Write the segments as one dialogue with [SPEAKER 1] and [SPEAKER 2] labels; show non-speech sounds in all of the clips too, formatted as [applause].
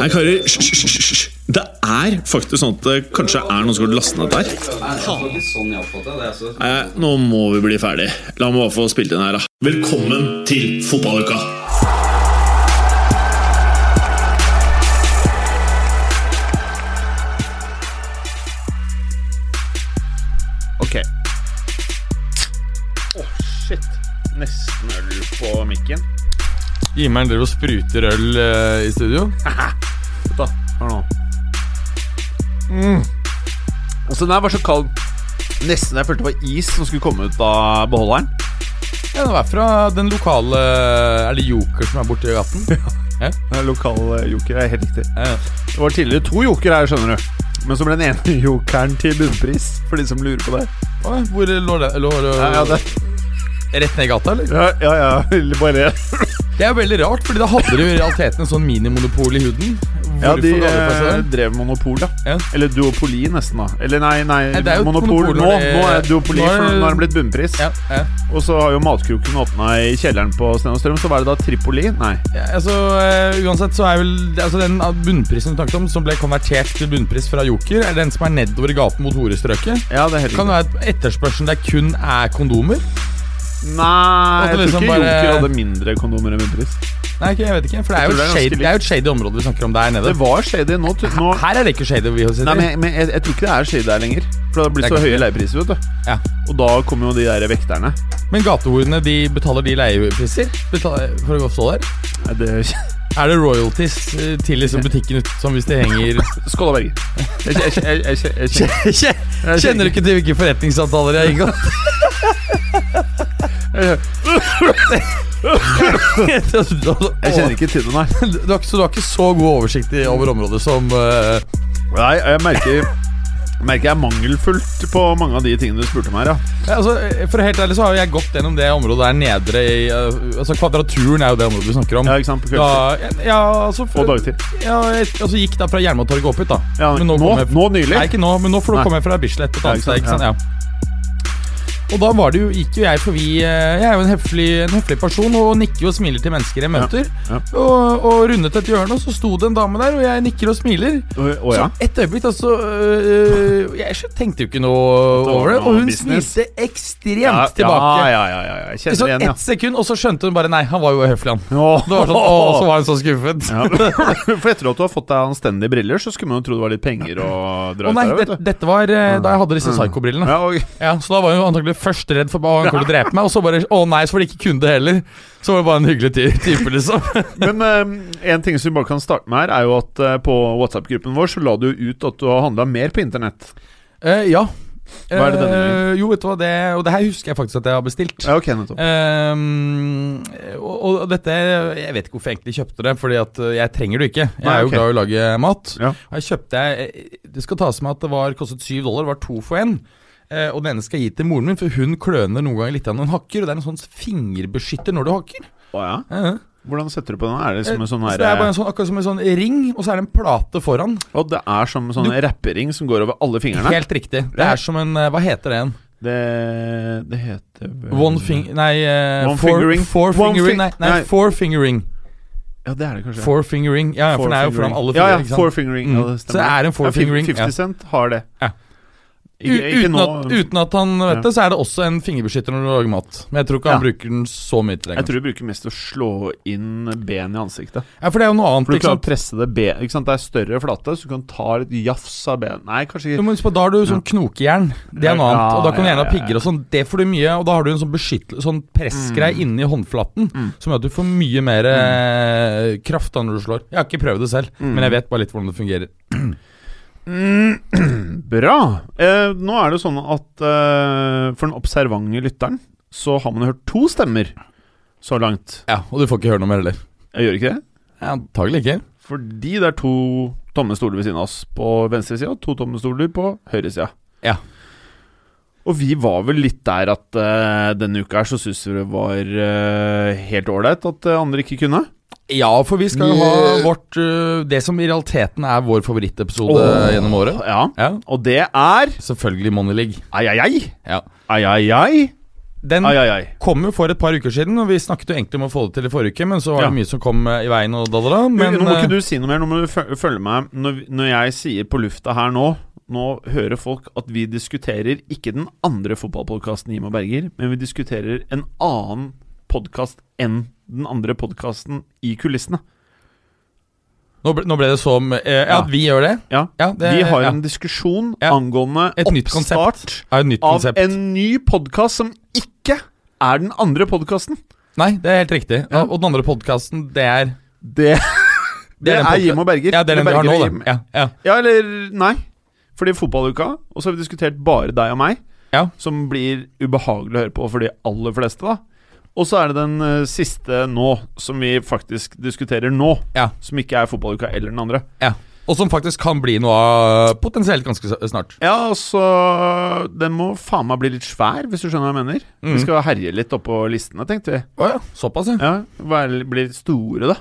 [SPEAKER 1] Nei, karer, hysj, hysj, hysj, hysj. Det er faktisk sånn at det kanskje er noen som går til å laste ned dette her. Nei, nå må vi bli ferdig. La meg bare få spilt inn her, da. Velkommen til fotballuka!
[SPEAKER 2] Ok.
[SPEAKER 1] Shit. Nesten øl på mikken.
[SPEAKER 2] Imeren driver og spruter øl eh, i studio.
[SPEAKER 1] Da, hør nå. Mm.
[SPEAKER 2] Og
[SPEAKER 1] Altså,
[SPEAKER 2] så den her var så kald.
[SPEAKER 1] Nesten jeg følte det var is som skulle komme ut av beholderen.
[SPEAKER 2] Ja, Den er fra den lokale eh, Er det Joker som er borti gaten?
[SPEAKER 1] [laughs] Lokal eh, joker er helt riktig.
[SPEAKER 2] Ja.
[SPEAKER 1] Det var tidligere to joker her, skjønner du. Men så ble den ene [laughs] jokeren til bunnpris, for de som lurer på det.
[SPEAKER 2] Oi, Hvor lå den? Lå, lå,
[SPEAKER 1] Ja, ja, det,
[SPEAKER 2] Rett ned i gata, eller?
[SPEAKER 1] ja, ja, [laughs] ja bare
[SPEAKER 2] Det er veldig rart, fordi da hadde du i realiteten en sånn minimonopol i huden. Hvorfor
[SPEAKER 1] Ja, de
[SPEAKER 2] ga de fra seg
[SPEAKER 1] eh,
[SPEAKER 2] den?
[SPEAKER 1] drev monopol, da.
[SPEAKER 2] Ja.
[SPEAKER 1] Eller duopoli, nesten. da Eller nei, nei,
[SPEAKER 2] Nei, det er jo et
[SPEAKER 1] monopol,
[SPEAKER 2] monopol
[SPEAKER 1] nå.
[SPEAKER 2] når det-
[SPEAKER 1] Nå er det duopoli,
[SPEAKER 2] Nå er
[SPEAKER 1] for nå
[SPEAKER 2] det-
[SPEAKER 1] er det blitt bunnpris.
[SPEAKER 2] ja, ja.
[SPEAKER 1] Og så har jo matkroken åpna i kjelleren på Sten og Strøm, så hva er det da? Tripoli? Nei.
[SPEAKER 2] Ja, altså, eh, uansett så er vel altså Den bunnprisen du snakket om, som ble konvertert til bunnpris fra Joker, er den som er nedover i gaten mot horestrøket.
[SPEAKER 1] Ja, det er helt
[SPEAKER 2] Kan det
[SPEAKER 1] riktig.
[SPEAKER 2] være at etterspørselen der kun er kondomer?
[SPEAKER 1] Nei,
[SPEAKER 2] At
[SPEAKER 1] jeg
[SPEAKER 2] det
[SPEAKER 1] tror
[SPEAKER 2] liksom
[SPEAKER 1] ikke
[SPEAKER 2] bare-
[SPEAKER 1] Joker hadde mindre kondomer enn bunnpris.
[SPEAKER 2] Nei, ikke, jeg vet ikke. For det er,
[SPEAKER 1] Jeg tror det
[SPEAKER 2] jo et
[SPEAKER 1] er ganske
[SPEAKER 2] shady, det er jo et shady område vi snakker om der nede.
[SPEAKER 1] Det var shady. Nå, t- nå
[SPEAKER 2] Her er det ikke shady. Vi sitter.
[SPEAKER 1] Nei, men, jeg, men jeg, jeg tror ikke det er shady her lenger. For det har blitt
[SPEAKER 2] Det er
[SPEAKER 1] så høye
[SPEAKER 2] ikke-
[SPEAKER 1] leiepriser, vet du.
[SPEAKER 2] ja.
[SPEAKER 1] Og da kommer jo de der vekterne.
[SPEAKER 2] men gatehorene de betaler de leiepriser Betal- for å gå og stå der?
[SPEAKER 1] Nei, det-
[SPEAKER 2] Er det royalties eh, til liksom butikken ut, som hvis det [laughs] henger
[SPEAKER 1] Skål da, Berger. Jeg, jeg, jeg, jeg, jeg, jeg, [laughs] jeg,
[SPEAKER 2] Kjenner du ikke til hvilke forretningsavtaler jeg har inngått? [laughs]
[SPEAKER 1] jeg kjenner ikke til det, nei.
[SPEAKER 2] Du har, ikke- så du har ikke så god oversikt i- over området som eh,
[SPEAKER 1] Nei, jeg merker Merker jeg er mangelfullt på mange av de tingene du spurte om her, ja.
[SPEAKER 2] Ja, Altså, For å være helt ærlig så har jo jeg gått gjennom det området der nedre i eh, Altså Kvadraturen er jo det området vi snakker om.
[SPEAKER 1] Ja, ikke sant, på
[SPEAKER 2] da,
[SPEAKER 1] kveldstid.
[SPEAKER 2] ja, altså for,
[SPEAKER 1] Og dagtid.
[SPEAKER 2] Ja, jeg, altså gikk da fra Jernbanetorget og opp hit, da.
[SPEAKER 1] Ja,
[SPEAKER 2] Men nå
[SPEAKER 1] nå,
[SPEAKER 2] kom jeg-
[SPEAKER 1] nå nylig?
[SPEAKER 2] Nei, ikke nå, men nå for nå
[SPEAKER 1] Nei.
[SPEAKER 2] kom jeg fra Bislett et
[SPEAKER 1] Ja, ikke sant,
[SPEAKER 2] annet sted. ikke sant? Ja. Og da var det jo, gikk jo jeg forbi eh, Jeg er jo en høflig, en høflig person og nikker og smiler til mennesker jeg møter.
[SPEAKER 1] ja.
[SPEAKER 2] Og, og rundet et hjørne, og så sto det en dame der, og jeg nikker og smiler.
[SPEAKER 1] Å å, ja.
[SPEAKER 2] Så et øyeblikk, altså øh, Jeg skjø- tenkte jo ikke noe
[SPEAKER 1] var
[SPEAKER 2] over det.
[SPEAKER 1] noe
[SPEAKER 2] Og hun
[SPEAKER 1] business.
[SPEAKER 2] snilte ekstremt
[SPEAKER 1] Ja,
[SPEAKER 2] tilbake.
[SPEAKER 1] Ja, ja, ja, ja, ja. Jeg
[SPEAKER 2] I
[SPEAKER 1] kjenner
[SPEAKER 2] sånn
[SPEAKER 1] det igjen, ja.
[SPEAKER 2] ett sekund, og så skjønte hun bare Nei, han var jo uhøflig, han.
[SPEAKER 1] Åh.
[SPEAKER 2] Det var
[SPEAKER 1] [laughs]
[SPEAKER 2] sånn, å, så var hun så skuffet.
[SPEAKER 1] Ja. [laughs] For etter at du har fått deg anstendige briller, så skulle man jo tro det var litt penger å dra
[SPEAKER 2] Å
[SPEAKER 1] ut
[SPEAKER 2] nei,
[SPEAKER 1] der,
[SPEAKER 2] det,
[SPEAKER 1] vet du. Mm.
[SPEAKER 2] dette var eh, da jeg hadde disse psykobrillene.
[SPEAKER 1] Ja, og,
[SPEAKER 2] Ja, Så da var hun antakelig først redd for at han kunne drepe meg, og så bare Å nei, så var det ikke kunde heller. Så var det bare en hyggelig ty- type,
[SPEAKER 1] [laughs]
[SPEAKER 2] liksom.
[SPEAKER 1] men eh, en ting som vi bare kan starte med her, er jo at eh, på WhatsApp-gruppen vår så la du ut at du har handla mer på internett.
[SPEAKER 2] Eh, ja.
[SPEAKER 1] Hva er det denne
[SPEAKER 2] Eh, jo, vet du hva, det Og det her husker jeg faktisk at jeg har bestilt.
[SPEAKER 1] Ja, ok, nettopp.
[SPEAKER 2] Ehm, og, og dette Jeg vet ikke hvorfor jeg egentlig kjøpte det, Fordi at eh, jeg trenger det ikke. Jeg
[SPEAKER 1] Nei,
[SPEAKER 2] er jo
[SPEAKER 1] ok.
[SPEAKER 2] glad i å lage mat.
[SPEAKER 1] Ja.
[SPEAKER 2] Og jeg kjøpte jeg, eh, Det skal tas med at det var kostet syv dollar, det var to for én. Eh, og den ene skal jeg gi til moren min, for hun kløner noen ganger litt når hun hakker. Og det er en sånn fingerbeskytter når du hakker.
[SPEAKER 1] Å, ja.
[SPEAKER 2] Eh,
[SPEAKER 1] Hvordan setter du på den? Er det som
[SPEAKER 2] eh,
[SPEAKER 1] en sånn
[SPEAKER 2] så
[SPEAKER 1] her
[SPEAKER 2] det er bare en sånn, akkurat som en sånn ring, og så er det en plate foran.
[SPEAKER 1] Og det er som en sånn rappering som går over alle fingrene?
[SPEAKER 2] Helt riktig. Det
[SPEAKER 1] Ja.
[SPEAKER 2] er som en eh, Hva heter det igjen?
[SPEAKER 1] Det, det heter vel-
[SPEAKER 2] One fing... Nei, eh,
[SPEAKER 1] Mm. One
[SPEAKER 2] four,
[SPEAKER 1] fingering.
[SPEAKER 2] Four
[SPEAKER 1] One fi-
[SPEAKER 2] fingering. Nei, nei,
[SPEAKER 1] nei.
[SPEAKER 2] four fingering.
[SPEAKER 1] Ja, det er det kanskje.
[SPEAKER 2] Four fingering. Ja, ja, for den er jo foran alle fire.
[SPEAKER 1] Ja, ja,
[SPEAKER 2] ikke sant?
[SPEAKER 1] four fingering. Ja,
[SPEAKER 2] Mm.
[SPEAKER 1] det
[SPEAKER 2] Så det
[SPEAKER 1] stemmer.
[SPEAKER 2] er en
[SPEAKER 1] Ja, fif-
[SPEAKER 2] four-fingering.
[SPEAKER 1] 50 Cent har det.
[SPEAKER 2] Ja.
[SPEAKER 1] Ikke, ikke
[SPEAKER 2] uten,
[SPEAKER 1] nå.
[SPEAKER 2] at, uten at han vet
[SPEAKER 1] Ja.
[SPEAKER 2] det, så er det også en fingerbeskytter når du lager mat. Men jeg tror ikke han
[SPEAKER 1] Ja.
[SPEAKER 2] bruker den så mye til det.
[SPEAKER 1] Jeg tror du bruker mest å slå inn ben i ansiktet.
[SPEAKER 2] Ja, for det er jo noe annet.
[SPEAKER 1] For du
[SPEAKER 2] Ikke
[SPEAKER 1] klarer å
[SPEAKER 2] sant?
[SPEAKER 1] presse det ben Ikke sant, Det er større flate, så du kan ta litt jafs av ben Nei, kanskje
[SPEAKER 2] Du
[SPEAKER 1] ikke
[SPEAKER 2] må huske på, Da har du sånn knokejern. Det er
[SPEAKER 1] Ja,
[SPEAKER 2] noe annet. Og da kan du
[SPEAKER 1] ja, ja,
[SPEAKER 2] gjerne ha pigger og sånn. Det får du mye. Og da har du en sånn beskyttelse, sånn pressgreie
[SPEAKER 1] Mm.
[SPEAKER 2] inni håndflaten som gjør at du får mye mer
[SPEAKER 1] Mm.
[SPEAKER 2] eh, kraft da når du slår. Jeg har ikke prøvd det selv, men jeg vet bare litt hvordan det fungerer. Mm. [clears throat]
[SPEAKER 1] Bra! Eh, nå er det jo sånn at eh, for den observante lytteren så har man hørt to stemmer så langt.
[SPEAKER 2] Ja, Og du får ikke høre noe mer heller.
[SPEAKER 1] Jeg gjør ikke det?
[SPEAKER 2] Ja, Antagelig ikke.
[SPEAKER 1] Fordi det er to tomme stoler ved siden av oss på venstre sida, og to tomme stoler på høyre sida.
[SPEAKER 2] Ja.
[SPEAKER 1] Og vi var vel litt der at eh, denne uka her så syns vi det var eh, helt ålreit at eh, andre ikke kunne.
[SPEAKER 2] Ja, for vi skal jo ha
[SPEAKER 1] Yeah.
[SPEAKER 2] vårt øh, Det som i realiteten er vår favorittepisode
[SPEAKER 1] Åh.
[SPEAKER 2] gjennom året.
[SPEAKER 1] Ja.
[SPEAKER 2] Ja,
[SPEAKER 1] Og det er
[SPEAKER 2] Selvfølgelig Money League.
[SPEAKER 1] ai, ai, ai.
[SPEAKER 2] Ja.
[SPEAKER 1] Ai, ai, ai.
[SPEAKER 2] den
[SPEAKER 1] Ai, ai, ai.
[SPEAKER 2] kom jo for et par uker siden, og vi snakket jo egentlig om å få det til i forrige uke, men så
[SPEAKER 1] Ja.
[SPEAKER 2] var det mye som kom eh, i veien og da, da, da. Men
[SPEAKER 1] nå må
[SPEAKER 2] eh,
[SPEAKER 1] ikke du si noe mer. Nå må du føl- følge meg. Når, vi- når jeg sier på lufta her nå Nå hører folk at vi diskuterer ikke den andre fotballpodkasten Jim og Berger, men vi diskuterer en annen podkast enn den andre podkasten i kulissene.
[SPEAKER 2] nå, ble, nå ble det som eh, ja,
[SPEAKER 1] Ja.
[SPEAKER 2] at vi gjør det.
[SPEAKER 1] Ja.
[SPEAKER 2] Ja, det
[SPEAKER 1] vi har
[SPEAKER 2] ja.
[SPEAKER 1] en diskusjon
[SPEAKER 2] Ja.
[SPEAKER 1] angående
[SPEAKER 2] Et nytt
[SPEAKER 1] oppstart
[SPEAKER 2] er jo et nytt
[SPEAKER 1] av
[SPEAKER 2] konsept.
[SPEAKER 1] en ny podkast som ikke er den andre podkasten.
[SPEAKER 2] Nei, det er helt riktig.
[SPEAKER 1] Ja.
[SPEAKER 2] Og, og den andre podkasten, det er
[SPEAKER 1] Det, [laughs] det er
[SPEAKER 2] den podca-
[SPEAKER 1] Jim og Berger.
[SPEAKER 2] Ja, det er den vi
[SPEAKER 1] Eller
[SPEAKER 2] har nå,
[SPEAKER 1] Berger og Jim.
[SPEAKER 2] det. Ja, ja.
[SPEAKER 1] Ja, eller nei. Fordi fotballuka, og så har vi diskutert bare deg og meg,
[SPEAKER 2] Ja.
[SPEAKER 1] som blir ubehagelig å høre på for de aller fleste, da. Og så er det den eh, siste nå, som vi faktisk diskuterer nå.
[SPEAKER 2] Ja.
[SPEAKER 1] Som ikke er fotballuka eller den andre.
[SPEAKER 2] ja. Og som faktisk kan bli noe av potensielt ganske s- snart.
[SPEAKER 1] Ja, altså Den må faen meg bli litt svær, hvis du skjønner hva jeg mener.
[SPEAKER 2] Mm.
[SPEAKER 1] Vi skal herje litt oppå listene, tenkte vi.
[SPEAKER 2] Å ja, såpass, ja.
[SPEAKER 1] Ja, være, Bli litt store, da.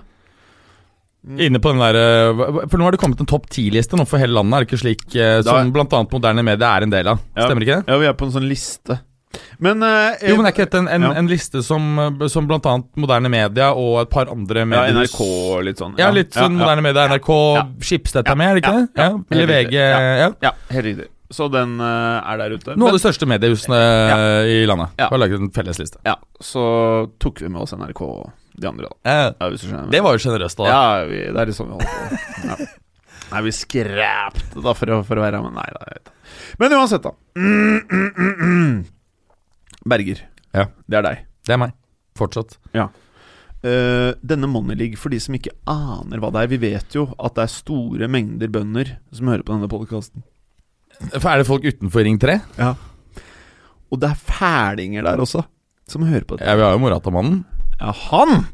[SPEAKER 1] Mm.
[SPEAKER 2] Inne på den der, eh, hva- For nå har det kommet en topp ti-liste nå for hele landet, er det ikke slik? eh,
[SPEAKER 1] Da-
[SPEAKER 2] Som bl.a. moderne medier er en del av.
[SPEAKER 1] Ja.
[SPEAKER 2] Stemmer ikke det?
[SPEAKER 1] Ja, vi er på en sånn liste. Men eh,
[SPEAKER 2] Jo, men er ikke dette en, en,
[SPEAKER 1] Ja.
[SPEAKER 2] en liste som, eh, som bl.a. moderne media og et par andre
[SPEAKER 1] ja,
[SPEAKER 2] medier
[SPEAKER 1] NRK og litt sånn.
[SPEAKER 2] Ja, litt sånn
[SPEAKER 1] ja,
[SPEAKER 2] moderne media. NRK,
[SPEAKER 1] Ja.
[SPEAKER 2] Schibsted
[SPEAKER 1] Ja.
[SPEAKER 2] er med, er det
[SPEAKER 1] Ja.
[SPEAKER 2] ikke det? Ja.
[SPEAKER 1] Ja.
[SPEAKER 2] Eller
[SPEAKER 1] Helt
[SPEAKER 2] VG.
[SPEAKER 1] riktig. Ja.
[SPEAKER 2] Ja.
[SPEAKER 1] Ja, helt riktig. Så den eh, er der ute.
[SPEAKER 2] Noen av
[SPEAKER 1] Men,
[SPEAKER 2] de største mediehusene eh, i landet
[SPEAKER 1] Ja.
[SPEAKER 2] har laget en felles liste.
[SPEAKER 1] ja, så tok vi med oss NRK og de andre, da. Ja, hvis du skjønner.
[SPEAKER 2] Eh, Det var jo sjenerøst, da.
[SPEAKER 1] ja, vi, det er litt sånn vi holder på. Ja. Nei, vi skrapte da for å, for å være med. Nei da. jeg vet ikke. Men uansett, da. Mm, mm, mm, mm. Berger,
[SPEAKER 2] Ja.
[SPEAKER 1] det er deg.
[SPEAKER 2] Det er meg. Fortsatt.
[SPEAKER 1] Eh, denne Money League, for de som ikke aner hva det er Vi vet jo at det er store mengder bønder som hører på denne podkasten.
[SPEAKER 2] For er det folk utenfor Ring 3?
[SPEAKER 1] Og det er fælinger der også, som hører på dette.
[SPEAKER 2] Ja, vi har jo Morata-mannen.
[SPEAKER 1] Ja, han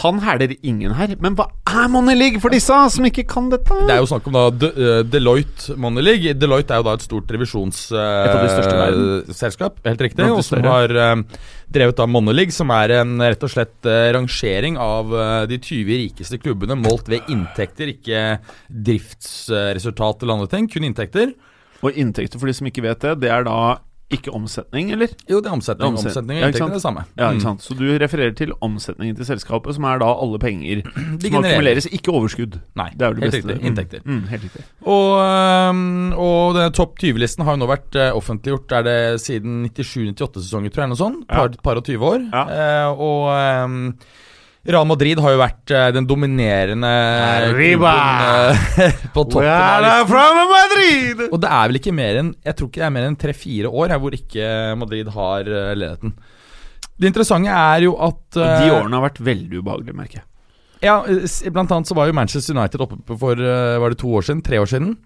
[SPEAKER 1] Han hæler ingen her. Men hva er Money League for disse som ikke kan dette?
[SPEAKER 2] Det er jo snakk om da De, eh, Deloitte Money League. Deloitte er jo da et stort revisjonsselskap.
[SPEAKER 1] av de største i verden.
[SPEAKER 2] selskap, helt riktig.
[SPEAKER 1] Blant de
[SPEAKER 2] Og som
[SPEAKER 1] større.
[SPEAKER 2] har eh, drevet da Money League, som er en eh, rett og slett eh, rangering av eh, de 20 rikeste klubbene målt ved inntekter, ikke driftsresultat eller andre ting. Kun inntekter.
[SPEAKER 1] Og inntekter for de som ikke vet det, det er da ikke omsetning, eller?
[SPEAKER 2] Jo, det er omsetning.
[SPEAKER 1] Omset-
[SPEAKER 2] Omsetning og
[SPEAKER 1] Ja, ikke sant?
[SPEAKER 2] inntekter er det samme.
[SPEAKER 1] Ja,
[SPEAKER 2] Mm.
[SPEAKER 1] ikke sant? Så du refererer til omsetningen til selskapet, som er da alle penger
[SPEAKER 2] De
[SPEAKER 1] som
[SPEAKER 2] genererer-
[SPEAKER 1] akkumuleres, ikke overskudd.
[SPEAKER 2] Nei,
[SPEAKER 1] Det er vel det
[SPEAKER 2] helt
[SPEAKER 1] beste.
[SPEAKER 2] riktig.
[SPEAKER 1] Mm.
[SPEAKER 2] Inntekter.
[SPEAKER 1] Mm, helt riktig.
[SPEAKER 2] Og, øhm, og denne topp 20-listen har jo nå vært eh, offentliggjort Er det siden 97-98-sesongen, tror jeg. Noe sånt. Par, par og 20 år. Eh, og øhm, Real Madrid har jo vært eh, den dominerende
[SPEAKER 1] Arriba!
[SPEAKER 2] klubben, eh, [laughs] på toppen. av listen.
[SPEAKER 1] from Madrid!
[SPEAKER 2] Og det er vel ikke mer enn Jeg tror ikke det er mer enn tre-fire år her, hvor ikke Madrid har uh, ledigheten. Det interessante er jo at
[SPEAKER 1] Og de
[SPEAKER 2] eh,
[SPEAKER 1] årene har vært veldig ubehagelige, merker jeg.
[SPEAKER 2] ja, s- Blant annet så var jo Manchester United oppe på for eh, var det to år siden? Tre år siden?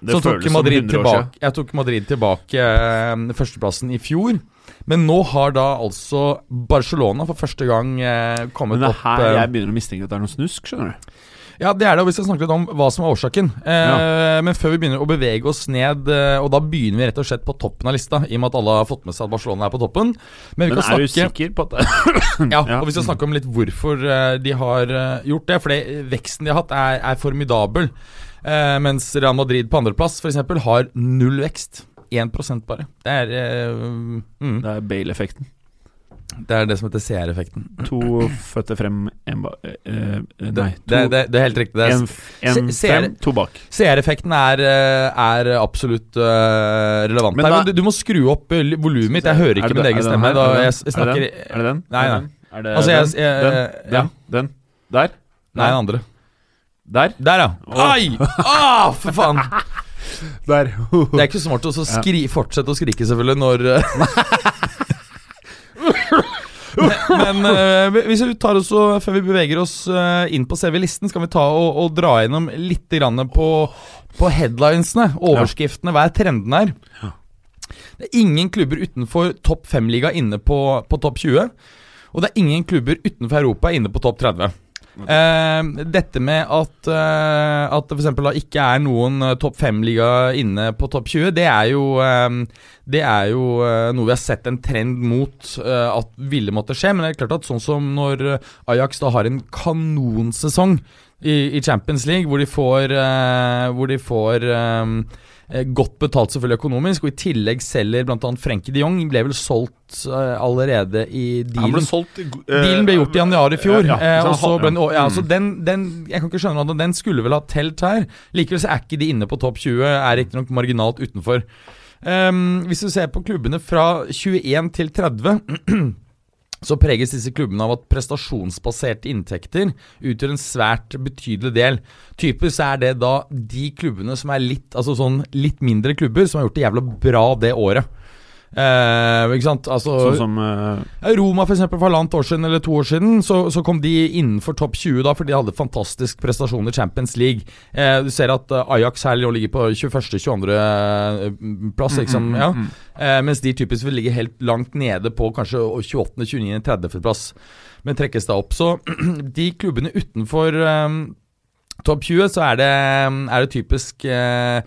[SPEAKER 1] Det
[SPEAKER 2] så tok
[SPEAKER 1] føles som
[SPEAKER 2] Madrid
[SPEAKER 1] 100 år siden.
[SPEAKER 2] tilbake, jeg tok Madrid tilbake eh, førsteplassen i fjor. Men nå har da altså Barcelona for første gang eh, kommet
[SPEAKER 1] Men det er
[SPEAKER 2] opp
[SPEAKER 1] her
[SPEAKER 2] eh,
[SPEAKER 1] jeg begynner å mistenke at det er noe snusk, skjønner du.
[SPEAKER 2] Ja, det er det, og vi skal snakke litt om hva som er årsaken. Eh, Men før vi begynner å bevege oss ned, eh, og da begynner vi rett og slett på toppen av lista, i og med at alle har fått med seg at Barcelona er på toppen. Men vi
[SPEAKER 1] Men
[SPEAKER 2] kan
[SPEAKER 1] er du
[SPEAKER 2] snakke
[SPEAKER 1] sikker på at det
[SPEAKER 2] ja,
[SPEAKER 1] Mm. Ja.
[SPEAKER 2] og vi skal snakke om litt hvorfor eh, de har eh, gjort det. Fordi veksten de har hatt, er, er formidabel. Eh, mens Real Madrid på andreplass f.eks. har null vekst. 1 bare. Det er, eh, mm,
[SPEAKER 1] Det er Bale-effekten.
[SPEAKER 2] det er det som heter CR-effekten.
[SPEAKER 1] To føtter frem, én bak Nei, eh,
[SPEAKER 2] Det,
[SPEAKER 1] to,
[SPEAKER 2] det, det, det er helt riktig. Det er
[SPEAKER 1] en, f- en
[SPEAKER 2] Se- ser-
[SPEAKER 1] frem, to bak.
[SPEAKER 2] CR-effekten er, eh, er absolutt eh, relevant.
[SPEAKER 1] Men
[SPEAKER 2] Nei,
[SPEAKER 1] da-
[SPEAKER 2] men du, du må skru opp eh, l- volumet mitt. Jeg hører
[SPEAKER 1] Er
[SPEAKER 2] ikke
[SPEAKER 1] det
[SPEAKER 2] min
[SPEAKER 1] det- er det
[SPEAKER 2] egen stemme.
[SPEAKER 1] her?
[SPEAKER 2] Da
[SPEAKER 1] Er det
[SPEAKER 2] jeg
[SPEAKER 1] den?
[SPEAKER 2] s-
[SPEAKER 1] er,
[SPEAKER 2] snakker
[SPEAKER 1] det den? er det den? Er
[SPEAKER 2] Nei, nei.
[SPEAKER 1] det den? Er det
[SPEAKER 2] Altså, jeg,
[SPEAKER 1] den?
[SPEAKER 2] jeg,
[SPEAKER 1] den?
[SPEAKER 2] ja.
[SPEAKER 1] Den? Den? Der?
[SPEAKER 2] Nei, den andre.
[SPEAKER 1] Der?
[SPEAKER 2] Der, ja.
[SPEAKER 1] Åh.
[SPEAKER 2] Ai! Ah, for faen!
[SPEAKER 1] Der.
[SPEAKER 2] Det er ikke så smart å så skri, fortsette å skrike, selvfølgelig, når eh, Men eh, hvis vi tar oss og, før vi beveger oss eh, inn på selve listen, skal vi ta og, og dra gjennom litt grann på, på headlinesene, overskriftene, hva er trenden her?
[SPEAKER 1] Ja.
[SPEAKER 2] Det er ingen klubber utenfor topp fem-liga inne på, på topp 20. Og det er ingen klubber utenfor Europa inne på topp 30. Eh, dette med at, eh, at det for eksempel da ikke er noen eh, topp fem-liga inne på topp 20, det er jo, eh, det er jo eh, noe vi har sett en trend mot eh, at ville måtte skje. Men det er klart at sånn som når eh, Ajax da har en kanonsesong i, i Champions League, hvor de får, eh, hvor de får eh, eh, godt betalt selvfølgelig økonomisk, og i tillegg selger bl.a. Frenkie de Jong. Ble vel solgt eh, allerede i
[SPEAKER 1] Han ble
[SPEAKER 2] dealen.
[SPEAKER 1] solgt i go- eh,
[SPEAKER 2] Dealen ble gjort i januar i fjor.
[SPEAKER 1] Ja, ja.
[SPEAKER 2] eh, og så ble den, ja,
[SPEAKER 1] Mm.
[SPEAKER 2] så den, den, jeg kan ikke skjønne at den skulle vel ha telt her. Likevel så er ikke de inne på topp 20, er riktignok marginalt utenfor. Ehm, hvis du ser på klubbene fra 21 til 30 [clears throat] så preges disse klubbene av at prestasjonsbaserte inntekter utgjør en svært betydelig del. Typisk er det da de klubbene som er litt, altså sånn litt mindre klubber, som har gjort det jævla bra det året. Eh, ikke sant? Altså,
[SPEAKER 1] Sånn som eh,
[SPEAKER 2] Roma for eksempel, for halvannet år siden eller to år siden, så, så kom de innenfor topp 20 da, fordi de hadde fantastisk prestasjon i Champions League. Eh, du ser at eh, Ajax her nå ligger på 21.-22.
[SPEAKER 1] Mm,
[SPEAKER 2] plass, liksom, ja. eh, mens de typisk vil ligge helt langt nede på kanskje 28., 29., 30. plass, men trekkes da opp. Så [clears throat] de klubbene utenfor eh, topp 20, så er det, er det typisk eh,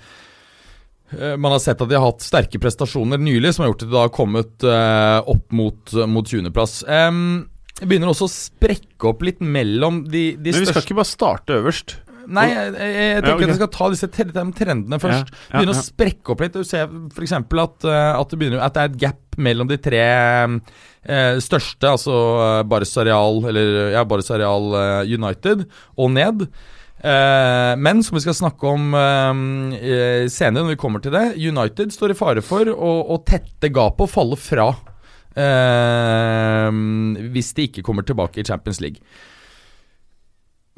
[SPEAKER 2] Eh, Man har sett at de har hatt sterke prestasjoner nylig, som har gjort at de da har kommet eh, opp mot, mot 20.-plass. Um, det begynner også å sprekke opp litt mellom de, de
[SPEAKER 1] Men vi skal
[SPEAKER 2] største
[SPEAKER 1] ikke bare starte øverst.
[SPEAKER 2] Nei, jeg, jeg, jeg tenker
[SPEAKER 1] Ja, ok.
[SPEAKER 2] at vi skal ta disse tre- de trendene først.
[SPEAKER 1] Ja, ja,
[SPEAKER 2] begynner
[SPEAKER 1] ja.
[SPEAKER 2] å sprekke opp litt. Du ser f.eks. At, eh, at, det begynner- at det er et gap mellom de tre eh, største, altså eh, Barca Real, eller ja, Barca Real eh, United, og ned. Eh, men som vi skal snakke om eh, eh, senere, når vi kommer til det United står i fare for å, å tette gapet og falle fra. eh, hvis de ikke kommer tilbake i Champions League.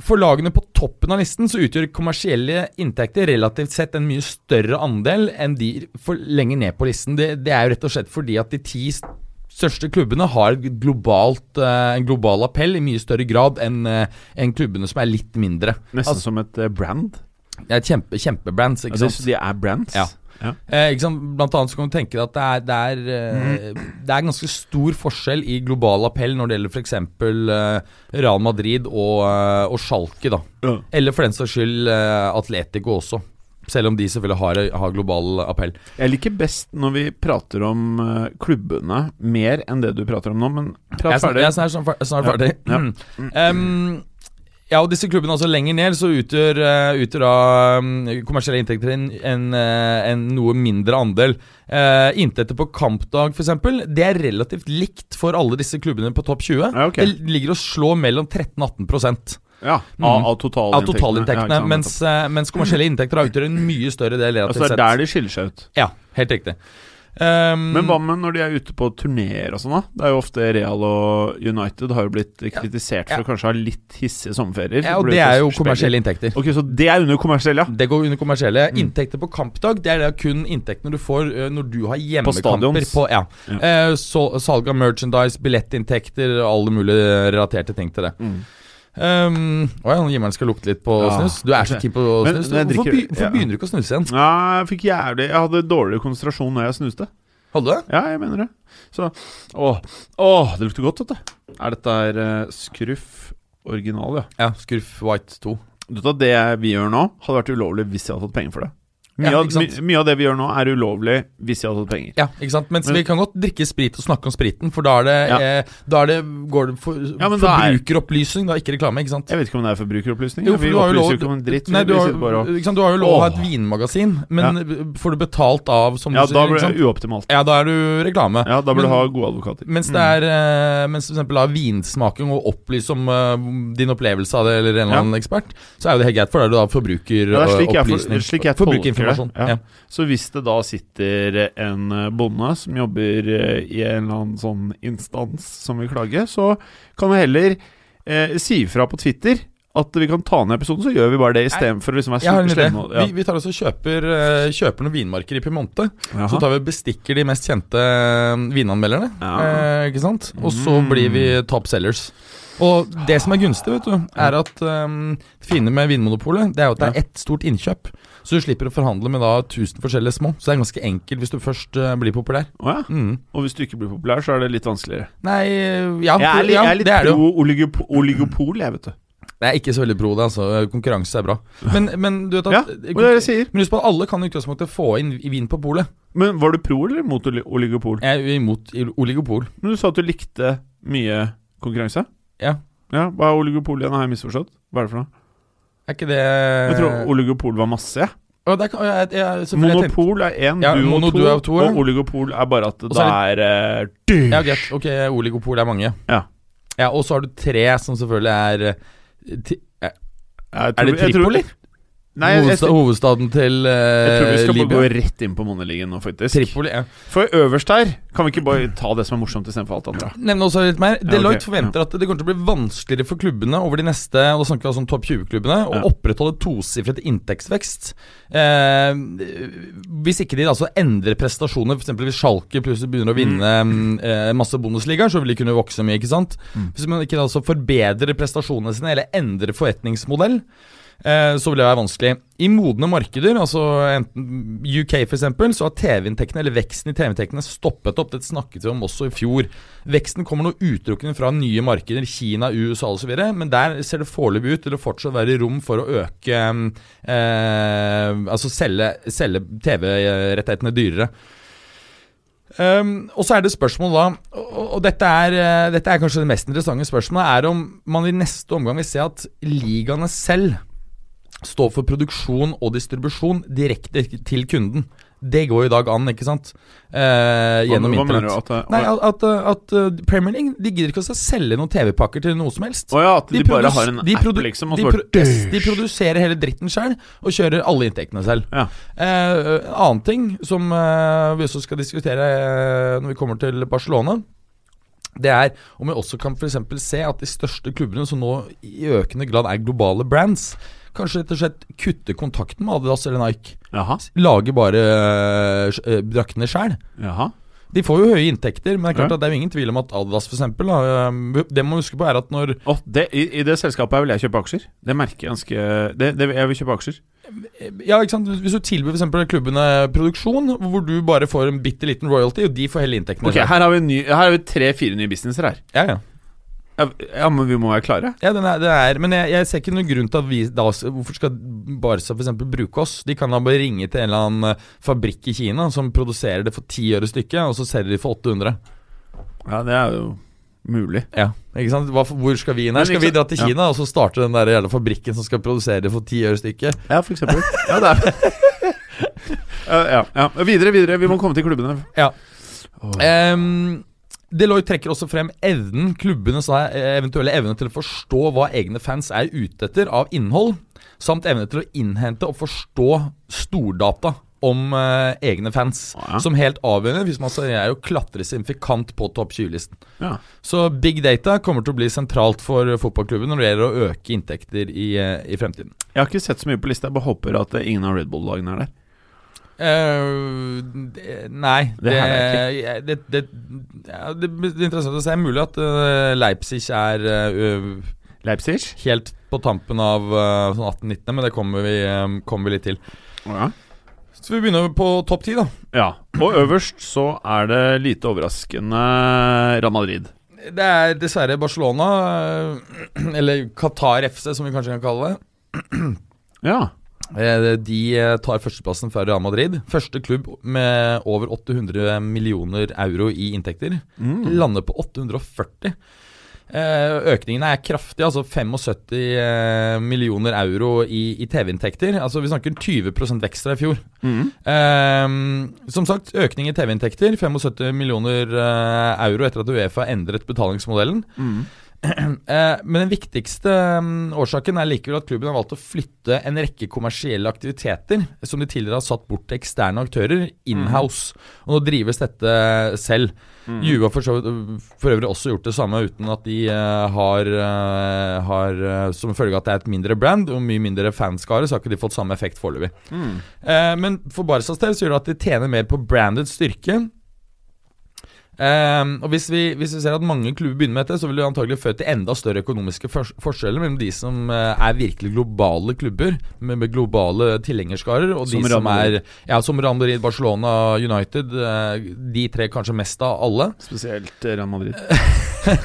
[SPEAKER 2] For lagene på toppen av listen så utgjør kommersielle inntekter relativt sett en mye større andel enn de for lenger ned på listen. Det, det er jo rett og slett fordi at de ti st- største klubbene har et globalt, eh, en global appell i mye større grad enn eh, enn klubbene som er litt mindre.
[SPEAKER 1] Nesten
[SPEAKER 2] Altså-
[SPEAKER 1] som et eh, brand.
[SPEAKER 2] Det er kjempe, kjempebrands, ikke
[SPEAKER 1] Altså,
[SPEAKER 2] sant?
[SPEAKER 1] de er brands.
[SPEAKER 2] Ja. Eh, ikke sant? Blant annet så kan du tenke deg at det er, det, er,
[SPEAKER 1] Mm.
[SPEAKER 2] eh, det er ganske stor forskjell i global appell når det gjelder f.eks. Eh, Real Madrid og, eh, og Schalke. da.
[SPEAKER 1] Ja.
[SPEAKER 2] Eller for den saks skyld eh, Atletico også. Selv om de selvfølgelig har, har global appell.
[SPEAKER 1] Jeg liker best når vi prater om eh, klubbene mer enn det du prater om nå, men prat
[SPEAKER 2] Jeg er sn-
[SPEAKER 1] ferdig.
[SPEAKER 2] Jeg er snart, snart fer- snart
[SPEAKER 1] Ja,
[SPEAKER 2] ferdig. Mm.
[SPEAKER 1] ja.
[SPEAKER 2] Em, ja, og disse klubbene altså lenger ned så utgjør, eh, utgjør da em, kommersielle inntekter en, en, eh, en noe mindre andel. Uh, inntekter på kampdag f.eks. Det er relativt likt for alle disse klubbene på topp 20.
[SPEAKER 1] Ja, ok.
[SPEAKER 2] Det ligger og slår mellom 13 og 18
[SPEAKER 1] Ja,
[SPEAKER 2] Mm.
[SPEAKER 1] av, av totalinntektene.
[SPEAKER 2] av totalinntektene.
[SPEAKER 1] Ja, ikke sant,
[SPEAKER 2] mens, eh, mens kommersielle inntekter da utgjør en mye større del.
[SPEAKER 1] nettopp.
[SPEAKER 2] relativt
[SPEAKER 1] altså, det er
[SPEAKER 2] sett.
[SPEAKER 1] der de skiller seg ut.
[SPEAKER 2] Ja, helt riktig. Ehm,
[SPEAKER 1] Men hva med når de er ute på turneer og sånn, da? Det er jo ofte Real og United har jo blitt eh, kritisert for å kanskje ha litt hissige sommerferier.
[SPEAKER 2] ja, og
[SPEAKER 1] Hvor de
[SPEAKER 2] det
[SPEAKER 1] er ute
[SPEAKER 2] er jo
[SPEAKER 1] spiller.
[SPEAKER 2] kommersielle inntekter.
[SPEAKER 1] Ok, så det er under kommersiell, ja?
[SPEAKER 2] Det går under kommersielle.
[SPEAKER 1] Mm.
[SPEAKER 2] Inntekter på kampdag det er det kun inntektene du får ø, når du har hjemmekamper.
[SPEAKER 1] stadions.
[SPEAKER 2] På, ja.
[SPEAKER 1] Ja.
[SPEAKER 2] Eh, så, salg av merchandise, billettinntekter, alle mulige relaterte ting til det.
[SPEAKER 1] Mm.
[SPEAKER 2] Um, Oi, han Jimmer'n skal lukte litt på
[SPEAKER 1] Ja.
[SPEAKER 2] snus. Du er så keen på
[SPEAKER 1] Men-
[SPEAKER 2] snus. du.
[SPEAKER 1] men jeg
[SPEAKER 2] Hvorfor,
[SPEAKER 1] drikker-
[SPEAKER 2] be- hvorfor
[SPEAKER 1] ja.
[SPEAKER 2] begynner du ikke å snuse igjen?
[SPEAKER 1] Ja, jeg fikk jævlig Jeg hadde dårligere konsentrasjon når jeg snuste.
[SPEAKER 2] Holder det?
[SPEAKER 1] Ja, jeg mener det. Så Åh, åh det lukter godt, vet du. Er dette her eh, skruff original, ja?
[SPEAKER 2] Ja. Skurf White 2.
[SPEAKER 1] Du vet at Det vi gjør nå, hadde vært ulovlig hvis jeg hadde fått penger for det. Mye,
[SPEAKER 2] Ja,
[SPEAKER 1] av,
[SPEAKER 2] ikke sant?
[SPEAKER 1] my, mye av det vi gjør nå, er ulovlig hvis jeg hadde fått penger.
[SPEAKER 2] Ja, ikke sant? Mens
[SPEAKER 1] Men-
[SPEAKER 2] vi kan godt drikke sprit og snakke om spriten, for da er det,
[SPEAKER 1] Ja.
[SPEAKER 2] eh, da er det, går det for,
[SPEAKER 1] Ja, men da er-
[SPEAKER 2] forbrukeropplysning, da, ikke reklame. ikke sant?
[SPEAKER 1] Jeg vet ikke om det er forbrukeropplysninger.
[SPEAKER 2] Jo, for
[SPEAKER 1] Vi
[SPEAKER 2] du har
[SPEAKER 1] opplyser
[SPEAKER 2] jo lov-
[SPEAKER 1] jo ikke om en dritt.
[SPEAKER 2] Nei,
[SPEAKER 1] vi
[SPEAKER 2] du har,
[SPEAKER 1] sitter bare og
[SPEAKER 2] ikke sant, du har jo lov å ha et
[SPEAKER 1] Åh.
[SPEAKER 2] vinmagasin, men får du betalt av som
[SPEAKER 1] Ja,
[SPEAKER 2] du
[SPEAKER 1] da
[SPEAKER 2] sier,
[SPEAKER 1] blir
[SPEAKER 2] ikke sant?
[SPEAKER 1] det uoptimalt.
[SPEAKER 2] Ja, da er du reklame.
[SPEAKER 1] Ja, Mm. da bør du
[SPEAKER 2] Men-
[SPEAKER 1] ha gode advokater.
[SPEAKER 2] Mens det er eh, Mens for eksempel da vinsmaking og opplyse om eh, din opplevelse av det, eller en eller
[SPEAKER 1] Ja.
[SPEAKER 2] annen ekspert, så er jo det helt greit, for da er du da forbruker eh,
[SPEAKER 1] Ja, det er slik jeg for-
[SPEAKER 2] opplysning.
[SPEAKER 1] slik jeg tolker det,
[SPEAKER 2] Forbrukerinformasjon.
[SPEAKER 1] ja.
[SPEAKER 2] Ja.
[SPEAKER 1] Så hvis det da sitter en eh, bonde som jobber eh, i en eller annen sånn instans som vil klage, så kan vi heller eh, si ifra på Twitter at vi kan ta ned episoden, så gjør vi bare det istedenfor å liksom være
[SPEAKER 2] Jeg har en
[SPEAKER 1] sl-
[SPEAKER 2] idé.
[SPEAKER 1] slemme. og- Ja.
[SPEAKER 2] Vi, vi tar også og kjøper, eh, kjøper noen vinmarker i Piemonte. Så
[SPEAKER 1] Jaha.
[SPEAKER 2] tar vi og bestikker de mest kjente eh, vinanmelderne.
[SPEAKER 1] Ja. Mm.
[SPEAKER 2] Eh, ikke sant? Og så blir vi top sellers. Og det som er gunstig, vet du, er at eh, det fine med Vinmonopolet Det er jo at det er ett stort innkjøp. Så du slipper å forhandle med da 1000 forskjellige små. Så det er ganske enkelt hvis du først eh, blir populær.
[SPEAKER 1] Å ja.
[SPEAKER 2] Mm.
[SPEAKER 1] Og hvis du ikke blir populær, så er det litt vanskeligere.
[SPEAKER 2] Nei eh, Ja,
[SPEAKER 1] Jeg er litt,
[SPEAKER 2] ja
[SPEAKER 1] jeg er litt
[SPEAKER 2] det er det jo.
[SPEAKER 1] pro oligopo- oligopol, jeg, vet du.
[SPEAKER 2] Jeg er ikke så veldig pro det, altså. Konkurranse er bra. Men, men du vet
[SPEAKER 1] Ja,
[SPEAKER 2] at
[SPEAKER 1] hva er det jeg sier?
[SPEAKER 2] Men husk på at alle kan i utgangspunktet få inn vin på polet.
[SPEAKER 1] Men var du pro eller mot oli- oligopol?
[SPEAKER 2] Jeg er imot oligopol.
[SPEAKER 1] Men du sa at du likte mye konkurranse.
[SPEAKER 2] Ja.
[SPEAKER 1] Ja, Hva er oligopol igjen? Har jeg misforstått? Hva er det for noe?
[SPEAKER 2] Er ikke det
[SPEAKER 1] Eh, Jeg tror oligopol var masse, jeg.
[SPEAKER 2] Å Og det kan, jeg, jeg, selvfølgelig, jeg tenkte-
[SPEAKER 1] Monopol er én,
[SPEAKER 2] Ja,
[SPEAKER 1] duo
[SPEAKER 2] mono-
[SPEAKER 1] to,
[SPEAKER 2] duo er to, ja.
[SPEAKER 1] og oligopol er bare at
[SPEAKER 2] Og
[SPEAKER 1] det
[SPEAKER 2] så
[SPEAKER 1] er eh, dyr.
[SPEAKER 2] Ja, greit. Ok, oligopol er mange.
[SPEAKER 1] Ja.
[SPEAKER 2] ja Og så har du tre som selvfølgelig er eh, ti, eh,
[SPEAKER 1] Jeg
[SPEAKER 2] Er det
[SPEAKER 1] tror- jeg tror-
[SPEAKER 2] Tripoli?
[SPEAKER 1] Nei, jeg, jeg,
[SPEAKER 2] Hovedsta- hovedstaden til
[SPEAKER 1] jeg tror vi
[SPEAKER 2] eh,
[SPEAKER 1] skal bare gå
[SPEAKER 2] Libya?
[SPEAKER 1] rett inn på Moneligaen nå, faktisk.
[SPEAKER 2] Tripoli, ja.
[SPEAKER 1] For øverst her kan vi ikke bare ta det som er morsomt, istedenfor alt andre.
[SPEAKER 2] Nevne også litt mer.
[SPEAKER 1] ok,
[SPEAKER 2] Deloitte forventer at det kommer til å bli vanskeligere for klubbene over de neste og da snakker vi altså om topp 20-klubbene å
[SPEAKER 1] Ja.
[SPEAKER 2] opprettholde tosifret inntektsvekst. Eh, hvis ikke de altså endrer prestasjoner, f.eks. hvis Schalke plutselig begynner å vinne mm, eh, masse bonusligaer, så vil de kunne vokse mye. ikke sant?
[SPEAKER 1] Mm.
[SPEAKER 2] Hvis man ikke altså forbedrer prestasjonene sine eller endrer forretningsmodell, eh, så vil det være vanskelig. I modne markeder, altså enten UK f.eks., så har TV-inntektene eller veksten i TV-inntektene stoppet opp. Det snakket vi om også i fjor. Veksten kommer nå utelukkende fra nye markeder, Kina, USA osv., men der ser det foreløpig ut til å fortsatt være rom for å øke eh, Altså selge, selge TV-rettighetene dyrere. Ehm, og så er det spørsmål da, og, og dette, er, eh, dette er kanskje det mest interessante spørsmålet, er om man i neste omgang vil se at ligaene selv står for produksjon og distribusjon direkte til kunden. Det går jo i dag an, ikke sant? Eh,
[SPEAKER 1] Hva-
[SPEAKER 2] gjennom
[SPEAKER 1] Hva mener du
[SPEAKER 2] internett.
[SPEAKER 1] at det-
[SPEAKER 2] Nei, at, at, at eh, Premier League De gidder ikke å selge noen TV-pakker til noe som helst.
[SPEAKER 1] Å ja, at de, bare
[SPEAKER 2] produs-
[SPEAKER 1] har en
[SPEAKER 2] altså, de
[SPEAKER 1] app,
[SPEAKER 2] produ-
[SPEAKER 1] liksom, og
[SPEAKER 2] de,
[SPEAKER 1] så bare
[SPEAKER 2] pro yes, de produserer hele dritten sjøl og kjører alle inntektene selv.
[SPEAKER 1] Ja.
[SPEAKER 2] Eh, en annen ting som eh, vi også skal diskutere eh, når vi kommer til Barcelona, det er om vi også kan for eksempel se at de største klubbene, som nå i økende grad er globale brands, kanskje rett og slett kutter kontakten med Adidas eller Nike.
[SPEAKER 1] Jaha.
[SPEAKER 2] Lager bare eh, sj- eh, draktene sjøl.
[SPEAKER 1] Jaha.
[SPEAKER 2] De får jo høye inntekter, men det er klart
[SPEAKER 1] Ja.
[SPEAKER 2] at det er jo ingen tvil om at Adidas for eksempel, da, eh, Det man må huske på, er at når
[SPEAKER 1] Å, det, i, I det selskapet her vil jeg kjøpe aksjer. Det merker jeg ganske det, det, Jeg vil kjøpe aksjer.
[SPEAKER 2] Ja, ikke sant? Hvis du tilbyr for eksempel klubbene produksjon, hvor du bare får en bitte liten royalty, og de får hele inntektene.
[SPEAKER 1] Ok, Her har vi, en ny- her har vi tre-fire nye businesser her.
[SPEAKER 2] Ja, ja.
[SPEAKER 1] Ja, ja, men vi må være klare.
[SPEAKER 2] ja den er, den er, men jeg, jeg ser ikke noen grunn til at vi da, Hvorfor skal Barca for eksempel bruke oss? De kan da bare ringe til en eller annen eh, fabrikk i Kina som produserer det for 10 øre stykket, og så selger de for 800.
[SPEAKER 1] Ja, det er jo mulig.
[SPEAKER 2] Ja, ikke sant? Hva, hvor skal vi inn
[SPEAKER 1] Men
[SPEAKER 2] her? Skal
[SPEAKER 1] ikke
[SPEAKER 2] vi dra til
[SPEAKER 1] sant- ja.
[SPEAKER 2] Kina og så starte den der jævla fabrikken som skal produsere det for 10 øre stykket?
[SPEAKER 1] Ja, for eksempel. [laughs] Ja, det er ja, ja, ja. Videre, videre. Vi må komme til klubbene.
[SPEAKER 2] Ja.
[SPEAKER 1] Åh.
[SPEAKER 2] Ehm, Deloitte trekker også frem evnen, klubbenes da, eh, eventuelle evne til å forstå hva egne fans er ute etter av innhold, samt evne til å innhente og forstå stordata om eh, egne fans.
[SPEAKER 1] Å, ja.
[SPEAKER 2] Som helt avgjørende hvis man skal er å klatre signifikant på topp 20-listen.
[SPEAKER 1] Ja.
[SPEAKER 2] Så big data kommer til å bli sentralt for fotballklubben når det gjelder å øke inntekter i, eh, i fremtiden.
[SPEAKER 1] Jeg har ikke sett så mye på lista. Jeg bare håper at eh, ingen av Red Bull-lagene er der.
[SPEAKER 2] Eh, det- nei
[SPEAKER 1] Det her er
[SPEAKER 2] det, det, det, ja, det blir interessant å se. Mulig at eh, Leipzig er eh,
[SPEAKER 1] Leipzig?
[SPEAKER 2] helt på tampen av eh, sånn 18-19, men det kommer vi, eh, kommer vi litt til.
[SPEAKER 1] Ja.
[SPEAKER 2] Så vi begynner på topp ti, da.
[SPEAKER 1] ja. Og øverst så er det lite overraskende Real Madrid.
[SPEAKER 2] Det er dessverre Barcelona, eh, [clears throat] eller Qatar FC, som vi kanskje kan kalle det.
[SPEAKER 1] Ja.
[SPEAKER 2] Eh, De eh, tar førsteplassen fra Real Madrid. Første klubb med over 800 millioner euro i inntekter.
[SPEAKER 1] Mm.
[SPEAKER 2] Lander på 840. Eh, økningen er kraftig, altså 75 eh, millioner euro i, i TV-inntekter. Altså Vi snakker 20 vekst fra i fjor.
[SPEAKER 1] Mm.
[SPEAKER 2] Ehm, som sagt, økning i TV-inntekter. 75 millioner eh, euro etter at Uefa endret betalingsmodellen.
[SPEAKER 1] Mm.
[SPEAKER 2] Eh, men den viktigste mm, årsaken er likevel at klubben har valgt å flytte en rekke kommersielle aktiviteter som de tidligere har satt bort til eksterne aktører, inhouse. Og nå drives dette selv.
[SPEAKER 1] Mm.
[SPEAKER 2] Juve har for, så vidt- for øvrig også gjort det samme, uten at de eh, har, eh, har eh, Som følge av at det er et mindre brand og mye mindre fanskare, så har ikke de fått samme effekt foreløpig.
[SPEAKER 1] Mm.
[SPEAKER 2] Eh, men for Barcas del så gjør det at de tjener mer på branded styrke. Eh, og hvis vi, hvis vi ser at mange klubber begynner med dette, så vil det antagelig føre til enda større økonomiske fors- forskjeller mellom de som eh, er virkelig globale klubber, med, med globale tilhengerskarer, og
[SPEAKER 1] Som
[SPEAKER 2] de
[SPEAKER 1] Real
[SPEAKER 2] som er
[SPEAKER 1] Madrid.
[SPEAKER 2] ja, som Real Madrid, Barcelona, United. eh, de tre kanskje mest av alle.
[SPEAKER 1] Spesielt eh, Real Madrid.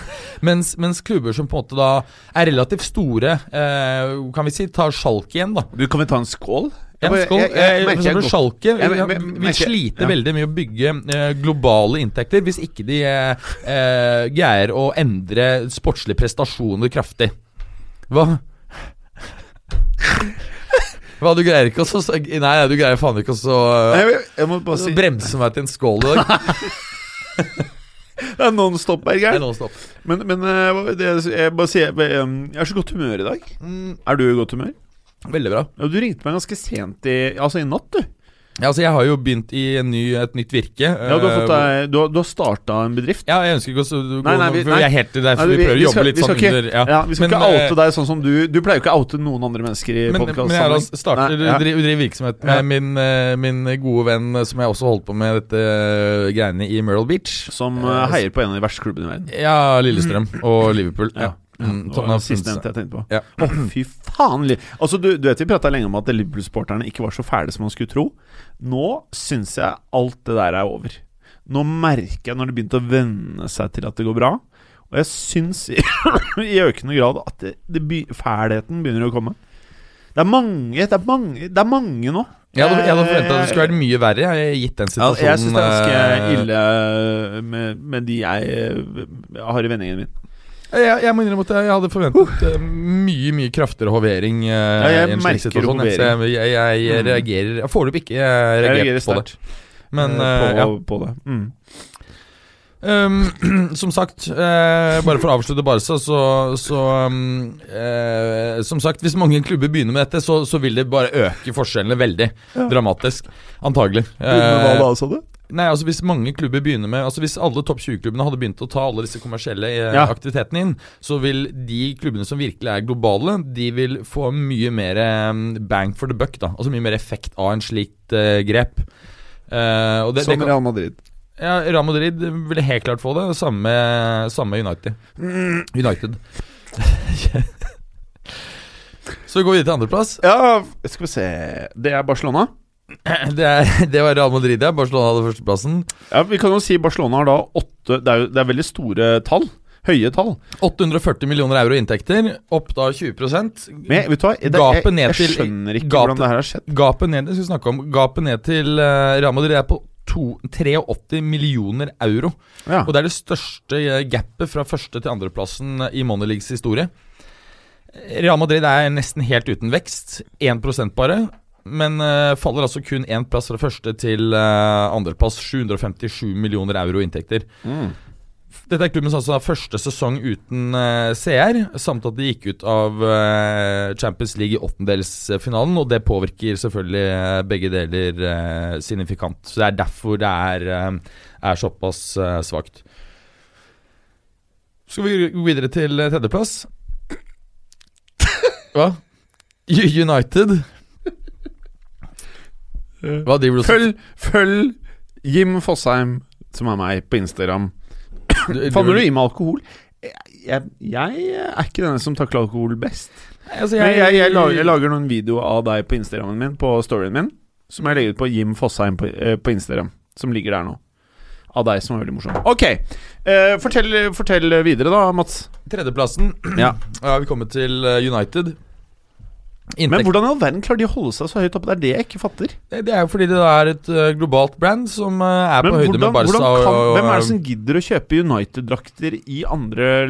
[SPEAKER 2] Mens, mens klubber som på en måte da er relativt store, eh, kan vi si, tar Schalke igjen, da.
[SPEAKER 1] Du, kan vi ta en skål?
[SPEAKER 2] Ja,
[SPEAKER 1] bare-
[SPEAKER 2] skål.
[SPEAKER 1] jeg- jeg
[SPEAKER 2] Eh,
[SPEAKER 1] merker
[SPEAKER 2] for
[SPEAKER 1] jeg
[SPEAKER 2] eksempel
[SPEAKER 1] godt-
[SPEAKER 2] Schalke
[SPEAKER 1] Jeg
[SPEAKER 2] vi-
[SPEAKER 1] mer-
[SPEAKER 2] vi
[SPEAKER 1] merker-
[SPEAKER 2] sliter
[SPEAKER 1] ja.
[SPEAKER 2] veldig med å bygge eh, globale inntekter hvis ikke de eh, eh, greier å endre sportslige prestasjoner kraftig. Hva? [laughs] Hva, du greier ikke å så Nei, nei, du greier faen ikke å så
[SPEAKER 1] Jeg, jeg, jeg må bare
[SPEAKER 2] så
[SPEAKER 1] si
[SPEAKER 2] Bremse meg til en skål
[SPEAKER 1] [laughs]
[SPEAKER 2] i dag.
[SPEAKER 1] Det er nonstop,
[SPEAKER 2] Det er
[SPEAKER 1] Berger.
[SPEAKER 2] nonstop.
[SPEAKER 1] Men, men eh, hva- det, jeg bare sier eh, Jeg er så godt humør i dag.
[SPEAKER 2] Mm,
[SPEAKER 1] Er du i godt humør?
[SPEAKER 2] veldig bra.
[SPEAKER 1] Ja, du ringte meg ganske sent i Altså i natt, du.
[SPEAKER 2] Ja, altså, jeg har jo begynt i en ny, et nytt virke.
[SPEAKER 1] Ja, Du har, fått
[SPEAKER 2] eh,
[SPEAKER 1] deg- du har, du har starta en bedrift.
[SPEAKER 2] Ja, jeg ønsker ikke å så- gå
[SPEAKER 1] Nei, nei, vi-
[SPEAKER 2] for
[SPEAKER 1] nei.
[SPEAKER 2] jeg er helt til derfor
[SPEAKER 1] Nei,
[SPEAKER 2] vi, prøver å jobbe
[SPEAKER 1] skal-
[SPEAKER 2] litt
[SPEAKER 1] vi skal
[SPEAKER 2] sånn
[SPEAKER 1] ikke-
[SPEAKER 2] under ja.
[SPEAKER 1] ja, Vi skal
[SPEAKER 2] Men,
[SPEAKER 1] ikke
[SPEAKER 2] eh,
[SPEAKER 1] oute deg sånn som du Du pleier jo ikke å oute noen andre mennesker i
[SPEAKER 2] Men, men jeg
[SPEAKER 1] podkast.
[SPEAKER 2] da starter
[SPEAKER 1] Nei, ja.
[SPEAKER 2] driv- driver virksomhet med
[SPEAKER 1] Ja.
[SPEAKER 2] min, eh, min gode venn eh, som jeg også holdt på med dette eh, greiene i Myrtle Beach.
[SPEAKER 1] Som eh,
[SPEAKER 2] Eh,
[SPEAKER 1] heier på en av de verste klubbene i verden.
[SPEAKER 2] Ja, Lillestrøm og Liverpool. Ja. Mm,
[SPEAKER 1] Det var den
[SPEAKER 2] Tottenham
[SPEAKER 1] sistnevnte
[SPEAKER 2] Hotspur.
[SPEAKER 1] jeg tenkte på.
[SPEAKER 2] Ja.
[SPEAKER 1] Å, fy faen! Li- Altså, du, du vet Vi prata lenge om at Liverpool-sporterne ikke var så fæle som man skulle tro. Nå syns jeg alt det der er over. Nå merker jeg, når det begynte å venne seg til at det går bra Og jeg syns i, [coughs] i økende grad at det, det be, fælheten begynner å komme. Det er mange Det er mange, det er mange nå.
[SPEAKER 2] Jeg hadde, jeg hadde forventa at det skulle vært mye verre, jeg, gitt den
[SPEAKER 1] Eh, Ja, altså,
[SPEAKER 2] situasjonen.
[SPEAKER 1] jeg syns det er ganske
[SPEAKER 2] eh,
[SPEAKER 1] ille med, med de jeg eh, har i vendingen min.
[SPEAKER 2] Jeg, jeg må innrømme at jeg hadde forventet eh, mye mye kraftigere hovering. eh,
[SPEAKER 1] Uh. jeg
[SPEAKER 2] i en
[SPEAKER 1] merker
[SPEAKER 2] slik situasjon. jeg. Så jeg, jeg, jeg,
[SPEAKER 1] Mm.
[SPEAKER 2] reagerer Jeg har foreløpig ikke eh,
[SPEAKER 1] Jeg
[SPEAKER 2] reagert
[SPEAKER 1] reagerer
[SPEAKER 2] på det.
[SPEAKER 1] sterkt
[SPEAKER 2] Men
[SPEAKER 1] eh,
[SPEAKER 2] eh,
[SPEAKER 1] på,
[SPEAKER 2] ja.
[SPEAKER 1] på det. Mm.
[SPEAKER 2] Um, [clears throat] som sagt, eh, bare for å avslutte Barca, så, så um, eh, Som sagt, hvis mange klubber begynner med dette, så, så vil det bare øke forskjellene veldig
[SPEAKER 1] Ja.
[SPEAKER 2] dramatisk. Antagelig. Eh, nei, altså Hvis mange klubber begynner med Altså hvis alle topp 20-klubbene hadde begynt å ta alle disse kommersielle eh,
[SPEAKER 1] Ja.
[SPEAKER 2] aktivitetene inn, så vil de klubbene som virkelig er globale, de vil få mye mer eh, bang for the buck. da Altså mye mer effekt av en slikt eh, grep. Eh, og det, det
[SPEAKER 1] Som
[SPEAKER 2] kan-
[SPEAKER 1] Real Madrid.
[SPEAKER 2] ja, Real Madrid ville helt klart få det. Samme med- samme med United. United. [laughs] Så vi går videre til andreplass.
[SPEAKER 1] Ja, skal vi se Det er Barcelona.
[SPEAKER 2] Det, er- det var Real Madrid, ja. Barcelona hadde førsteplassen.
[SPEAKER 1] Ja, Vi kan jo si Barcelona har da åtte Det er, jo, det er veldig store tall. Høye tall.
[SPEAKER 2] 840 millioner euro inntekter, opp da 20
[SPEAKER 1] Men jeg- vet du hva, det,
[SPEAKER 2] Gapet
[SPEAKER 1] jeg,
[SPEAKER 2] ned
[SPEAKER 1] jeg,
[SPEAKER 2] til-
[SPEAKER 1] jeg skjønner ikke
[SPEAKER 2] gapet-
[SPEAKER 1] hvordan det her har skjedd.
[SPEAKER 2] Gapet ned det skal vi snakke om Gapet ned til eh, Real Madrid er på to, 83 millioner euro.
[SPEAKER 1] Ja.
[SPEAKER 2] Og det er det største eh, gapet fra første til andreplassen i Money Leagues historie. Real Madrid er nesten helt uten vekst, 1 bare. Men eh, faller altså kun én plass fra første til eh, andreplass. 757 millioner euro i inntekter.
[SPEAKER 1] Mm.
[SPEAKER 2] Dette er klubbens altså første sesong uten eh, CR, samt at de gikk ut av eh, Champions League i åttendelsfinalen, og det påvirker selvfølgelig eh, begge deler eh, signifikant. Så det er derfor det er, eh, er såpass eh, svakt. Skal vi gå videre til eh, tredjeplass?
[SPEAKER 1] [laughs]
[SPEAKER 2] Hva? U- United? Hva driver du
[SPEAKER 1] Eh,
[SPEAKER 2] og-
[SPEAKER 1] Følg, følg Jim Fosheim, som er meg, på Instagram.
[SPEAKER 2] du-
[SPEAKER 1] Favner du i med alkohol? Jeg, jeg, jeg er ikke den som takler alkohol best.
[SPEAKER 2] Altså,
[SPEAKER 1] Men jeg, jeg, lager, jeg lager noen videoer av deg på Instagrammen min, på storyen min, som jeg legger ut på Jim Fosheim på, eh, på Instagram, som ligger der nå. Av deg, som er veldig morsom. Ok, eh, fortell, fortell videre da, Mats. [clears throat]
[SPEAKER 2] Tredjeplassen.
[SPEAKER 1] Ja.
[SPEAKER 2] Ja, vi kommer til eh, United.
[SPEAKER 1] Men
[SPEAKER 2] Inntekt, Eh,
[SPEAKER 1] hvordan i all verden klarer de å holde seg så høyt oppe? Det er det jeg ikke fatter.
[SPEAKER 2] det er jo fordi det er et eh, globalt brand som eh, er
[SPEAKER 1] Men
[SPEAKER 2] på høyde
[SPEAKER 1] hvordan,
[SPEAKER 2] med Barca.
[SPEAKER 1] hvordan kan,
[SPEAKER 2] og-
[SPEAKER 1] hvem er det som gidder å kjøpe United-drakter i andre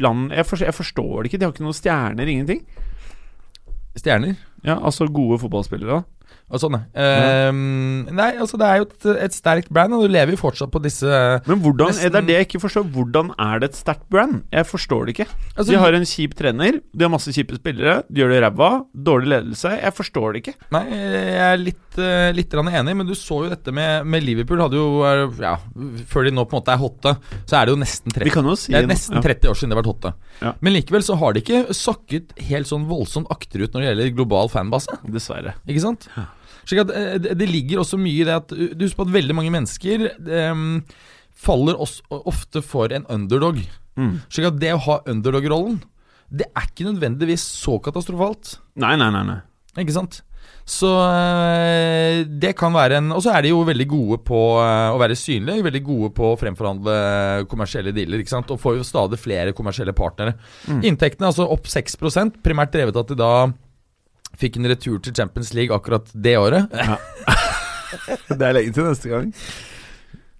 [SPEAKER 1] land? Jeg forstår, jeg forstår det ikke. De har ikke noen stjerner, ingenting.
[SPEAKER 2] Stjerner.
[SPEAKER 1] Ja, Altså gode fotballspillere, da.
[SPEAKER 2] Og sånn, ja. Eh, Nei, altså det er jo et, et sterkt brand, og du lever jo fortsatt på disse altså,
[SPEAKER 1] Men hvordan,
[SPEAKER 2] Nesten-
[SPEAKER 1] det er det jeg ikke forstår. Hvordan er det et sterkt brand? Jeg forstår det ikke.
[SPEAKER 2] altså,
[SPEAKER 1] de har en kjip trener, de har masse kjipe spillere, de gjør det ræva, dårlig ledelse. Jeg forstår det ikke.
[SPEAKER 2] Nei, jeg er litt, eh, litt grann enig, men du så jo dette med, med Liverpool. Hadde jo, eh, ja, før de nå på en måte er hotte, så er det jo nesten 30
[SPEAKER 1] Vi kan jo si
[SPEAKER 2] Det er nesten
[SPEAKER 1] ja.
[SPEAKER 2] 30 år siden det har vært hotte.
[SPEAKER 1] Ja.
[SPEAKER 2] Men likevel så har de ikke sakket helt sånn voldsomt akterut når det gjelder global fanbase.
[SPEAKER 1] Dessverre.
[SPEAKER 2] Ikke sant?
[SPEAKER 1] Ja.
[SPEAKER 2] Slik at eh, det, det ligger også mye i det at eh, Du husker på at veldig mange mennesker eh, faller også, ofte for en underdog.
[SPEAKER 1] Mm.
[SPEAKER 2] Slik at det å ha underdog-rollen, det er ikke nødvendigvis så katastrofalt.
[SPEAKER 1] Nei, nei, nei. nei.
[SPEAKER 2] Ikke sant? Så eh, det kan være en Og så er de jo veldig gode på eh, å være synlige. Veldig gode på å fremforhandle kommersielle dealer. Ikke sant? Og får jo stadig flere kommersielle partnere.
[SPEAKER 1] Mm.
[SPEAKER 2] Inntektene altså opp 6 primært drevet av at de da fikk en retur til Champions League akkurat det året. [laughs]
[SPEAKER 1] Det er lenge til neste gang.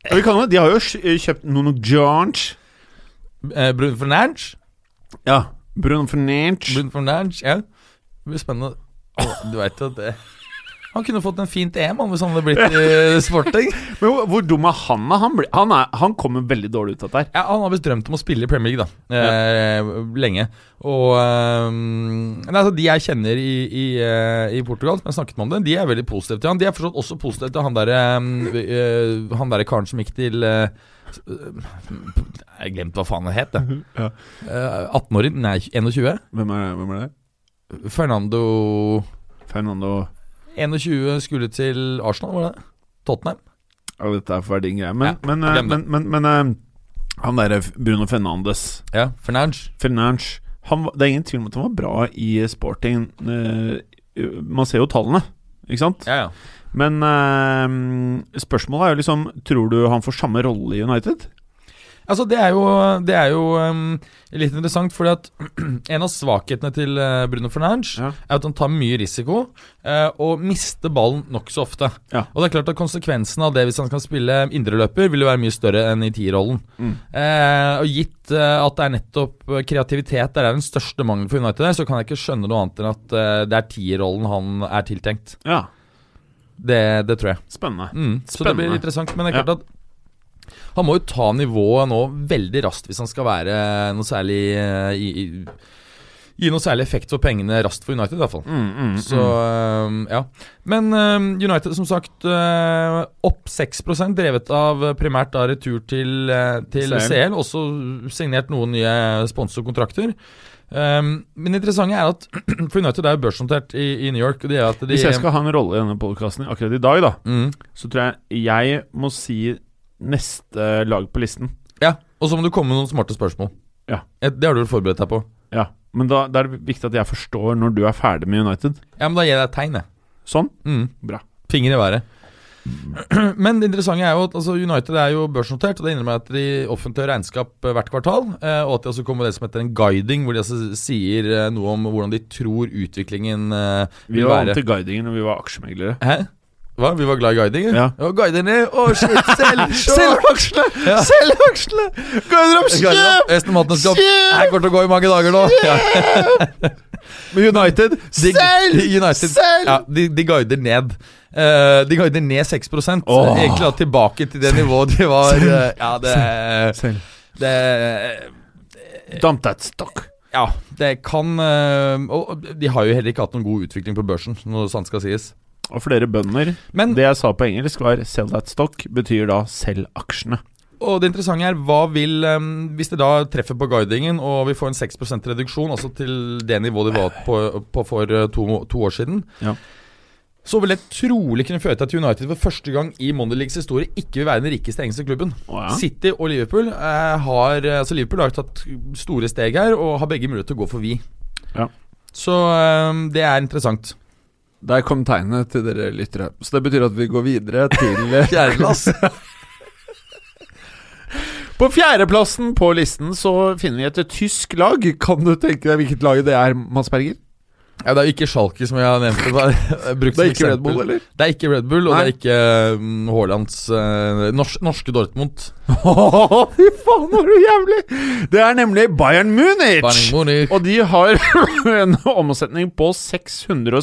[SPEAKER 1] Ja, vi kan jo, de har jo kj- eh, kjøpt Nono George.
[SPEAKER 2] Eh, Brun Fernandes.
[SPEAKER 1] Ja. Bruno Fernandes.
[SPEAKER 2] Brun Fernandes, ja. Det blir spennende. Og Du vet jo at det Han kunne fått en fint EM han, hvis han hadde blitt eh, sporting.
[SPEAKER 1] Men hvor, hvor dum er han? da? Han, blir- han, er, han kommer veldig dårlig ut av dette. her
[SPEAKER 2] Ja, han har visst drømt om å spille i Premier League, da. Eh, Lenge. Og eh, nei, altså, De jeg kjenner i, i, eh, i Portugal, som jeg snakket med om det, de er veldig positive til han. De er forstått også positive til han derre ehm, eh, Han derre karen som gikk til eh, s- eh, Jeg glemte hva faen han het, [laughs] jeg.
[SPEAKER 1] Ja.
[SPEAKER 2] Eh, 18-åring, nei, 21.
[SPEAKER 1] Hvem er, hvem er det?
[SPEAKER 2] Fernando
[SPEAKER 1] Fernando
[SPEAKER 2] 21 skulle til Arsenal, var det? Tottenham.
[SPEAKER 1] Ja, dette er for din greie. Men, men, eh,
[SPEAKER 2] glem det.
[SPEAKER 1] men, men, men eh, han derre Bruno Fernandes
[SPEAKER 2] Ja, Fernandes.
[SPEAKER 1] Fernandes han, var- Det er ingen tvil om at han var bra i sporting. eh, Man ser jo tallene, ikke sant?
[SPEAKER 2] Ja, ja.
[SPEAKER 1] Men eh, spørsmålet er jo liksom Tror du han får samme rolle i United?
[SPEAKER 2] Altså, det er jo, det er jo ehm, litt interessant, fordi at [clears throat] en av svakhetene til eh, Bruno Fernandes
[SPEAKER 1] Ja.
[SPEAKER 2] er at han tar mye risiko eh, og mister ballen nokså ofte.
[SPEAKER 1] Ja.
[SPEAKER 2] Og det er klart at konsekvensen av det hvis han skal spille indreløper, vil jo være mye større enn i tierrollen.
[SPEAKER 1] Mm.
[SPEAKER 2] Eh, og gitt eh, at det er nettopp eh, kreativitet der er den største mangelen for United, der, så kan jeg ikke skjønne noe annet enn at eh, det er tierrollen han er tiltenkt.
[SPEAKER 1] Ja,
[SPEAKER 2] Det, det tror jeg.
[SPEAKER 1] spennende.
[SPEAKER 2] Mm, så det blir
[SPEAKER 1] Spennende.
[SPEAKER 2] interessant. Men det er klart at han må jo ta nivået nå veldig raskt hvis han skal være noe særlig eh, i, i, Gi noe særlig effekt for pengene raskt for United, i hvert fall.
[SPEAKER 1] Mm, mm, mm.
[SPEAKER 2] Så eh, ja. Men eh, United, som sagt, eh, opp 6 drevet av eh, primært da retur til, eh, til
[SPEAKER 1] CL.
[SPEAKER 2] CL. Også signert noen nye sponsorkontrakter. Um, men det interessante er at [clears throat] For United er jo børsnotert i, i New York. Og det er at de,
[SPEAKER 1] Hvis jeg skal ha en rolle i denne podkasten akkurat i dag, da,
[SPEAKER 2] mm,
[SPEAKER 1] så tror jeg jeg må si neste lag på listen.
[SPEAKER 2] Ja, og så må du komme med noen smarte spørsmål.
[SPEAKER 1] Ja.
[SPEAKER 2] Eh, Det har du vel forberedt deg på.
[SPEAKER 1] Ja, Men da, da er det viktig at jeg forstår når du er ferdig med United.
[SPEAKER 2] Ja, men da gir jeg deg et tegn, jeg.
[SPEAKER 1] Sånn.
[SPEAKER 2] Mm.
[SPEAKER 1] Bra.
[SPEAKER 2] Finger i været. [clears throat] Men det interessante er jo at altså, United er jo børsnotert, og det innebærer at de offentliggjør regnskap eh, hvert kvartal. eh, Og at de også kommer med det som heter en guiding, hvor de altså sier eh, noe om hvordan de tror utviklingen eh,
[SPEAKER 1] Vi
[SPEAKER 2] vil
[SPEAKER 1] var
[SPEAKER 2] være.
[SPEAKER 1] vant til guidingen når vi var aksjemeglere.
[SPEAKER 2] Hæ? Hva? Vi var glad i guiding?
[SPEAKER 1] Ja.
[SPEAKER 2] Og guiderne Å, shit!
[SPEAKER 1] [laughs]
[SPEAKER 2] Selg! Selg!
[SPEAKER 1] aksjene!
[SPEAKER 2] Ja.
[SPEAKER 1] Selg aksjene! Garderob,
[SPEAKER 2] Resten av maten skal Jeg går til å gå i mange dager nå. Ja. [laughs]
[SPEAKER 1] United,
[SPEAKER 2] De, United,
[SPEAKER 1] Selv!
[SPEAKER 2] Ja, de, de guider ned. Eh, de guider ned 6
[SPEAKER 1] Åh.
[SPEAKER 2] Egentlig da tilbake til det nivået de var eh, Ja, det,
[SPEAKER 1] Selg.
[SPEAKER 2] det
[SPEAKER 1] Dump that stock.
[SPEAKER 2] Ja, det kan eh, Og og de har jo heller ikke hatt noen god utvikling på børsen, når sant skal sies.
[SPEAKER 1] Og flere bønder.
[SPEAKER 2] Men
[SPEAKER 1] Det jeg sa på engelsk, var 'sell that stock', betyr da 'selg aksjene'.
[SPEAKER 2] og det interessante er, hva vil eh, Hvis det da treffer på guidingen, og vi får en 6 reduksjon, altså til det nivået de var på, på for eh, to, to år siden,
[SPEAKER 1] Ja.
[SPEAKER 2] så vil det trolig kunne føre til at United for første gang i Monday Leagues historie ikke vil være den rikeste engelske klubben.
[SPEAKER 1] Å ja.
[SPEAKER 2] City og Liverpool eh, har Altså Liverpool har tatt store steg her og har begge mulighet til å gå forbi.
[SPEAKER 1] Ja.
[SPEAKER 2] Så eh, det er interessant.
[SPEAKER 3] Der kom tegnet til dere lyttere. Så det betyr at vi går videre
[SPEAKER 1] [laughs]
[SPEAKER 3] til
[SPEAKER 1] eh,
[SPEAKER 2] Fjærglass.
[SPEAKER 1] På fjerdeplassen på listen så finner vi et tysk lag.
[SPEAKER 3] Kan du tenke deg hvilket lag det er, Mads Berger?
[SPEAKER 2] [laughs] ja, det er jo ikke Schalke som jeg har nevnt. Det, bare, brukt
[SPEAKER 3] Det er ikke Red
[SPEAKER 2] som eksempel.
[SPEAKER 3] Bull,
[SPEAKER 1] [laughs]
[SPEAKER 3] eller?
[SPEAKER 2] Det er ikke Red Bull,
[SPEAKER 3] Nei.
[SPEAKER 2] og det er ikke eh, Haalands eh, nors norske Dortmund.
[SPEAKER 1] Fy faen, var du jævlig! Det er nemlig Bayern Munich!
[SPEAKER 2] Bayern Munich.
[SPEAKER 1] Og de har [laughs] en omsetning på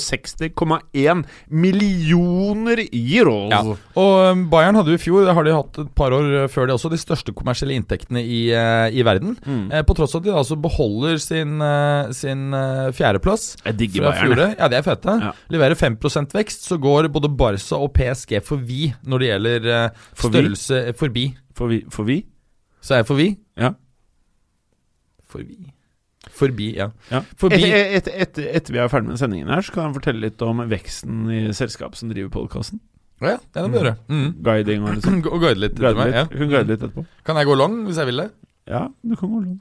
[SPEAKER 1] 660,1 millioner euro.
[SPEAKER 2] Ja. Og eh, Bayern hadde jo i fjor, det har de hatt et par år eh, før det også, de største kommersielle inntektene i, eh, i verden.
[SPEAKER 1] Mm.
[SPEAKER 2] Eh, På tross av at de da altså beholder sin, eh, sin eh, fjerdeplass.
[SPEAKER 1] Jeg digger
[SPEAKER 2] fra
[SPEAKER 1] Bayern.
[SPEAKER 2] fjoråret. Ja, det er fete.
[SPEAKER 1] Ja.
[SPEAKER 2] Leverer 5 vekst, så går både Barca og PSG forbi når det gjelder eh,
[SPEAKER 1] Forbi?
[SPEAKER 2] størrelse eh, forbi.
[SPEAKER 1] For vi, for vi?
[SPEAKER 2] Så er jeg forbi?
[SPEAKER 1] Ja.
[SPEAKER 2] Forbi Forbi, ja.
[SPEAKER 1] Ja.
[SPEAKER 2] Forbi
[SPEAKER 1] [laughs] Et, et, et, etter vi er ferdig med sendingen her, så kan han fortelle litt om veksten i selskapet som driver podkasten.
[SPEAKER 2] Å Ja, det er det vi gjør. Mm.
[SPEAKER 1] Guiding og litt sånn.
[SPEAKER 2] Gå- Og guide litt. etter
[SPEAKER 1] Guide
[SPEAKER 2] meg,
[SPEAKER 1] litt. Hun guider
[SPEAKER 2] Ja.
[SPEAKER 1] litt etterpå.
[SPEAKER 2] Kan jeg gå lang hvis jeg vil det?
[SPEAKER 1] Ja, du kan gå lang.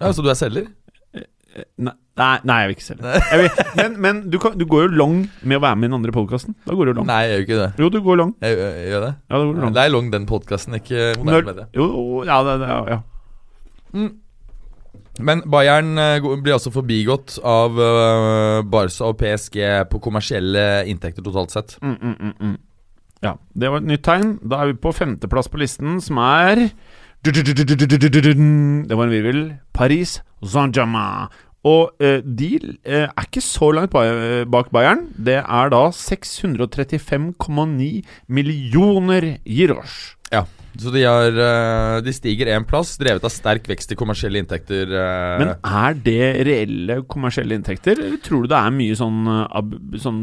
[SPEAKER 2] Ja, Så du er selger?
[SPEAKER 1] Eh, Nei, nei, nei, jeg vil ikke selge. Jeg vil, men men du, kan, du går jo lang med å være med i den andre podkasten. Da går du lang.
[SPEAKER 2] Nei, jeg gjør ikke det.
[SPEAKER 1] Jo, du går lang.
[SPEAKER 2] Jeg, gjør- jeg gjør det.
[SPEAKER 1] Ja, da går du lang.
[SPEAKER 2] Det er lang, den podkasten, ikke moderne
[SPEAKER 1] Når,
[SPEAKER 2] medie.
[SPEAKER 1] jo, ja, det, det, ja, ja.
[SPEAKER 2] Men Bayern eh, går- blir altså forbigått av eh, Barca og PSG på kommersielle inntekter totalt sett.
[SPEAKER 1] Mm, mm, mm, mm. Ja, det var et nytt tegn. Da er vi på femteplass på listen, som er Det var en virvel. Paris Saint-Germain. Og eh, de eh, er ikke så langt ba- eh, bak Bayern. Det er da 635,9 millioner gyros.
[SPEAKER 2] Så de, har, eh, de stiger én plass, drevet av sterk vekst i kommersielle inntekter. eh,
[SPEAKER 1] Men er det reelle kommersielle inntekter, eller tror du det er mye sånn, eh, ab- sånn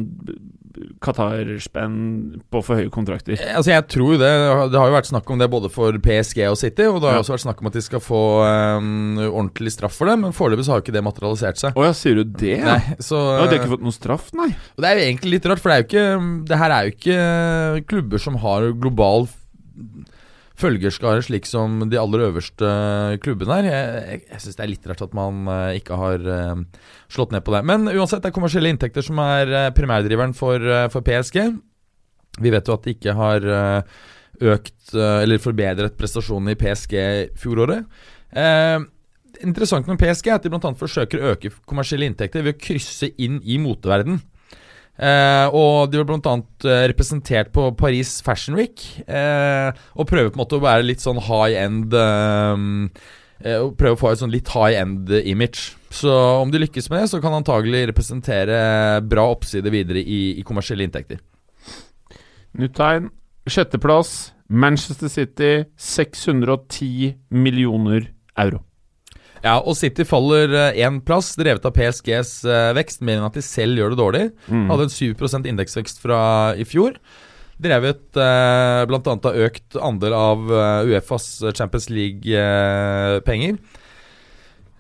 [SPEAKER 1] Qatar-spenn på for høye kontrakter?
[SPEAKER 2] Eh, Altså jeg tror det Det har jo vært snakk om det både for PSG og City, og det har
[SPEAKER 1] Ja.
[SPEAKER 2] også vært snakk om at de skal få eh, ordentlig straff for det, men foreløpig så har jo ikke det materialisert seg.
[SPEAKER 1] Å ja, sier du det? ja?
[SPEAKER 2] Nei, så
[SPEAKER 1] Ja, de har ikke fått noen straff, nei?
[SPEAKER 2] Og det er jo egentlig litt rart, for det, er jo ikke, det her er jo ikke klubber som har global f- følgerskare, slik som de aller øverste klubbene her. Jeg, jeg, jeg syns det er litt rart at man eh, ikke har eh, slått ned på det. Men uansett, det er kommersielle inntekter som er eh, primærdriveren for, eh, for PSG. Vi vet jo at de ikke har eh, økt eh, eller forbedret prestasjonene i PSG fjoråret. Eh, interessant med PSG er at de bl.a. forsøker å øke kommersielle inntekter ved å krysse inn i moteverden. Eh, og de var bl.a. representert på Paris Fashion Week. Eh, og prøver på en måte å være litt sånn high end eh, eh, Og prøve å få et sånn litt high end image. Så om de lykkes med det, så kan de antagelig representere bra oppside videre i, i kommersielle inntekter.
[SPEAKER 1] Nytt tegn. Sjetteplass, Manchester City, 610 millioner euro.
[SPEAKER 2] Ja, og City faller én plass, drevet av PSGs eh, vekst, mer enn at de selv gjør det dårlig.
[SPEAKER 1] Mm.
[SPEAKER 2] Hadde en 7 indeksvekst fra i fjor. Drevet eh, bl.a. av økt andel av eh, Uefas Champions League-penger.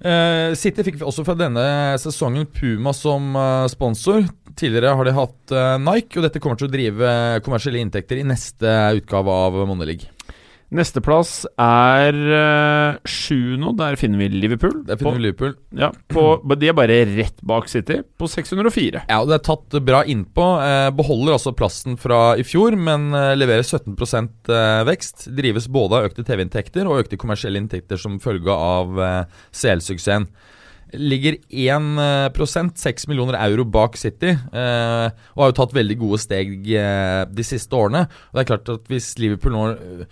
[SPEAKER 2] Eh, City fikk også fra denne sesongen Puma som eh, sponsor. Tidligere har de hatt eh, Nike, og dette kommer til å drive eh, kommersielle inntekter i neste utgave av Monelig.
[SPEAKER 1] Nesteplass er eh, sjuende, og der finner vi Liverpool.
[SPEAKER 2] Der finner vi Mm. Liverpool.
[SPEAKER 1] På, ja, på, men de er bare rett bak City, på 604.
[SPEAKER 2] Ja, og det er tatt bra innpå. Eh, beholder altså plassen fra i fjor, men eh, leverer 17 eh, vekst. Drives både av økte TV-inntekter og økte kommersielle inntekter som følge av eh, CL-suksessen. Ligger 1 6 millioner euro bak City, eh, og har jo tatt veldig gode steg eh, de siste årene. Og det er klart at hvis Liverpool nå eh, eh,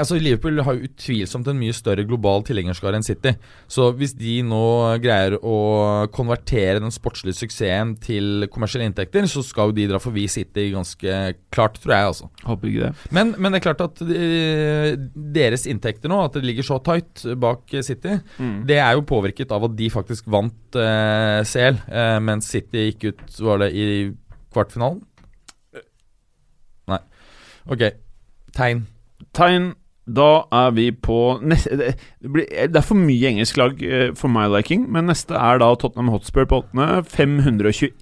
[SPEAKER 2] Altså Liverpool har jo utvilsomt en mye større global tilhengerskare enn City. Så hvis de nå greier å konvertere den sportslige suksessen til kommersielle inntekter, så skal jo de dra forbi City ganske klart, tror jeg, altså.
[SPEAKER 1] Håper ikke det.
[SPEAKER 2] Men, men det er klart at eh, deres inntekter nå, at det ligger så tight bak City,
[SPEAKER 1] Mm.
[SPEAKER 2] det er jo påvirket av at de faktisk vant eh, CL, eh, mens City gikk ut, var det i kvartfinalen? Nei. Ok. Tegn.
[SPEAKER 1] Tegn. Da er vi på neste, det, det blir, eh, det er for mye engelsk lag eh, for my liking, men neste er da Tottenham Hotspur på åttende. 521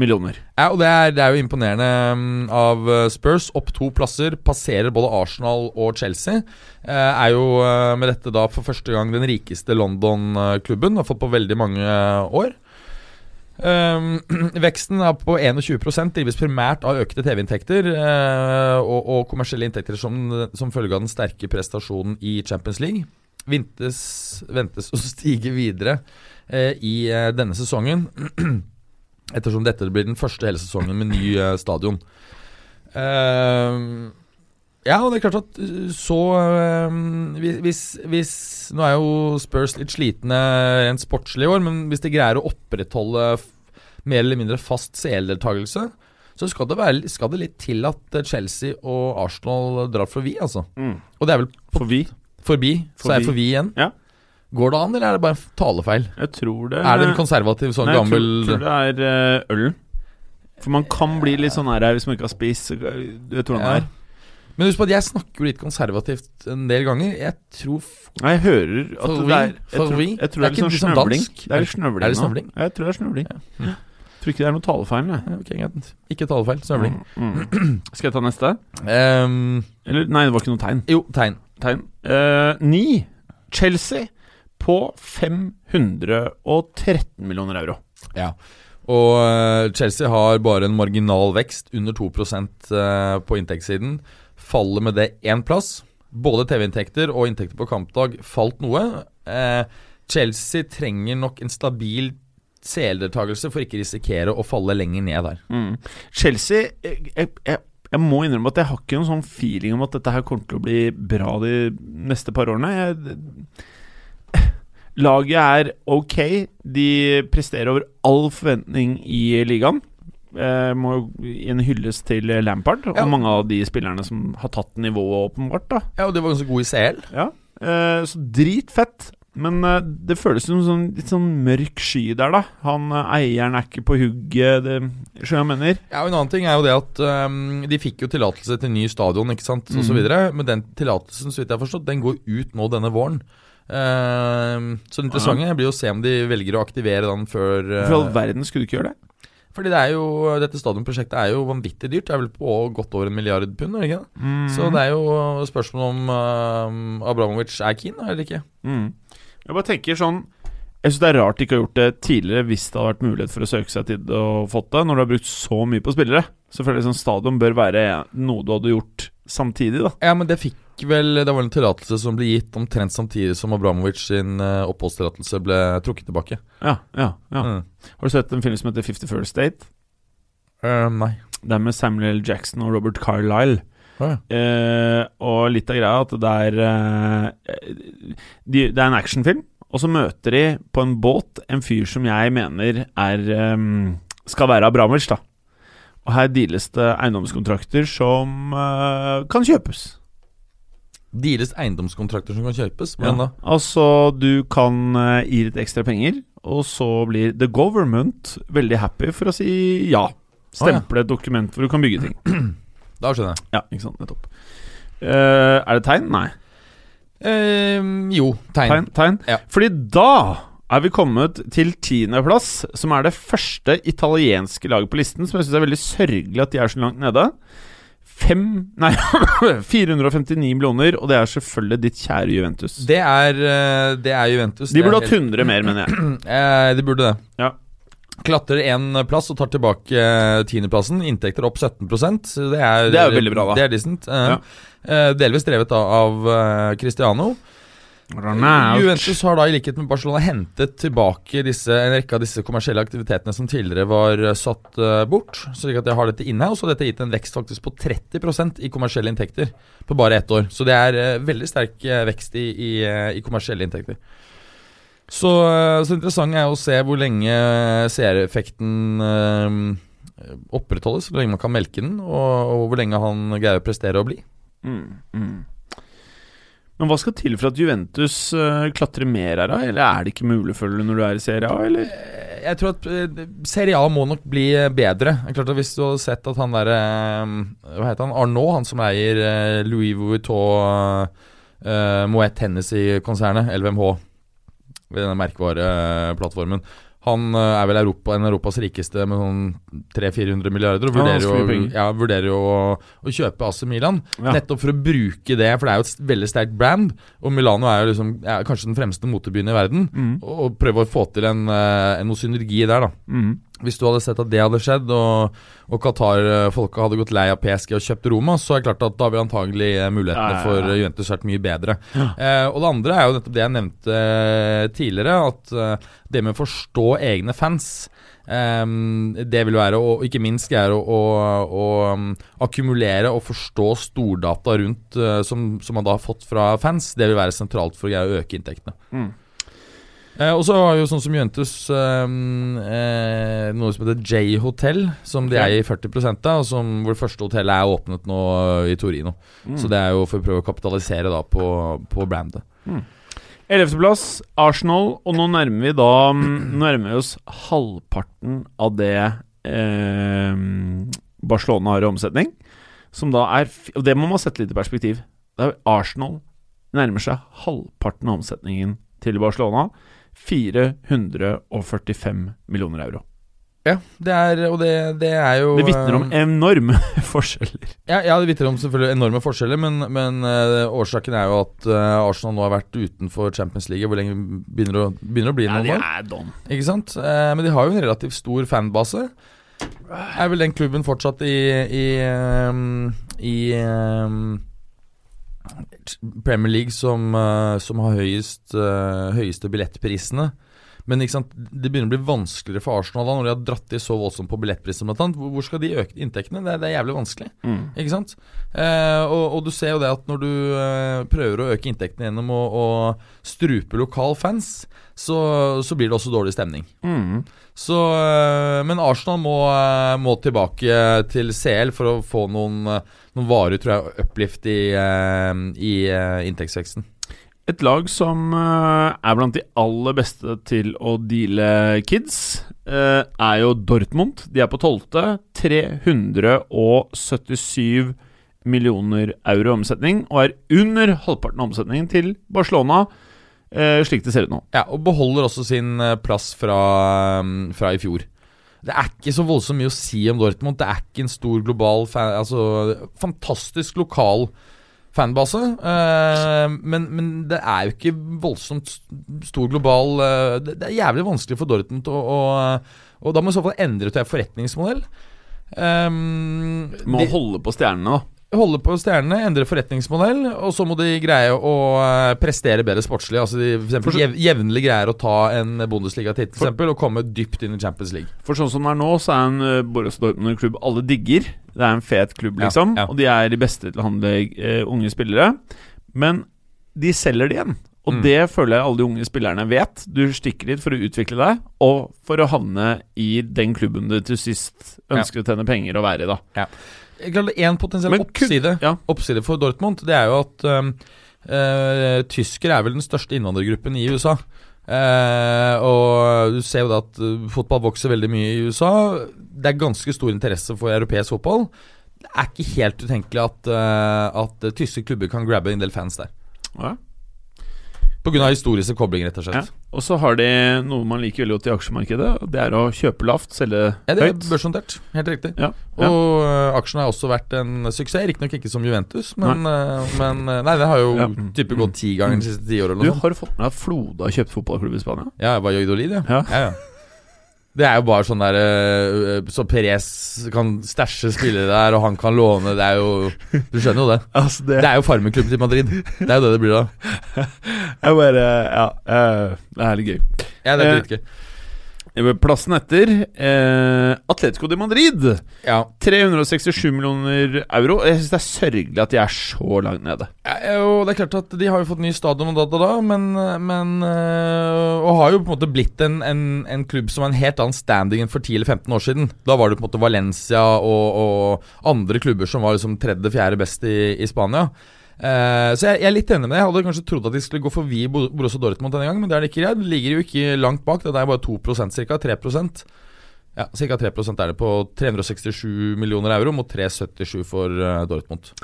[SPEAKER 1] millioner.
[SPEAKER 2] Ja, og det er, det er jo imponerende mm, av eh, Spurs. Opp to plasser, passerer både Arsenal og Chelsea. Eh, Er jo eh, med dette da for første gang den rikeste London-klubben, i hvert fall på veldig mange eh, år. Ehm, [clears throat] veksten er på 21 drives primært av økte TV-inntekter eh, og, og kommersielle inntekter som, som følge av den sterke prestasjonen i Champions League. Vintes, ventes å [laughs] stige videre eh, i eh, denne sesongen. Ettersom dette blir den første hele sesongen med ny eh, stadion. Ehm, ja, og det er klart at eh, så ehm, hvis, hvis, hvis Nå er jo Spurs litt slitne rent sportslig i år, men hvis de greier å opprettholde f- mer eller mindre fast CL-deltakelse, så skal det, være, skal det litt til at eh, Chelsea og Arsenal drar forbi, altså. Og det er vel
[SPEAKER 1] For vi
[SPEAKER 2] forbi, så er
[SPEAKER 1] Forbi.
[SPEAKER 2] forbi igjen.
[SPEAKER 1] Ja.
[SPEAKER 2] Går det an, eller er det bare en talefeil?
[SPEAKER 1] Jeg tror det
[SPEAKER 2] Er det en konservativ sånn
[SPEAKER 1] Eh, Nei, jeg
[SPEAKER 2] gammel
[SPEAKER 1] tror, tror det er eh, ølen. For man kan bli litt sånn her eh, hvis man ikke har spist. så- Du vet hvordan det
[SPEAKER 2] Ja.
[SPEAKER 1] er.
[SPEAKER 2] Men husk på at jeg snakker jo litt konservativt en del ganger. Jeg tror f-
[SPEAKER 1] Nei, jeg hører at
[SPEAKER 2] Forvi?
[SPEAKER 1] det er Jeg tror,
[SPEAKER 2] Forvi?
[SPEAKER 1] jeg tror det
[SPEAKER 2] Det
[SPEAKER 1] er
[SPEAKER 2] er ikke
[SPEAKER 1] litt
[SPEAKER 2] litt
[SPEAKER 1] sånn
[SPEAKER 2] sånn
[SPEAKER 1] snøvling.
[SPEAKER 2] dansk?
[SPEAKER 1] Det er litt snøvling.
[SPEAKER 2] Er det
[SPEAKER 1] nå.
[SPEAKER 2] snøvling?
[SPEAKER 1] Ja, Jeg tror det er snøvling.
[SPEAKER 2] Mm.
[SPEAKER 1] Jeg tror ikke det er noe talefeil, nei.
[SPEAKER 2] Ja, ok, greit. Ikke talefeil. Snøvling.
[SPEAKER 1] Mm. [clears throat] Skal jeg ta neste?
[SPEAKER 2] Ehm,
[SPEAKER 1] Eller nei, det var ikke noe tegn.
[SPEAKER 2] jo, tegn.
[SPEAKER 1] tegn. Eh, ni. Chelsea på 513 millioner euro.
[SPEAKER 2] Ja. Og eh, Chelsea har bare en marginal vekst, under 2 eh, på inntektssiden. Faller med det én plass. Både TV-inntekter og inntekter på kampdag falt noe. Eh, Chelsea trenger nok en stabil CL-deltakelse for ikke risikere å falle lenger ned der.
[SPEAKER 1] Mm. Chelsea jeg, jeg, jeg, jeg må innrømme at jeg har ikke noen sånn feeling om at dette her kommer til å bli bra de neste par årene. Jeg, Laget er ok. De presterer over all forventning i ligaen. Eh, må jo gi en hyllest til Lampard og
[SPEAKER 2] Ja.
[SPEAKER 1] mange av de spillerne som har tatt nivået, åpenbart. da
[SPEAKER 2] Ja, og de var ganske gode i CL.
[SPEAKER 1] Ja, eh, så dritfett. Men eh, det føles som en sånn, litt sånn mørk sky der, da. Han eh, eieren er ikke på hugget, det skjønner jeg hva jeg mener.
[SPEAKER 2] Ja, og En annen ting er jo det at ehm, de fikk jo tillatelse til ny stadion, ikke sant, og så
[SPEAKER 1] Mhm.
[SPEAKER 2] videre. Men den tillatelsen, så vidt jeg har forstått, den går ut nå denne våren. Ehm, så det interessante blir jo å se om de velger å aktivere den før eh,
[SPEAKER 1] Hvorfor i all verden skulle du ikke gjøre det?
[SPEAKER 2] Fordi det er jo, dette stadionprosjektet er jo vanvittig dyrt. Det er vel på godt over en milliard pund, er det ikke det?
[SPEAKER 1] Mm.
[SPEAKER 2] Så det er jo spørsmål om ehm, Abramovic er keen eller ikke.
[SPEAKER 1] mm. Jeg bare tenker sånn Jeg syns det er rart de ikke har gjort det tidligere, hvis det hadde vært mulighet for å søke seg til det og fått det, når du har brukt så mye på spillere. Så føler jeg sånn stadion bør være noe du hadde gjort samtidig, da.
[SPEAKER 2] Ja, men det fikk vel Det var en tillatelse som ble gitt omtrent samtidig som Abramovic sin eh, oppholdstillatelse ble trukket tilbake.
[SPEAKER 1] Ja, ja, ja.
[SPEAKER 2] Mm.
[SPEAKER 1] Har du sett en film som heter Fifty First Date?
[SPEAKER 2] Eh, nei.
[SPEAKER 1] Det er med Samuel L. Jackson og Robert Carlyle. Eh, og litt av greia er at det er eh, de, Det er en actionfilm, og så møter de på en båt en fyr som jeg mener er eh, skal være Abramovic, da. Og her deales det eiendomskontrakter som eh, kan kjøpes.
[SPEAKER 2] Deales eiendomskontrakter som kan kjøpes?
[SPEAKER 1] Ja.
[SPEAKER 2] Hvordan da?
[SPEAKER 1] Altså, du kan eh, gi litt ekstra penger, og så blir the government veldig happy for å si ja. Stemple et dokument hvor du kan bygge ting.
[SPEAKER 2] Da skjønner jeg.
[SPEAKER 1] Ja, ikke sant. Nettopp. Eh, er det tegn? Nei.
[SPEAKER 2] Ehm, jo, tegn.
[SPEAKER 1] Tegn, tegn.
[SPEAKER 2] Ja.
[SPEAKER 1] Fordi da er vi kommet til tiendeplass, som er det første italienske laget på listen, som jeg syns er veldig sørgelig at de er så langt nede. Fem Nei, [laughs] 459 millioner, og det er selvfølgelig ditt kjære Juventus.
[SPEAKER 2] Det, er, eh, det er Juventus.
[SPEAKER 1] De
[SPEAKER 2] Det er
[SPEAKER 1] burde
[SPEAKER 2] helt-
[SPEAKER 1] hatt 100 mer, mener
[SPEAKER 2] [clears throat]
[SPEAKER 1] jeg.
[SPEAKER 2] Eh, de burde det.
[SPEAKER 1] Ja.
[SPEAKER 2] Klatrer én plass og tar tilbake eh, tiendeplassen. Inntekter opp 17 så det er,
[SPEAKER 1] Det er jo veldig bra, da.
[SPEAKER 2] Det er decent. Eh,
[SPEAKER 1] Ja.
[SPEAKER 2] eh, delvis drevet da av eh, Cristiano. Juventus har da i likhet med Barcelona hentet tilbake disse, en rekke av disse kommersielle aktivitetene som tidligere var eh, satt eh, bort. Slik at de har dette inhouse, og dette har gitt en vekst faktisk på 30 i kommersielle inntekter på bare ett år. Så det er eh, veldig sterk eh, vekst i, i, eh, i kommersielle inntekter. Så, eh, så interessant er jo å se hvor lenge seereffekten eh, opprettholdes, hvor lenge man kan melke den, og, og hvor lenge han greier å prestere og bli.
[SPEAKER 1] Mm, mm. Men hva skal til for at Juventus eh, klatrer mer her, da? Eller er det ikke mulig, føler du, når du er i Serie A, eller?
[SPEAKER 2] Eh, Jeg tror at eh, Serie A må nok bli eh, bedre. Det er klart at Hvis du hadde sett at han derre Hva heter han? Arnault, han som eier eh, Louis Vuitton uh, Moet Hennessy-konsernet, LVMH, ved denne merkevareplattformen Han eh, er vel Europa, en av Europas rikeste med sånn 300-400 milliarder, og
[SPEAKER 1] Ja,
[SPEAKER 2] vurderer jo,
[SPEAKER 1] ganske mye penger.
[SPEAKER 2] ja, vurderer jo å, å kjøpe AC Milan.
[SPEAKER 1] Ja.
[SPEAKER 2] Nettopp for å bruke det, for det er jo et s- veldig sterkt brand, og Milano er jo liksom, er kanskje den fremste motebyen i verden
[SPEAKER 1] Mm,
[SPEAKER 2] og og prøve å få til en, eh, noe synergi der, da.
[SPEAKER 1] mm.
[SPEAKER 2] Hvis du hadde sett at det hadde skjedd, og, og Qatar-folka hadde gått lei av PSG og kjøpt Roma, så er det klart at da ville antagelig eh,
[SPEAKER 1] Ja,
[SPEAKER 2] mulighetene
[SPEAKER 1] ja, ja.
[SPEAKER 2] for eh, Juventus vært mye bedre.
[SPEAKER 1] Ja.
[SPEAKER 2] Eh, og det andre er jo nettopp det jeg nevnte eh, tidligere, at eh, det med å forstå egne fans eh, det vil være, og ikke minst er å, å, å um, akkumulere og forstå stordata rundt, eh, som, som man da har fått fra fans, det vil være sentralt for å greie å øke inntektene.
[SPEAKER 1] Mm.
[SPEAKER 2] Eh, og så har jo sånn som Juventus eh, eh, noe som heter J Hotel, som de
[SPEAKER 1] Ja.
[SPEAKER 2] eier 40 av, og som, hvor det første hotellet er åpnet nå eh, i Torino.
[SPEAKER 1] Mm.
[SPEAKER 2] Så det er jo for å prøve å kapitalisere da på, på brandet.
[SPEAKER 1] Ellevteplass, Arsenal. Og nå nærmer vi da Nå nærmer vi oss halvparten av det eh, Barcelona har i omsetning. Som da er f- Og det må man sette litt i perspektiv. Det er Arsenal nærmer seg halvparten av omsetningen til Barcelona. 445 millioner euro.
[SPEAKER 2] Ja, det er, og det, det er jo
[SPEAKER 1] Det vitner om
[SPEAKER 2] eh,
[SPEAKER 1] enorme [laughs] forskjeller.
[SPEAKER 2] ja, ja, det vitner om selvfølgelig enorme forskjeller, men, men eh, årsaken er jo at eh, Arsenal nå har vært utenfor Champions League. Hvor lenge begynner å, begynner å bli noen år?
[SPEAKER 1] er don.
[SPEAKER 2] Ikke sant? Eh, men de har jo en relativt stor fanbase. Er vel den klubben fortsatt i I, ehm, i ehm, Premier League som, eh, som har høyest, eh, høyeste billettprisene. Men ikke sant, det begynner å bli vanskeligere for Arsenal da, når de har dratt i så voldsomt på billettpriser blant annet. Hvor- Hvor skal de øke inntektene? Det er, det er jævlig vanskelig.
[SPEAKER 1] Mm.
[SPEAKER 2] Ikke sant? Eh, og, og du ser jo det at når du eh, prøver å øke inntektene gjennom å, å strupe lokal fans, så, så blir det også dårlig stemning.
[SPEAKER 1] Mm.
[SPEAKER 2] Så, eh, men Arsenal må, eh, må tilbake til CL for å få noen, eh, noen varer, tror jeg, uplift i, eh, i eh, inntektsveksten.
[SPEAKER 1] Et lag som eh, er blant de aller beste til å deale kids, eh, er jo Dortmund. De er på tolvte. 377 millioner euro i omsetning, og er under halvparten av omsetningen til Barcelona, eh, slik det ser ut nå.
[SPEAKER 2] Ja, og beholder også sin eh, plass fra, eh, fra i fjor. Det er ikke så voldsomt mye å si om Dortmund. Det er ikke en stor global fan, altså, Fantastisk lokal fanbase. eh, men, men det er jo ikke voldsomt s- stor global eh, det, det er jævlig vanskelig for Dortmund å, å Og da må i så fall endre til en forretningsmodell. Um,
[SPEAKER 1] Må holde på stjernene, da.
[SPEAKER 2] holde på stjernene, endre forretningsmodell, og så må de greie å eh, prestere bedre sportslig. Altså de for eksempel, jev jevnlig greier å ta en Bundesliga-tittel for eksempel, og komme dypt inn i Champions League.
[SPEAKER 1] For sånn som det er nå, så er en eh, Borussia Dortmund en klubb alle digger. Det er en fet klubb,
[SPEAKER 2] Ja,
[SPEAKER 1] liksom.
[SPEAKER 2] ja.
[SPEAKER 1] Og de er de beste til å handle eh, unge spillere. Men de selger det igjen. Og
[SPEAKER 2] Mm.
[SPEAKER 1] det føler jeg alle de unge spillerne vet. Du stikker dit for å utvikle deg, og for å havne i den klubben du til sist ønsker å tjene penger og være i, da.
[SPEAKER 2] Én potensiell
[SPEAKER 1] Men kun-
[SPEAKER 2] oppside,
[SPEAKER 1] ja.
[SPEAKER 2] oppside for Dortmund, det er jo at um, eh, tyskere er vel den største innvandrergruppen i USA. Eh, og du ser jo da at eh, fotball vokser veldig mye i USA. Det er ganske stor interesse for europeisk fotball. Det er ikke helt utenkelig at, eh, at eh, tyske klubber kan grabbe en del fans der.
[SPEAKER 1] Ja.
[SPEAKER 2] Pga. historiske koblinger, rett og
[SPEAKER 1] Ja.
[SPEAKER 2] slett.
[SPEAKER 1] Og så har de noe man liker veldig godt i aksjemarkedet, og det er å kjøpe lavt, selge
[SPEAKER 2] Ja, det er
[SPEAKER 1] høyt.
[SPEAKER 2] børsnotert. Helt riktig.
[SPEAKER 1] Ja, ja.
[SPEAKER 2] Og uh, aksjen har også vært en suksess. Riktignok ikke som Juventus, men, eh, men eh, Nei, det har jo
[SPEAKER 1] Ja.
[SPEAKER 2] type gått ti ganger de siste ti åra
[SPEAKER 1] Du
[SPEAKER 2] eller noe sånt.
[SPEAKER 1] har du fått med deg at Flode har kjøpt fotballklubb i Spania?
[SPEAKER 2] Ja, jeg var Joidolid, ja.
[SPEAKER 1] Ja.
[SPEAKER 2] ja, ja. Det er jo bare sånn der eh, Så Perez kan stæsje spillere der, og han kan låne. Det er jo Du skjønner jo det.
[SPEAKER 1] Altså,
[SPEAKER 2] Det er jo farmeklubben til Madrid. Det er jo det det blir da.
[SPEAKER 1] er bare Ja. eh, det er litt gøy.
[SPEAKER 2] Ja, det er
[SPEAKER 1] Eh,
[SPEAKER 2] dritgøy.
[SPEAKER 1] Plassen etter eh, Atletico de Madrid.
[SPEAKER 2] Ja.
[SPEAKER 1] 367 millioner euro. Jeg syns det er sørgelig at de er så langt nede.
[SPEAKER 2] Ja, og det er klart at De har jo fått ny stadion, og da, da, da men, men øh, Og har jo på en måte blitt en, en, en klubb som har en helt annen standing enn for 10 eller 15 år siden. Da var det på en måte Valencia og, og andre klubber som var liksom tredje-fjerde best i, i Spania. Eh, så jeg, jeg er litt enig med deg. Jeg hadde kanskje trodd at de skulle gå forbi Bo- Borussia Dortmund denne gangen, men det er det ikke. greid. De ligger jo ikke langt bak. Det er bare 2 ca. 3 ja, Ca. 3 er det på 367 millioner euro mot 377 for eh, Dortmund.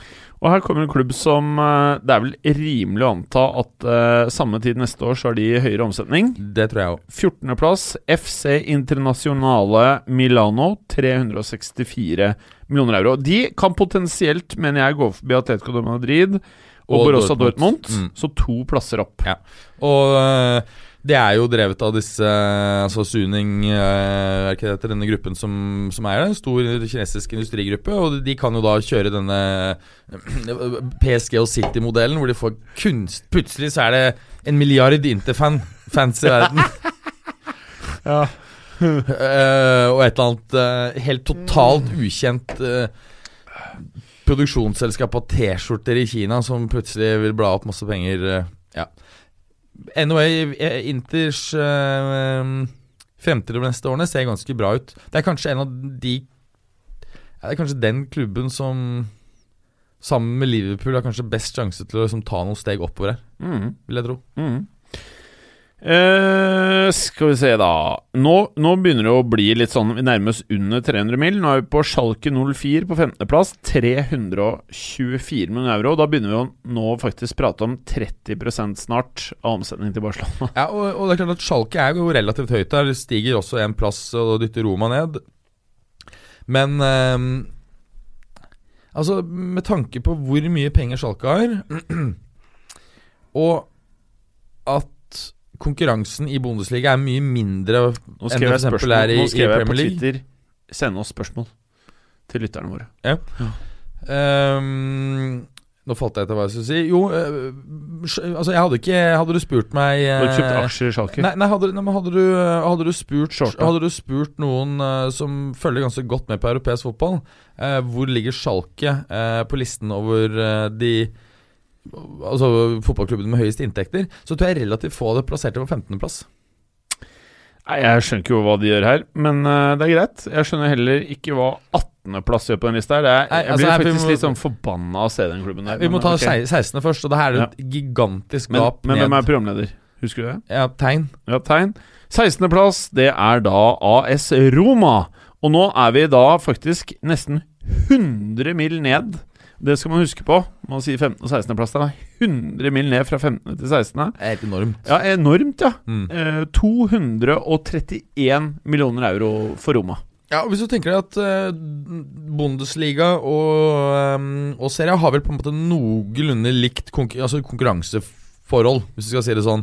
[SPEAKER 1] Og her kommer en klubb som eh, Det er vel rimelig å anta at eh, samme tid neste år så har de høyere omsetning.
[SPEAKER 2] Det tror jeg òg.
[SPEAKER 1] 14.-plass FC Internasjonale Milano. 364 millioner euro. De kan potensielt, mener jeg, gå forbi Atletico de Madrid og,
[SPEAKER 2] Og
[SPEAKER 1] Borussia
[SPEAKER 2] Dortmund.
[SPEAKER 1] Dortmund.
[SPEAKER 2] Mm.
[SPEAKER 1] Så to plasser opp.
[SPEAKER 2] Og øh, det er jo drevet av disse øh, Altså Suning øh, Er ikke det heter denne gruppen som, som eier det? En stor kinesisk industrigruppe. Og de kan jo da kjøre denne [clears throat] øh, PSG og City-modellen, hvor de får kunst Plutselig så er det en milliard interfan fans i verden. Øh, og et eller annet øh, helt totalt ukjent øh, produksjonsselskap av T-skjorter i Kina som plutselig vil bla opp masse penger. øh, Anyway, eh, Inters eh, fremtid over neste årene ser ganske bra ut. Det er kanskje en av de ja, Det er kanskje den klubben som sammen med Liverpool har kanskje best sjanse til å liksom, ta noen steg oppover her,
[SPEAKER 1] Mm.
[SPEAKER 2] vil jeg tro.
[SPEAKER 1] Mm. Eh, skal vi se, da. Nå, nå begynner det å bli litt sånn Vi nærmer oss under 300 mil. Nå er vi på Schalke 04 på 15.plass. 324 millioner euro. Da begynner vi å nå faktisk prate om 30 snart av omsetningen til Barcelona.
[SPEAKER 2] Ja, og, og det er klart at Schalke er jo relativt høyt der. Det stiger også en plass og dytter Roma ned. Men ehm, Altså, med tanke på hvor mye penger Schalke har, [clears throat] og at konkurransen i Bundesliga er mye mindre
[SPEAKER 1] Nå
[SPEAKER 2] Enda
[SPEAKER 1] skrev jeg
[SPEAKER 2] for eksempel er
[SPEAKER 1] spørsmål
[SPEAKER 2] i-
[SPEAKER 1] Nå skrev jeg
[SPEAKER 2] i
[SPEAKER 1] på
[SPEAKER 2] Premier League.
[SPEAKER 1] Twitter Send oss spørsmål til lytterne våre.
[SPEAKER 2] ehm, Nå falt jeg etter hva jeg skulle si. Jo, eh, sj- altså jeg hadde ikke Hadde du spurt meg
[SPEAKER 1] Du har kjøpt
[SPEAKER 2] eh,
[SPEAKER 1] aksjer i Schalke.
[SPEAKER 2] Nei, nei, hadde, nei men hadde, du, eh, hadde, du spurt,
[SPEAKER 1] Short, da.
[SPEAKER 2] hadde du spurt noen eh, som følger ganske godt med på europeisk fotball, eh, hvor ligger Schalke eh, på listen over eh, de Altså fotballklubbene med høyest inntekter, så tror jeg relativt få hadde plassert det på 15.-plass.
[SPEAKER 1] Nei, jeg skjønner ikke hva de gjør her, men eh, det er greit. Jeg skjønner heller ikke hva 18.-plass gjør på den lista her. Det er,
[SPEAKER 2] Nei,
[SPEAKER 1] jeg blir
[SPEAKER 2] altså, her- vi
[SPEAKER 1] faktisk
[SPEAKER 2] må-
[SPEAKER 1] litt sånn forbanna av å se den klubben der.
[SPEAKER 2] Vi må
[SPEAKER 1] men,
[SPEAKER 2] ta
[SPEAKER 1] ok.
[SPEAKER 2] 16. først, og det her er det et gigantisk
[SPEAKER 1] Men,
[SPEAKER 2] gap
[SPEAKER 1] men
[SPEAKER 2] ned.
[SPEAKER 1] hvem er programleder? Husker du det?
[SPEAKER 2] ja, tegn.
[SPEAKER 1] Ja, tegn. 16.-plass, det er da AS Roma. Og nå er vi da faktisk nesten 100 mil ned. Det skal man huske på. Man sier 15. og 16.-plass. Det er 100 mil ned fra 15. til 16.
[SPEAKER 2] Det er helt enormt.
[SPEAKER 1] Ja, enormt, ja.
[SPEAKER 2] Mm.
[SPEAKER 1] Eh, 231 millioner euro for Roma.
[SPEAKER 2] Ja, og Hvis du tenker deg at eh, Bundesliga og, eh, og Serie A har vel på en måte noenlunde likt konkur altså konkurranseforhold, hvis du skal si det sånn.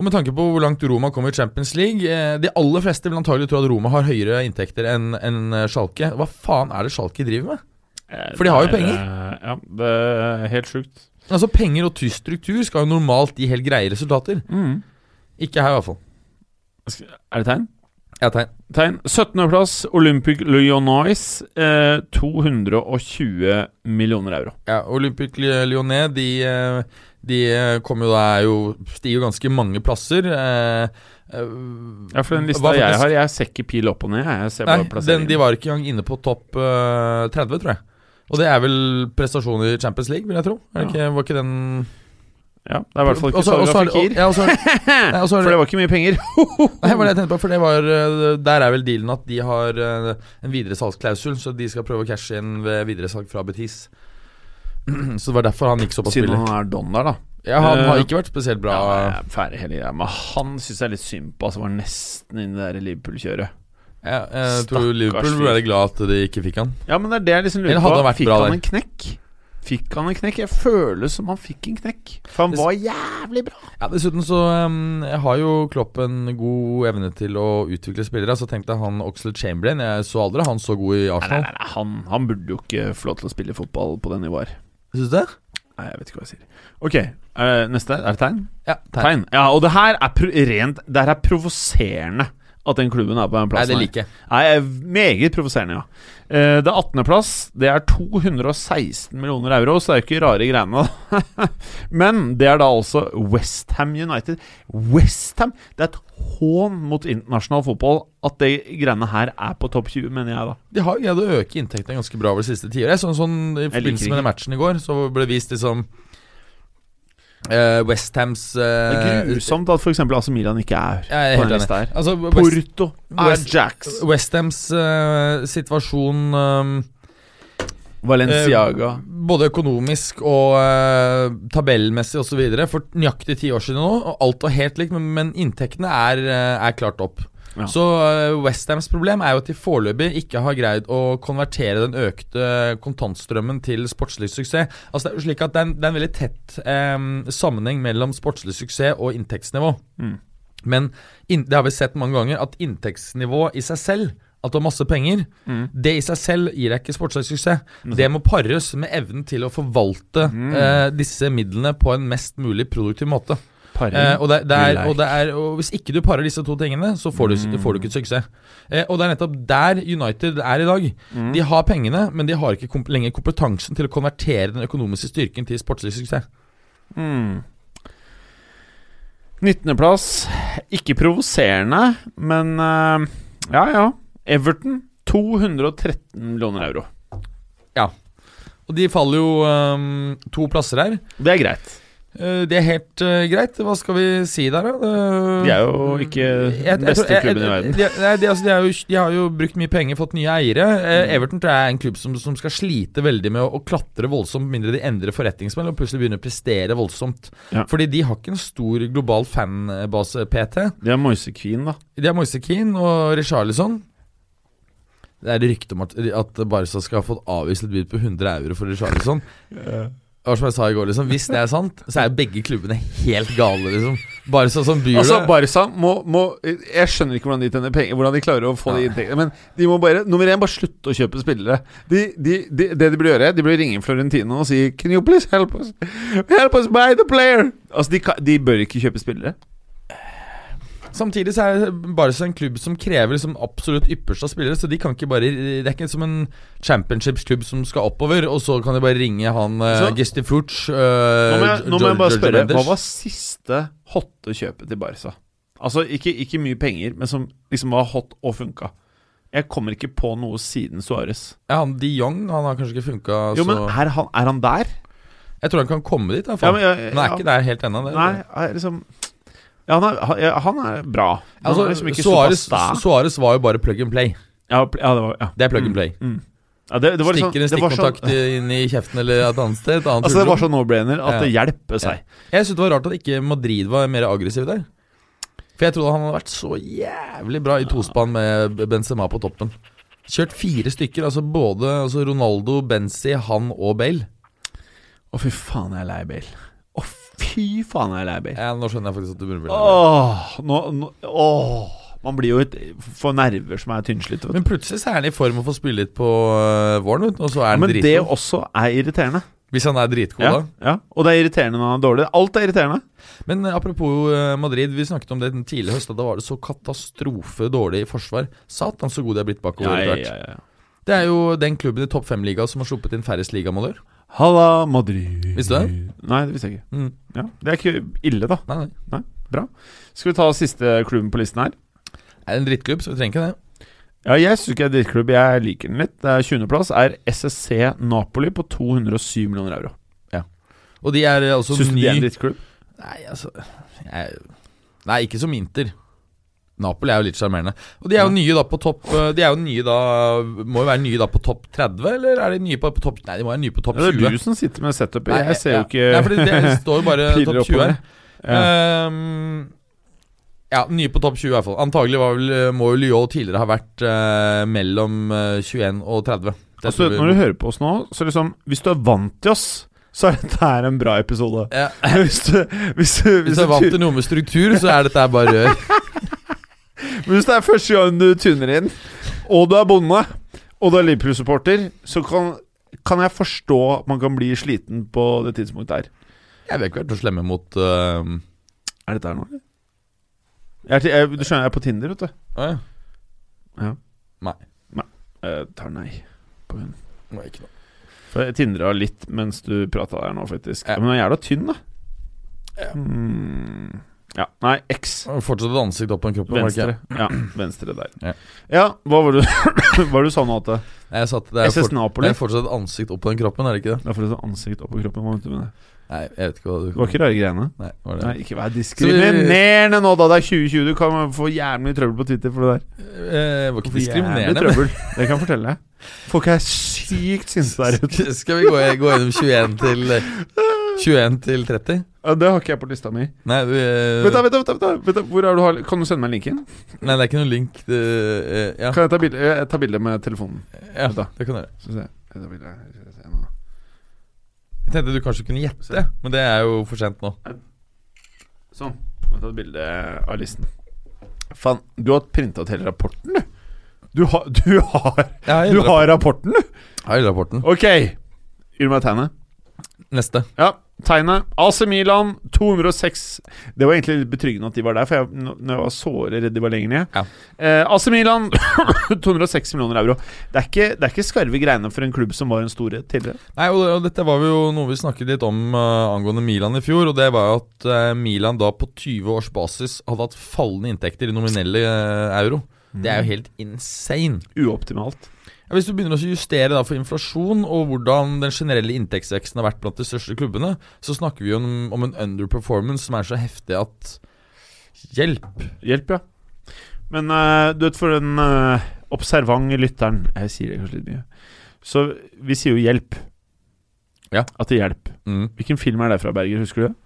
[SPEAKER 2] Og Med tanke på hvor langt Roma kom i Champions League eh, De aller fleste vil antagelig tro at Roma har høyere inntekter enn enn eh, Schalke. Hva faen er det Schalke driver med?
[SPEAKER 1] Eh,
[SPEAKER 2] For de har jo
[SPEAKER 1] det er,
[SPEAKER 2] penger.
[SPEAKER 1] eh, Ja, det er helt sjukt.
[SPEAKER 2] Altså Penger og tyst struktur skal jo normalt gi helt greie resultater. Ikke her, i hvert fall.
[SPEAKER 1] Er det tegn?
[SPEAKER 2] Jeg tegn.
[SPEAKER 1] Tegn. 17.-plass, Olympic Lyonnais. Eh, 220 millioner euro.
[SPEAKER 2] Ja, Olympic Lyonnais de, eh, de eh, kommer jo da er jo, stiger jo ganske mange plasser. eh, eh,
[SPEAKER 1] Ja, for den lista
[SPEAKER 2] var
[SPEAKER 1] jeg
[SPEAKER 2] faktisk-
[SPEAKER 1] har, jeg ser ikke pil opp og ned. jeg. Jeg ser
[SPEAKER 2] Nei,
[SPEAKER 1] bare
[SPEAKER 2] den,
[SPEAKER 1] plasseringen.
[SPEAKER 2] de var ikke engang inne på topp eh, 30, tror jeg. Og det er vel prestasjoner i Champions League, vil jeg tro. Er det
[SPEAKER 1] Ja.
[SPEAKER 2] ikke, var ikke den
[SPEAKER 1] Ja, det er i hvert fall ikke
[SPEAKER 2] Også- også
[SPEAKER 1] Sarga
[SPEAKER 2] har de-
[SPEAKER 1] Fikir.
[SPEAKER 2] ja, også har de- [laughs] Nei, og så
[SPEAKER 1] For
[SPEAKER 2] har de-
[SPEAKER 1] det var ikke mye penger.
[SPEAKER 2] Nei, hva er det jeg tenkte på, for det var eh, Der er vel dealen at de har eh, en videresalgsklausul, så de skal prøve å cashe inn ved videresalg fra Betis. [clears throat] Så det var derfor han gikk såpass
[SPEAKER 1] Siden
[SPEAKER 2] billig.
[SPEAKER 1] han er don der, da.
[SPEAKER 2] Ja, han har
[SPEAKER 1] Eh,
[SPEAKER 2] ikke vært spesielt bra.
[SPEAKER 1] Ja, jeg er ferdig hele greia. Men han syns jeg er litt synd på, altså. Var nesten inne i det der Liverpool-kjøret.
[SPEAKER 2] Ja, eh, jeg tror
[SPEAKER 1] Stakkars
[SPEAKER 2] Liverpool ble
[SPEAKER 1] fyr.
[SPEAKER 2] veldig glad at de ikke fikk han.
[SPEAKER 1] Ja, men det er det jeg liksom
[SPEAKER 2] Eller
[SPEAKER 1] lurer
[SPEAKER 2] hadde
[SPEAKER 1] på.
[SPEAKER 2] han vært
[SPEAKER 1] Fikk
[SPEAKER 2] bra
[SPEAKER 1] han
[SPEAKER 2] der?
[SPEAKER 1] en knekk? Fikk han en knekk? Jeg føler som han fikk en knekk. For han
[SPEAKER 2] Det-
[SPEAKER 1] var jævlig bra.
[SPEAKER 2] Ja, Dessuten så um, har jo Klopp en god evne til å utvikle spillere. Så tenkte jeg han Oxlade Chamberlain. Jeg så aldri han så god i
[SPEAKER 1] Nei, nei,
[SPEAKER 2] Arsenal.
[SPEAKER 1] nei, nei, han, han burde jo ikke få lov til å spille fotball på det nivået her.
[SPEAKER 2] Syns du det?
[SPEAKER 1] Nei, jeg vet ikke hva jeg sier. Ok, eh, neste. Er det tegn?
[SPEAKER 2] Ja, tegn.
[SPEAKER 1] Tegn. Ja, og det her er pro rent Det her er provoserende at den klubben er på den
[SPEAKER 2] Nei,
[SPEAKER 1] plassen.
[SPEAKER 2] det
[SPEAKER 1] her.
[SPEAKER 2] liker jeg.
[SPEAKER 1] Nei, jeg er meget provoserende, ja. Eh, det er 18. plass. Det er 216 millioner euro, så det er jo ikke rare greiene. da. [laughs] Men det er da altså Westham United. Westham! Det er et hån mot internasjonal fotball at de greiene her er på topp 20, mener jeg, da.
[SPEAKER 2] De har jo greid å øke inntektene ganske bra over det siste tiåret. Jeg så en sånn I
[SPEAKER 1] liker
[SPEAKER 2] forbindelse
[SPEAKER 1] ikke.
[SPEAKER 2] med den matchen i går, så ble det vist liksom uh, Westhams
[SPEAKER 1] Det er grusomt at f.eks. AC Milan ikke er
[SPEAKER 2] Eh, Jeg er
[SPEAKER 1] på
[SPEAKER 2] helt
[SPEAKER 1] den
[SPEAKER 2] enig.
[SPEAKER 1] lista her.
[SPEAKER 2] Altså, West, Eh,
[SPEAKER 1] Porto er
[SPEAKER 2] West-
[SPEAKER 1] Jacks.
[SPEAKER 2] Westhams uh, situasjon um,
[SPEAKER 1] Valenciaga.
[SPEAKER 2] Eh, både økonomisk og eh, tabellmessig osv. For nøyaktig ti år siden nå, og alt var helt likt, men, men inntektene er, eh, er klart opp.
[SPEAKER 1] Ja.
[SPEAKER 2] Så eh, Westhams problem er jo at de foreløpig ikke har greid å konvertere den økte kontantstrømmen til sportslig suksess. Altså Det er jo slik at det er en, det er en veldig tett eh, sammenheng mellom sportslig suksess og inntektsnivå.
[SPEAKER 1] Mm.
[SPEAKER 2] Men inn- det har vi sett mange ganger, at inntektsnivå i seg selv at du har masse penger,
[SPEAKER 1] Mm.
[SPEAKER 2] det i seg selv gir deg ikke sportslig suksess. Mm. Det må pares med evnen til å forvalte eh, disse midlene på en mest mulig produktiv måte. Eh, og, det, det er, og, det er, og hvis ikke du parer disse to tingene, så får du, får du ikke suksess. Eh, og det er nettopp der United er i dag. De har pengene, men de har ikke komp lenger kompetansen til å konvertere den økonomiske styrken til sportslig suksess.
[SPEAKER 1] Mm. 19.-plass. Ikke provoserende, men eh, ja, ja. Everton 213 millioner euro.
[SPEAKER 2] Og de faller jo eh, to plasser her.
[SPEAKER 1] Det er greit.
[SPEAKER 2] Eh, Det er helt eh, greit. Hva skal vi si der, da? Eh,
[SPEAKER 1] De er jo ikke
[SPEAKER 2] jeg- jeg
[SPEAKER 1] den beste
[SPEAKER 2] tror- jeg-
[SPEAKER 1] klubben i
[SPEAKER 2] jeg-
[SPEAKER 1] verden.
[SPEAKER 2] De, nei, de, altså, de, er jo, de har jo brukt mye penger, fått nye eiere. Eh, Everton tror jeg er en klubb som, som skal slite veldig med å, å klatre voldsomt, med mindre de endrer forretningsmodell og plutselig begynner å prestere voldsomt.
[SPEAKER 1] Ja.
[SPEAKER 2] Fordi de har ikke en stor global fanbase, PT.
[SPEAKER 1] De er Moise Queen, da.
[SPEAKER 2] De har Moise Keane og Richarlison. Det er rykte om at, at Barca skal ha fått avvist et bud på 100 euro for Richarlison. Og som jeg sa i går, liksom, hvis det er sant, så er jo begge klubbene helt gale, liksom. Bare sånn som byr
[SPEAKER 1] Altså,
[SPEAKER 2] det.
[SPEAKER 1] Barca må, må Jeg skjønner ikke hvordan de tjener penger Hvordan de klarer å få de inntektene. Men de må bare nummer én, bare slutte å kjøpe spillere. De, de, de, det de burde gjøre, de burde ringe Florentino og si Can you please help us? Help us buy the player! Altså, de, kan- de bør ikke kjøpe spillere.
[SPEAKER 2] Samtidig så er Barca en klubb som krever liksom absolutt ypperste av spillere, så de kan ikke bare Det er ikke som en championshipsklubb som skal oppover, og så kan de bare ringe han uh,
[SPEAKER 1] Så-
[SPEAKER 2] Gesti Furch
[SPEAKER 1] Nå må jeg, nå må jeg bare spørre Hva var siste hotte kjøpet til Barca? Altså, ikke, ikke mye penger, men som liksom var hot og funka. Jeg kommer ikke på noe siden Suárez.
[SPEAKER 2] Ja, han De Jong han har kanskje ikke funka
[SPEAKER 1] Jo, men
[SPEAKER 2] så
[SPEAKER 1] er han, er han der?
[SPEAKER 2] Jeg tror han kan komme dit, i hvert fall.
[SPEAKER 1] men jeg-
[SPEAKER 2] men han er
[SPEAKER 1] Eh, ja.
[SPEAKER 2] ikke der helt ennå. det-
[SPEAKER 1] Nei, er liksom ja, han, er, han- ja, han er bra. Men han er liksom
[SPEAKER 2] Altså,
[SPEAKER 1] ikke
[SPEAKER 2] Suarez,
[SPEAKER 1] superstar.
[SPEAKER 2] Suarez var jo bare plug and play.
[SPEAKER 1] ja, pl- ja, det var, ja.
[SPEAKER 2] Det er plug and play.
[SPEAKER 1] Mm. Ja, det, det var liksom,
[SPEAKER 2] Stikker en
[SPEAKER 1] det var sånn-
[SPEAKER 2] stikkontakt inn i kjeften eller et annet sted. Et annet
[SPEAKER 1] Altså, det var
[SPEAKER 2] hulrom.
[SPEAKER 1] sånn no-brainer at det hjelper seg.
[SPEAKER 2] Jeg syns det var rart at ikke Madrid var mer aggressiv der. For jeg trodde han hadde vært så jævlig bra i tospann med Benzema på toppen. Kjørt fire stykker, altså både altså Ronaldo, Benzi, han og Bale.
[SPEAKER 1] Å, fy faen, jeg er lei Bale. Å, fy faen, jeg er lei Bale.
[SPEAKER 2] Ja, nå skjønner jeg faktisk at du burde bli lei.
[SPEAKER 1] Åh, nå, nå åh. Man blir jo et, for nerver som er tynnslitt. vet du.
[SPEAKER 2] Men plutselig så er han i form å få spille litt på øh, våren, vet du, og så er han
[SPEAKER 1] Men det
[SPEAKER 2] dritgod.
[SPEAKER 1] også er irriterende.
[SPEAKER 2] Hvis han er dritgod,
[SPEAKER 1] Ja,
[SPEAKER 2] da.
[SPEAKER 1] ja. Og det er irriterende når han er dårlig. Alt er irriterende.
[SPEAKER 2] Men eh, apropos eh, Madrid, vi snakket om det den tidligere høsten. Da var det så katastrofe dårlig i forsvar. Satan, så god de er blitt bakover etter hvert. Det er jo den klubben i topp fem-liga som har sluppet inn færrest ligamål i år.
[SPEAKER 1] Halla, Madrid.
[SPEAKER 2] Visste du
[SPEAKER 1] Nei, det visste jeg ikke.
[SPEAKER 2] Mm.
[SPEAKER 1] Ja. Det er ikke ille, da.
[SPEAKER 2] Nei, nei.
[SPEAKER 1] Skal vi ta siste klubben på listen her?
[SPEAKER 2] Det er en drittklubb, så vi trenger ikke det.
[SPEAKER 1] Ja, jeg syns ikke det er drittklubb. Jeg liker den litt. Det er 20.-plass er SSC Napoli på 207 millioner euro.
[SPEAKER 2] Og de er eh, altså
[SPEAKER 1] Syns du
[SPEAKER 2] ny
[SPEAKER 1] det er en drittklubb?
[SPEAKER 2] Nei, altså jeg... Nei, ikke som Inter. Napoli er jo litt sjarmerende. Og de er jo nye da på topp eh, De er jo nye da Må jo være nye da på topp 30, eller er de nye på, på topp Nei, de må være nye på topp
[SPEAKER 1] Ja, det
[SPEAKER 2] 20.
[SPEAKER 1] er du som sitter med setupet.
[SPEAKER 2] Nei,
[SPEAKER 1] Jeg ser jo
[SPEAKER 2] ja.
[SPEAKER 1] ikke
[SPEAKER 2] Nei, fordi det står jo bare
[SPEAKER 1] [laughs] Piler
[SPEAKER 2] topp 20
[SPEAKER 1] oppover.
[SPEAKER 2] her. Eh,
[SPEAKER 1] ja.
[SPEAKER 2] Ehm, ja, nye på topp 20 i hvert fall. Antagelig var vel, eh, må jo Lyon tidligere ha vært eh, mellom eh, 21 og 30. Det
[SPEAKER 1] altså,
[SPEAKER 2] tror vi-
[SPEAKER 1] Når du hører på oss nå, så liksom Hvis du er vant til oss, så er dette her en bra episode.
[SPEAKER 2] [laughs]
[SPEAKER 1] [laughs]
[SPEAKER 2] ja,
[SPEAKER 1] Hvis du, hvis du,
[SPEAKER 2] Hvis
[SPEAKER 1] hvis du,
[SPEAKER 2] du er vant
[SPEAKER 1] tu-
[SPEAKER 2] til noe med struktur, så er dette her
[SPEAKER 1] [laughs]
[SPEAKER 2] bare rør.
[SPEAKER 1] men hvis det er første gang du tuner inn, og du er bonde, og du er Liverpool-supporter, så kan, kan jeg forstå at man kan bli sliten på det tidspunktet her.
[SPEAKER 2] Jeg vil ikke være så slemme mot ehm,
[SPEAKER 1] Er dette her nå, eller? Jeg er til, jeg, du skjønner, jeg er på Tinder, vet du.
[SPEAKER 2] Å ja.
[SPEAKER 1] Jeg tar nei på hun.
[SPEAKER 2] Nei, ikke noe.
[SPEAKER 1] For jeg tindra litt mens du prata der nå, faktisk.
[SPEAKER 2] Ja.
[SPEAKER 1] Men hun er jævla tynn, da.
[SPEAKER 2] Ja.
[SPEAKER 1] Mm. ja. Nei, X.
[SPEAKER 2] Fortsatt et ansikt opp på en kropp. var det ikke?
[SPEAKER 1] Venstre. Ja, [clears throat] venstre der.
[SPEAKER 2] Ja.
[SPEAKER 1] Ja, hva var det du, [clears throat] hva var det du sa nå, Ate?
[SPEAKER 2] Nei, jeg sa at det er,
[SPEAKER 1] SS
[SPEAKER 2] fort, det
[SPEAKER 1] Napoli?
[SPEAKER 2] er fortsatt et ansikt opp på den kroppen, er det ikke det?
[SPEAKER 1] Det er fordi du har ansikt oppå kroppen. Hva mente du med det?
[SPEAKER 2] Nei, jeg vet ikke hva du
[SPEAKER 1] Det var ikke rare greiene.
[SPEAKER 2] Nei, var det?
[SPEAKER 1] Nei, ikke vær diskriminerende nå, da! Det er 2020, du kan få jævlig mye trøbbel på Twitter for det der.
[SPEAKER 2] Eh, var ikke
[SPEAKER 1] Jævlig
[SPEAKER 2] diskriminerende. men-
[SPEAKER 1] trøbbel, det kan jeg fortelle deg. Folk er sykt sinte
[SPEAKER 2] [laughs]
[SPEAKER 1] der ute.
[SPEAKER 2] Skal vi gå, gå gjennom 21 til 21 til 30?
[SPEAKER 1] Ja, Det har ikke jeg på lista mi.
[SPEAKER 2] Nei, vi, eh,
[SPEAKER 1] Vent, da, vent, da, vent, da, vent da. Hvor er du, har- kan du sende meg linken?
[SPEAKER 2] Nei, det er ikke noen link det, eh, ja.
[SPEAKER 1] Kan jeg ta bilde, jeg tar bilde med telefonen?
[SPEAKER 2] ja,
[SPEAKER 1] da.
[SPEAKER 2] det kan du gjøre.
[SPEAKER 1] Skal vi se. Jeg tar bilde. Skal vi se nå.
[SPEAKER 2] Jeg tenkte du kanskje kunne gjette, men det er jo for sent nå.
[SPEAKER 1] Sånn. Jeg har tatt bilde av listen. Faen, du har printa ut hele rapporten, du. Du har, du har,
[SPEAKER 2] Jeg
[SPEAKER 1] du har rapporten, du!
[SPEAKER 2] har rapporten.
[SPEAKER 1] Ok. Gjør meg tegnet.
[SPEAKER 2] Neste.
[SPEAKER 1] Ja, tegnet. AC Milan 206 Det var egentlig litt betryggende at de var der, for jeg, n- når jeg var såre redd de var lenger ned.
[SPEAKER 2] Ja.
[SPEAKER 1] Eh, AC Milan [coughs] 206 millioner euro. Det er, ikke, det er ikke skarve greiene for en klubb som var en storhet tidligere.
[SPEAKER 2] Nei, og, og dette var jo noe vi snakket litt om eh, angående Milan i fjor, og det var jo at eh, Milan da på 20 års basis hadde hatt fallende inntekter i nominelle eh, euro. Det er jo helt insane.
[SPEAKER 1] Uoptimalt.
[SPEAKER 2] Ja, hvis du begynner å justere da for inflasjon og hvordan den generelle inntektsveksten har vært blant de største klubbene, så snakker vi jo om, om en underperformance som er så heftig at Hjelp!
[SPEAKER 1] Hjelp, ja. Men eh, du vet, for den eh, observant lytteren Jeg sier det kanskje litt mye. Så vi sier jo 'hjelp'.
[SPEAKER 2] Ja.
[SPEAKER 1] At det hjelper.
[SPEAKER 2] Mm.
[SPEAKER 1] Hvilken film er det fra, Berger? Husker du det?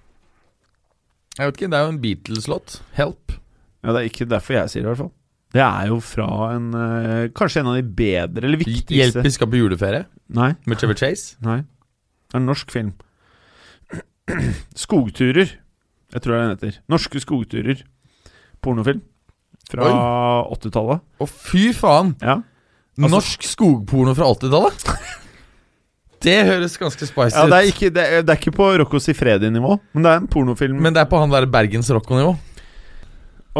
[SPEAKER 2] Jeg vet ikke, det er jo en Beatles-låt. Help.
[SPEAKER 1] Ja, Det er ikke derfor jeg sier det, i hvert fall. Det er jo fra en eh, Kanskje en av de bedre eller viktigste
[SPEAKER 2] Hjelp, vi skal på juleferie.
[SPEAKER 1] Nei,
[SPEAKER 2] Med Trevor Chase.
[SPEAKER 1] nei. Det er en norsk film. [clears throat] Skogturer. Jeg tror det er den heter. Norske skogturer. Pornofilm. Fra 80-tallet.
[SPEAKER 2] Å, fy faen!
[SPEAKER 1] Ja. Altså-
[SPEAKER 2] Norsk skogporno fra [laughs] 80-tallet? det høres ganske spicy
[SPEAKER 1] ja
[SPEAKER 2] ut.
[SPEAKER 1] det, er ikke, det, er, det er ikke på Rocco Sifredi-nivå, men det er en pornofilm.
[SPEAKER 2] Men det er på han der Bergens Rocco-nivå.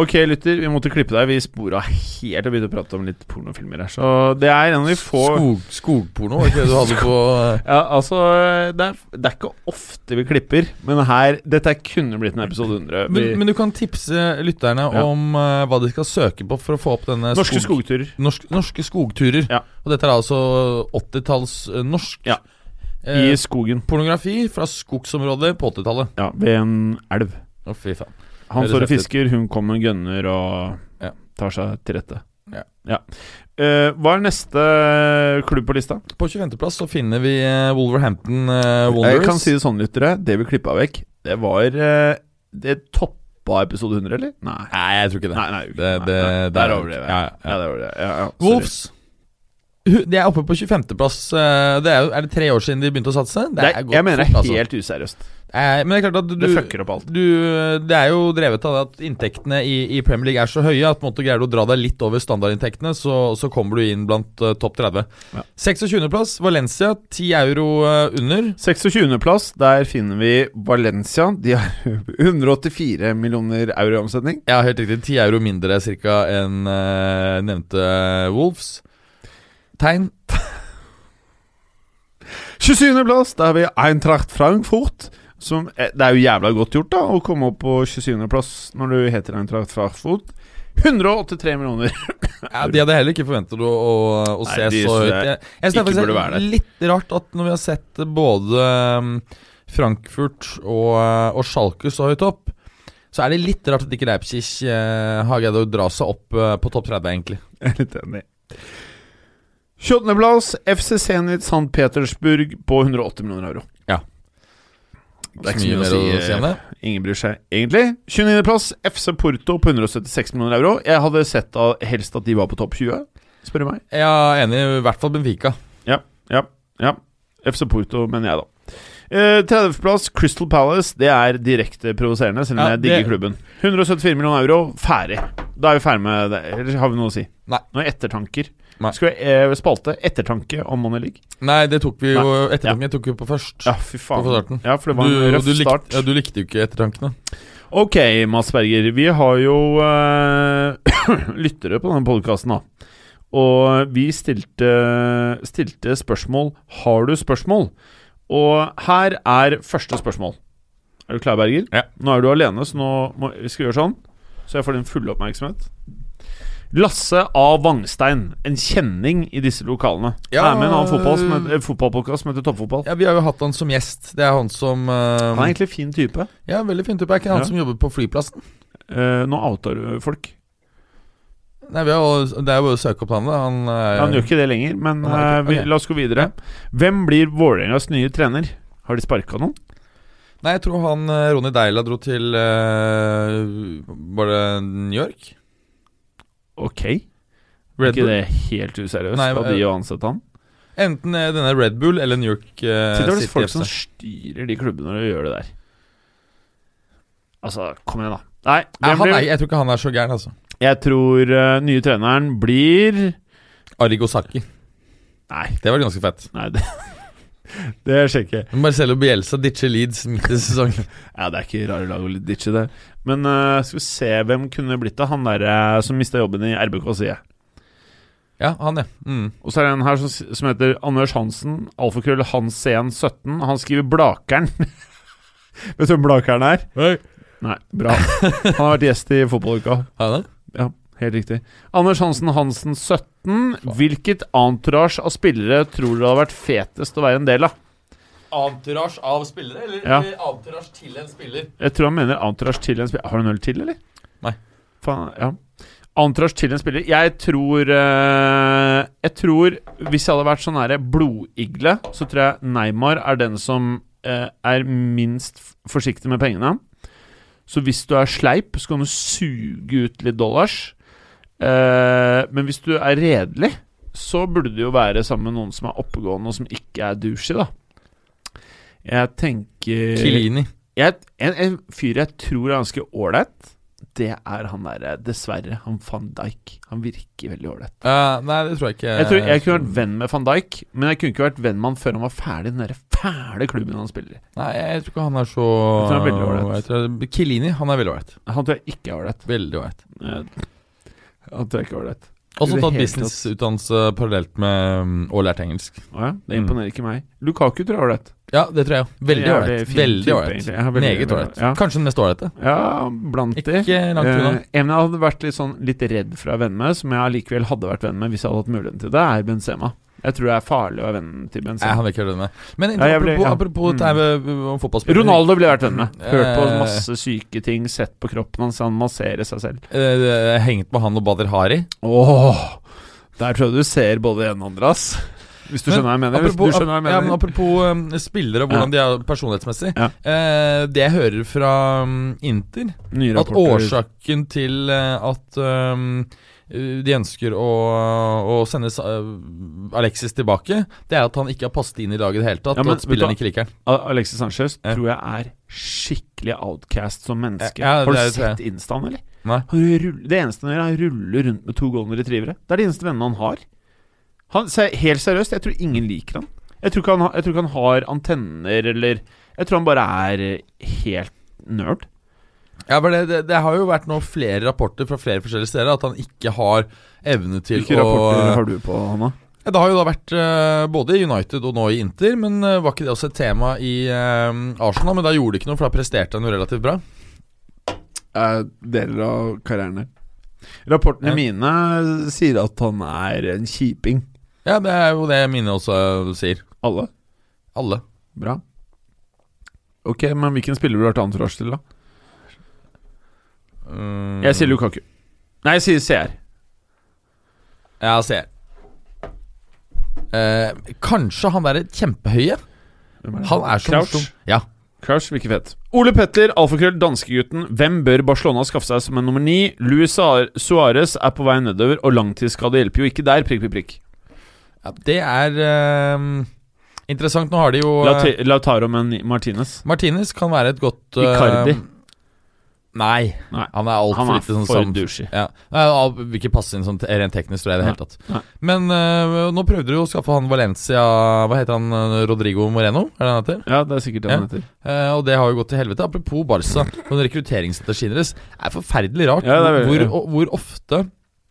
[SPEAKER 1] ok, lytter, vi måtte klippe deg. Vi spora helt og begynte å prate om litt pornofilmer her. Så det er en av de få
[SPEAKER 2] Skog, skogporno, var ikke det du hadde på
[SPEAKER 1] Ja, altså det er, det er ikke ofte vi klipper, men her Dette kunne blitt en episode 100. Vi,
[SPEAKER 2] [laughs] men, men du kan tipse lytterne
[SPEAKER 1] Ja.
[SPEAKER 2] om eh, hva de skal søke på for å få opp denne
[SPEAKER 1] norske
[SPEAKER 2] skog-
[SPEAKER 1] skogturer.
[SPEAKER 2] norsk, norske skogturer.
[SPEAKER 1] Ja.
[SPEAKER 2] Og dette er altså 80-talls eh, norsk
[SPEAKER 1] Ja.
[SPEAKER 2] eh,
[SPEAKER 1] I skogen.
[SPEAKER 2] pornografi fra skogsområder på 80-tallet.
[SPEAKER 1] Ja, ved en elv.
[SPEAKER 2] Å, fy faen.
[SPEAKER 1] Han
[SPEAKER 2] Høres
[SPEAKER 1] står og
[SPEAKER 2] heftig ut.
[SPEAKER 1] fisker, hun kommer med gønner og
[SPEAKER 2] Ja.
[SPEAKER 1] tar seg til rette.
[SPEAKER 2] Ja.
[SPEAKER 1] Eh, hva er neste klubb på lista?
[SPEAKER 2] På 25.-plass så finner vi eh, Wolverhampton eh, Wanderers.
[SPEAKER 1] Jeg kan si det sånn, lyttere. Det vi klippa vekk, det var eh, Det toppa episode 100, eller? Nei.
[SPEAKER 2] Nei, jeg tror ikke det.
[SPEAKER 1] Nei, nei,
[SPEAKER 2] det,
[SPEAKER 1] nei,
[SPEAKER 2] det,
[SPEAKER 1] nei.
[SPEAKER 2] det
[SPEAKER 1] Der overdrev jeg.
[SPEAKER 2] Ja,
[SPEAKER 1] Ja,
[SPEAKER 2] ja, ja.
[SPEAKER 1] det var det. Ja, ja, sorry.
[SPEAKER 2] Wolves. Hu- De er oppe på 25.-plass. eh, Det er, jo- er det tre år siden de begynte å satse?
[SPEAKER 1] Det er, jeg mener det er
[SPEAKER 2] fort, altså.
[SPEAKER 1] helt useriøst.
[SPEAKER 2] Eh, Men det er klart at du
[SPEAKER 1] Det fucker opp alt.
[SPEAKER 2] du, det er jo drevet av det at inntektene i, i Premier League er så høye at på en måte greier du å dra deg litt over standardinntektene, så, så kommer du inn blant eh, topp 30.
[SPEAKER 1] Ja.
[SPEAKER 2] 26.-plass, Valencia. 10 euro eh, under.
[SPEAKER 1] 26.-plass, der finner vi Valencia. De har [laughs] 184 millioner euro i omsetning.
[SPEAKER 2] Ja, helt riktig. 10 euro mindre cirka enn eh, nevnte Wolves. Tegn.
[SPEAKER 1] 27.-plass, der har vi Eintracht Frankfurt. Som, eh, det er jo jævla godt gjort da å komme opp på 27.-plass når du heter Eintracht Frankfurt. 183 millioner.
[SPEAKER 2] Ja, de hadde heller ikke forventet å, å, å
[SPEAKER 1] Nei,
[SPEAKER 2] se
[SPEAKER 1] de
[SPEAKER 2] så
[SPEAKER 1] synes
[SPEAKER 2] høyt.
[SPEAKER 1] jeg
[SPEAKER 2] Jeg, jeg synes
[SPEAKER 1] ikke
[SPEAKER 2] det er
[SPEAKER 1] burde være der.
[SPEAKER 2] faktisk litt rart at når vi har sett både um, Frankfurt og, uh, og Schalke så høyt opp, så er det litt rart at ikke Leipzig eh, har greid å dra seg opp eh, på topp 30, egentlig.
[SPEAKER 1] [laughs] Jeg er litt enig. 28.-plass, FC Zenit St. Petersburg på 180 millioner euro.
[SPEAKER 2] Ja.
[SPEAKER 1] Det er ikke så mye
[SPEAKER 2] mer
[SPEAKER 1] å si. eh,
[SPEAKER 2] om det.
[SPEAKER 1] Ingen bryr seg, egentlig. 29.-plass, FC Porto på 176 millioner euro. Jeg hadde sett da, helst at de var på topp 20, spør du meg.
[SPEAKER 2] Ja, enig. I hvert fall Benfica.
[SPEAKER 1] Ja, ja. FC Porto, mener jeg, da. Eh, 30.-plass, Crystal Palace. Det er direkte provoserende, selv om
[SPEAKER 2] Ja,
[SPEAKER 1] jeg digger
[SPEAKER 2] det-
[SPEAKER 1] klubben. 174 millioner euro, ferdig. Da er vi ferdig med det. Eller har vi noe å si?
[SPEAKER 2] Nei.
[SPEAKER 1] Noen ettertanker?
[SPEAKER 2] Nei.
[SPEAKER 1] Skal vi eh, spalte ettertanke om Money League?
[SPEAKER 2] Nei, det tok vi jo ettertanken tok vi på først.
[SPEAKER 1] Ja, fy faen.
[SPEAKER 2] På starten.
[SPEAKER 1] Ja, for det var en
[SPEAKER 2] Du,
[SPEAKER 1] røff
[SPEAKER 2] du, likte,
[SPEAKER 1] start.
[SPEAKER 2] ja, du likte jo ikke ettertankene.
[SPEAKER 1] Ok, Mads Berger. Vi har jo eh, [coughs] lyttere på denne podkasten, da. Og vi stilte, stilte spørsmål Har du spørsmål? Og her er første spørsmål. Er du klar, Berger?
[SPEAKER 2] Ja.
[SPEAKER 1] Nå er du alene, så nå må, vi skal gjøre sånn. Så jeg får din fulle oppmerksomhet. Lasse A. Vangstein, en kjenning i disse lokalene.
[SPEAKER 2] Ja,
[SPEAKER 1] er med i en annen fotball som heter- eh, fotballpodkast som heter Toppfotball.
[SPEAKER 2] Ja, Vi har jo hatt han som gjest. Det er han som eh,
[SPEAKER 1] Han er egentlig fin type.
[SPEAKER 2] Ja, veldig fin type. Er ikke han
[SPEAKER 1] Ja.
[SPEAKER 2] som jobber på flyplassen?
[SPEAKER 1] Eh, nå outer du folk.
[SPEAKER 2] Nei, vi har, jo- Det er jo bare å søke opp han, da. Han, eh,
[SPEAKER 1] Han gjør ikke det lenger, men
[SPEAKER 2] Han har ikke-
[SPEAKER 1] eh, vi,
[SPEAKER 2] ok.
[SPEAKER 1] la oss gå videre. Hvem blir Vålerengas nye trener? Har de sparka noen?
[SPEAKER 2] Nei, jeg tror han eh, Ronny Deila dro til eh, Var det New York?
[SPEAKER 1] Ok. Er
[SPEAKER 2] Red
[SPEAKER 1] ikke
[SPEAKER 2] Bull.
[SPEAKER 1] det helt useriøst
[SPEAKER 2] Nei,
[SPEAKER 1] av
[SPEAKER 2] eh,
[SPEAKER 1] de å ansette han?
[SPEAKER 2] Enten eh, denne Red Bull eller New York eh,
[SPEAKER 1] Sitter det vel
[SPEAKER 2] City
[SPEAKER 1] folk
[SPEAKER 2] FC.
[SPEAKER 1] som styrer de klubbene og gjør det der? Altså, kom igjen, da. Nei,
[SPEAKER 2] Nei,
[SPEAKER 1] hvem
[SPEAKER 2] han er,
[SPEAKER 1] blir
[SPEAKER 2] jeg tror ikke han er så gæren, altså.
[SPEAKER 1] Jeg tror eh, nye treneren blir
[SPEAKER 2] Arigosaki.
[SPEAKER 1] Nei,
[SPEAKER 2] Det var ganske fett.
[SPEAKER 1] nei det, [laughs] det sjekker jeg.
[SPEAKER 2] Marcelo Bielsa ditcher Leeds midt i sesongen. [laughs]
[SPEAKER 1] Ja, det er ikke rare lag å ditche det. Men eh, skal vi se hvem kunne blitt det? Han derre som mista jobben i RBK, sier jeg.
[SPEAKER 2] ja, han, ja. Mm.
[SPEAKER 1] Og så er det en her som, som heter Anders Hansen, alfakrøll Hansen17. Han skriver Blakeren. [laughs] Vet du hvem Blakeren er? Nei, bra. Han har vært gjest i fotballuka.
[SPEAKER 2] Han er.
[SPEAKER 1] Helt riktig. Anders Hansen Hansen17. Hvilket entourage av spillere tror dere hadde vært fetest å være en del av?
[SPEAKER 2] Entourage av spillere, eller,
[SPEAKER 1] Ja.
[SPEAKER 2] entourage til en spiller?
[SPEAKER 1] Jeg tror han mener entourage til en spiller. Har du en øl til, eller?
[SPEAKER 2] Nei.
[SPEAKER 1] Faen, ja. Entourage til en spiller. Jeg tror eh, Jeg tror Hvis jeg hadde vært sånn her blodigle, så tror jeg Neymar er den som eh, er minst f- forsiktig med pengene. Så hvis du er sleip, så kan du suge ut litt dollars. Eh, men hvis du er redelig, så burde du jo være sammen med noen som er oppegående, og som ikke er douchey, da. Jeg tenker
[SPEAKER 2] Kilini.
[SPEAKER 1] jeg, en, en fyr jeg tror er ganske ålreit, det er han derre Dessverre, han van Dijk. Han virker veldig ålreit.
[SPEAKER 2] Eh, nei, det tror jeg ikke.
[SPEAKER 1] Jeg tror jeg kunne vært venn med van Dijk, men jeg kunne ikke vært venn med han før han var ferdig i den derre fæle klubben han spiller i.
[SPEAKER 2] Nei, jeg tror ikke han er så
[SPEAKER 1] Jeg tror han er veldig ålreit.
[SPEAKER 2] Jeg tror- Chiellini, han er veldig ålreit.
[SPEAKER 1] Han tror jeg ikke er ålreit.
[SPEAKER 2] Veldig ålreit.
[SPEAKER 1] Eh, Han tror jeg ikke er ålreit. I
[SPEAKER 2] Også
[SPEAKER 1] det
[SPEAKER 2] tatt
[SPEAKER 1] hele
[SPEAKER 2] businessutdannelse parallelt med um, og lært engelsk.
[SPEAKER 1] Å ja, det imponerer ikke meg. Lukaku tror jeg er ålreit.
[SPEAKER 2] Ja, det tror jeg. Veldig
[SPEAKER 1] Jævlig
[SPEAKER 2] ålreit.
[SPEAKER 1] fin
[SPEAKER 2] Veldig
[SPEAKER 1] type,
[SPEAKER 2] ålreit.
[SPEAKER 1] egentlig. Ja, veldig,
[SPEAKER 2] Meget
[SPEAKER 1] veldig
[SPEAKER 2] ålreit.
[SPEAKER 1] ålreit.
[SPEAKER 2] Kanskje den neste ålreit,
[SPEAKER 1] Ja, blant de.
[SPEAKER 2] Ikke langt
[SPEAKER 1] Eh,
[SPEAKER 2] unna.
[SPEAKER 1] en jeg hadde vært litt, sånn, litt redd for å være venn med, som jeg allikevel hadde vært venn med hvis jeg hadde hatt muligheten til det, er Benzema. Jeg tror det er farlig å være venn til
[SPEAKER 2] Nei,
[SPEAKER 1] Benzema.
[SPEAKER 2] han vil ikke gjøre det med. Men
[SPEAKER 1] Ja, jeg
[SPEAKER 2] apropos,
[SPEAKER 1] blir- ja.
[SPEAKER 2] apropos
[SPEAKER 1] Mm.
[SPEAKER 2] det her med med fotballspillere
[SPEAKER 1] Ronaldo ville jeg vært venn med. Hørt på
[SPEAKER 2] Eh.
[SPEAKER 1] masse syke ting, sett på kroppen hans, han masserer seg selv.
[SPEAKER 2] eh, Hengt med han og Bader Hari.
[SPEAKER 1] Åh, der tror jeg du ser både en og andre, ass. Hvis du
[SPEAKER 2] Men
[SPEAKER 1] skjønner hva jeg mener. Hvis
[SPEAKER 2] Apropos,
[SPEAKER 1] du skjønner hva
[SPEAKER 2] ja,
[SPEAKER 1] jeg
[SPEAKER 2] men
[SPEAKER 1] mener.
[SPEAKER 2] apropos eh, spillere og hvordan de er personlighetsmessig.
[SPEAKER 1] Ja.
[SPEAKER 2] Eh, det jeg hører fra mm, Inter,
[SPEAKER 1] Nye
[SPEAKER 2] at
[SPEAKER 1] rapporter.
[SPEAKER 2] årsaken til eh, at um, de ønsker å, å sende Sa- eh, Alexis tilbake, det er at han ikke har passet inn i laget i det hele tatt,
[SPEAKER 1] Ja, men
[SPEAKER 2] og
[SPEAKER 1] vet
[SPEAKER 2] at
[SPEAKER 1] du hva?
[SPEAKER 2] spillerne ikke liker han.
[SPEAKER 1] A- Alexis Sanchez
[SPEAKER 2] Ja.
[SPEAKER 1] tror jeg er skikkelig outcast som menneske.
[SPEAKER 2] Ja, ja,
[SPEAKER 1] Har du
[SPEAKER 2] det tror jeg.
[SPEAKER 1] sett instaen, eller?
[SPEAKER 2] Nei.
[SPEAKER 1] Han rull- det eneste han gjør, er å rulle rundt med to golden retrievere. Det er de eneste vennene han har. Han, se, helt seriøst, jeg tror ingen liker han. Jeg tror ikke han, har- jeg tror ikke han har antenner eller Jeg tror han bare er eh, helt nerd.
[SPEAKER 2] Ja, for det, det, det har jo vært nå flere rapporter fra flere forskjellige steder at han ikke har evne til
[SPEAKER 1] Hvilke
[SPEAKER 2] å
[SPEAKER 1] rapporter har du på, Hanna?
[SPEAKER 2] Ja, Det har jo da vært eh, både i United og nå i Inter, men eh, var ikke det også et tema i eh, Arsenal? Men da gjorde det ikke noe, for da presterte han jo relativt bra.
[SPEAKER 3] Er deler av karrieren der.
[SPEAKER 1] Rapportene
[SPEAKER 2] Ja.
[SPEAKER 1] mine sier at han er en kjiping.
[SPEAKER 2] Ja, det er jo det mine også eh, sier.
[SPEAKER 1] Alle.
[SPEAKER 2] Alle.
[SPEAKER 1] Bra.
[SPEAKER 3] Ok, men hvilken spiller burde vært antorasj til, da?
[SPEAKER 2] Mm.
[SPEAKER 1] Jeg sier Lukaku. Nei, jeg sier CR.
[SPEAKER 2] Ja, se her. Eh, kanskje han derre kjempehøye? Han er så
[SPEAKER 1] Crouch?
[SPEAKER 2] morsom. Ja.
[SPEAKER 1] Crouch, virker fett. Ole Petter, alfakrøll, danskegutten. Hvem bør Barcelona skaffe seg som en nummer ni? Luis Suárez er på vei nedover, og langtidsskade hjelper jo ikke der, prikk, prikk, prikk.
[SPEAKER 2] ja. Det er eh, interessant. Nå har de jo eh,
[SPEAKER 1] Laute- Lautaro med en ni- Martinez.
[SPEAKER 2] Martinez kan være et godt eh,
[SPEAKER 1] Icardi.
[SPEAKER 2] Nei.
[SPEAKER 1] Nei.
[SPEAKER 2] Han er altfor
[SPEAKER 1] Han er
[SPEAKER 2] lite sånn
[SPEAKER 1] for
[SPEAKER 2] sam-
[SPEAKER 1] douchey.
[SPEAKER 2] Ja. Nei, han Vil ikke passe inn sånn te- rent teknisk, tror jeg. i det hele tatt
[SPEAKER 1] Nei.
[SPEAKER 2] Men eh, nå prøvde du å skaffe han Valencia Hva heter han? eh, Rodrigo Moreno? Er det han heter?
[SPEAKER 1] Ja, det er sikkert det han heter.
[SPEAKER 2] Eh, og det har jo gått til helvete. Apropos
[SPEAKER 1] [laughs]
[SPEAKER 2] Barca. men Rekrutteringsstrategien deres er forferdelig rart.
[SPEAKER 1] Ja, det er veldig-
[SPEAKER 2] hvor, og, hvor ofte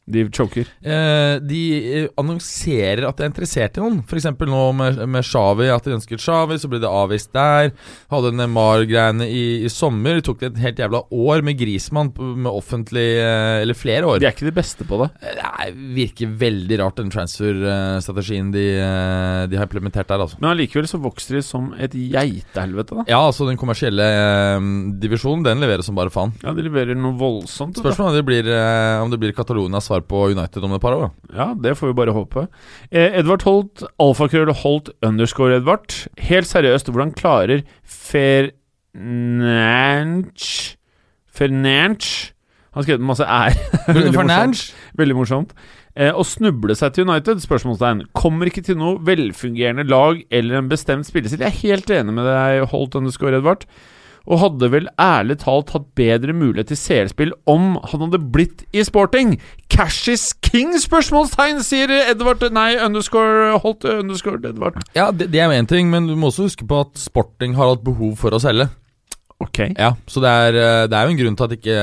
[SPEAKER 1] De choker.
[SPEAKER 2] eh, de eh, annonserer at de er interessert i noen. F.eks. nå med, med Xavi, at de ønsket Xavi, så ble det avvist der. Hadde Neymar-greiene i, i sommer. Det tok det et helt jævla år med Grismann på- med offentlig eh, Eller flere år.
[SPEAKER 1] De er ikke de beste på det.
[SPEAKER 2] Det virker veldig rart, den transfer-strategien de, eh, de har implementert der, altså.
[SPEAKER 1] Men allikevel så vokser de som et geitehelvete, da.
[SPEAKER 2] Ja, altså den kommersielle eh, divisjonen, den leveres som bare faen.
[SPEAKER 1] Ja, de leverer noe voldsomt. vet du.
[SPEAKER 2] Spørsmålet er om det blir, eh, om det blir Catalonias svar på United om et par år. da.
[SPEAKER 1] Ja, det får vi bare håpe. Eh, Edvard Holt, alfakrøll Holt underscore Edvard. Helt seriøst, hvordan klarer Fernanch Fernanch Han har skrevet med masse ære.
[SPEAKER 2] [laughs]
[SPEAKER 1] [laughs]
[SPEAKER 2] Bruno
[SPEAKER 1] Veldig morsomt.
[SPEAKER 2] Fernandes?
[SPEAKER 1] Veldig morsomt. Eh, å snuble seg til United? Spørsmålstegn. Kommer ikke til noe velfungerende lag eller en bestemt spillestil. Jeg er helt enig med deg, Holt underscore Edvard. Og hadde vel ærlig talt hatt bedre mulighet til seerspill om han hadde blitt i sporting. Cash is king? spørsmålstegn, sier Edvard Nei, underscore Holt underscore Edvard.
[SPEAKER 2] Ja, det, det er jo én ting, men du må også huske på at sporting har hatt behov for å selge.
[SPEAKER 1] Ok.
[SPEAKER 2] Ja, Så det er, eh, det er jo en grunn til at ikke,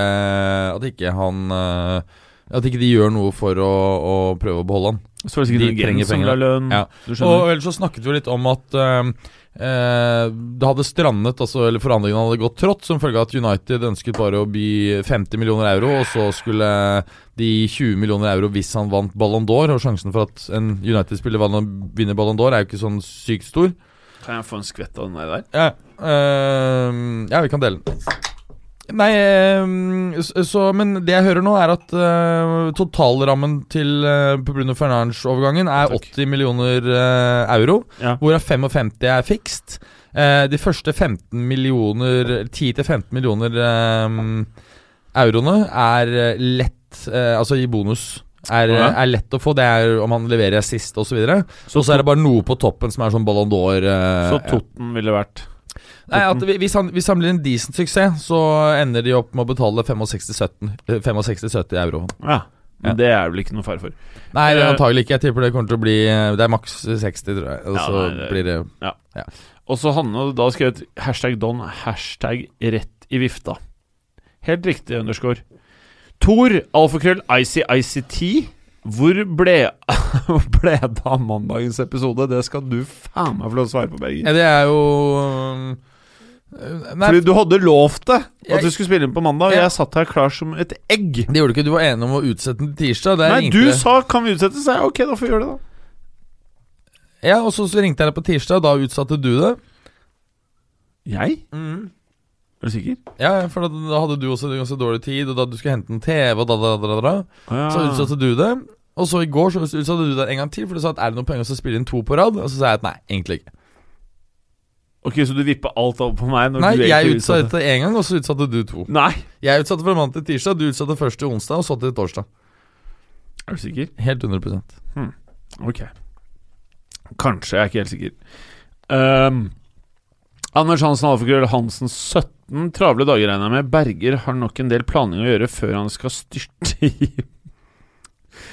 [SPEAKER 2] at ikke han eh, At ikke de gjør noe for å, å prøve å beholde han.
[SPEAKER 1] Så var det sikkert
[SPEAKER 2] De
[SPEAKER 1] en agent
[SPEAKER 2] trenger
[SPEAKER 1] som
[SPEAKER 2] penger.
[SPEAKER 1] vil ha lønn.
[SPEAKER 2] Ja.
[SPEAKER 1] Du skjønner.
[SPEAKER 2] Og ellers så snakket vi litt om at eh, eh, det hadde strandet, altså, eller forhandlingene hadde gått trått, som følge av at United ønsket bare å by 50 millioner euro, og så skulle de gi 20 millioner euro hvis han vant Ballon d'Or, og sjansen for at en United-spiller vann- vinner Ballon d'Or er jo ikke sånn sykt stor.
[SPEAKER 1] kan jeg få en skvett av den der?
[SPEAKER 2] Ja, eh, ja vi kan dele den. Nei, eh, s- så, men det jeg hører nå, er at eh, totalrammen til eh, på Bruno Fernandes-overgangen er
[SPEAKER 1] Takk.
[SPEAKER 2] 80 millioner eh, euro,
[SPEAKER 1] Ja.
[SPEAKER 2] hvorav 55 er fikst. Eh, de første 15 millioner 10-15 millioner eh, euroene er eh, lett eh, Altså i bonus. Er,
[SPEAKER 1] Ja.
[SPEAKER 2] er lett å få. Det er om han leverer sist osv. Og så videre. Og så er det bare noe på toppen som er sånn Ballon d'Or. eh,
[SPEAKER 1] Så Totten ville vært
[SPEAKER 2] Nei, at vi, vi, sam- vi samler en decent suksess, så ender de opp med å betale 65-70 eh, 65-70 euro.
[SPEAKER 1] Ja. Men
[SPEAKER 2] Ja.
[SPEAKER 1] det er vel ikke noe fare for.
[SPEAKER 2] Nei,
[SPEAKER 1] Eh,
[SPEAKER 2] antagelig ikke. Jeg tipper det kommer til å bli eh, Det er maks 60, tror jeg. Og
[SPEAKER 1] Ja,
[SPEAKER 2] så
[SPEAKER 1] nei, det-
[SPEAKER 2] blir det
[SPEAKER 1] Og så Hanne hadde da skrevet hashtag Don, hashtag rett i vifta. Helt riktig, underscore. Tor, alfakrøll, ICICT. Hvor ble, [laughs] hvor ble det av mandagens episode? Det skal du faen meg få lov til å svare på, Berger.
[SPEAKER 2] Ja, det er jo eh, Nei,
[SPEAKER 1] Fordi du hadde lovt det, at
[SPEAKER 2] Jeg-
[SPEAKER 1] du skulle spille inn på mandag, og
[SPEAKER 2] Ja.
[SPEAKER 1] jeg satt her klar som et egg.
[SPEAKER 2] det gjorde du ikke. Du var enig om å utsette den til tirsdag. Der
[SPEAKER 1] Nei,
[SPEAKER 2] ringte
[SPEAKER 1] du
[SPEAKER 2] det.
[SPEAKER 1] sa 'kan vi utsette', sa jeg. Ok, da får vi gjøre det, da.
[SPEAKER 2] Ja, og så så ringte jeg deg på tirsdag, og da utsatte du det.
[SPEAKER 1] Jeg? Mm. Er du sikker?
[SPEAKER 2] Ja, ja, for da, da hadde du også ganske dårlig tid, og da du skulle hente en TV, og da, da, da, da, da. Så
[SPEAKER 1] Ah.
[SPEAKER 2] utsatte du det. Og så i går så utsatte du det en gang til, for du sa at er det noen penger til å spille inn to på rad? Og så sa jeg at nei, egentlig ikke.
[SPEAKER 1] Ok, så du vippa alt over på meg? Når
[SPEAKER 2] Nei,
[SPEAKER 1] du
[SPEAKER 2] jeg
[SPEAKER 1] egentlig
[SPEAKER 2] utsatte det én gang, og så utsatte du to.
[SPEAKER 1] Nei!
[SPEAKER 2] Jeg utsatte fra mandag til tirsdag, du utsatte først til onsdag, og så til torsdag.
[SPEAKER 1] Er du sikker?
[SPEAKER 2] Helt 100
[SPEAKER 1] Ok. Kanskje, jeg er ikke helt sikker. Ehm, Anders Hansen Alfakrøll Hansen 17. Travle dager, regner jeg med. Berger har nok en del planing å gjøre før han skal styrte i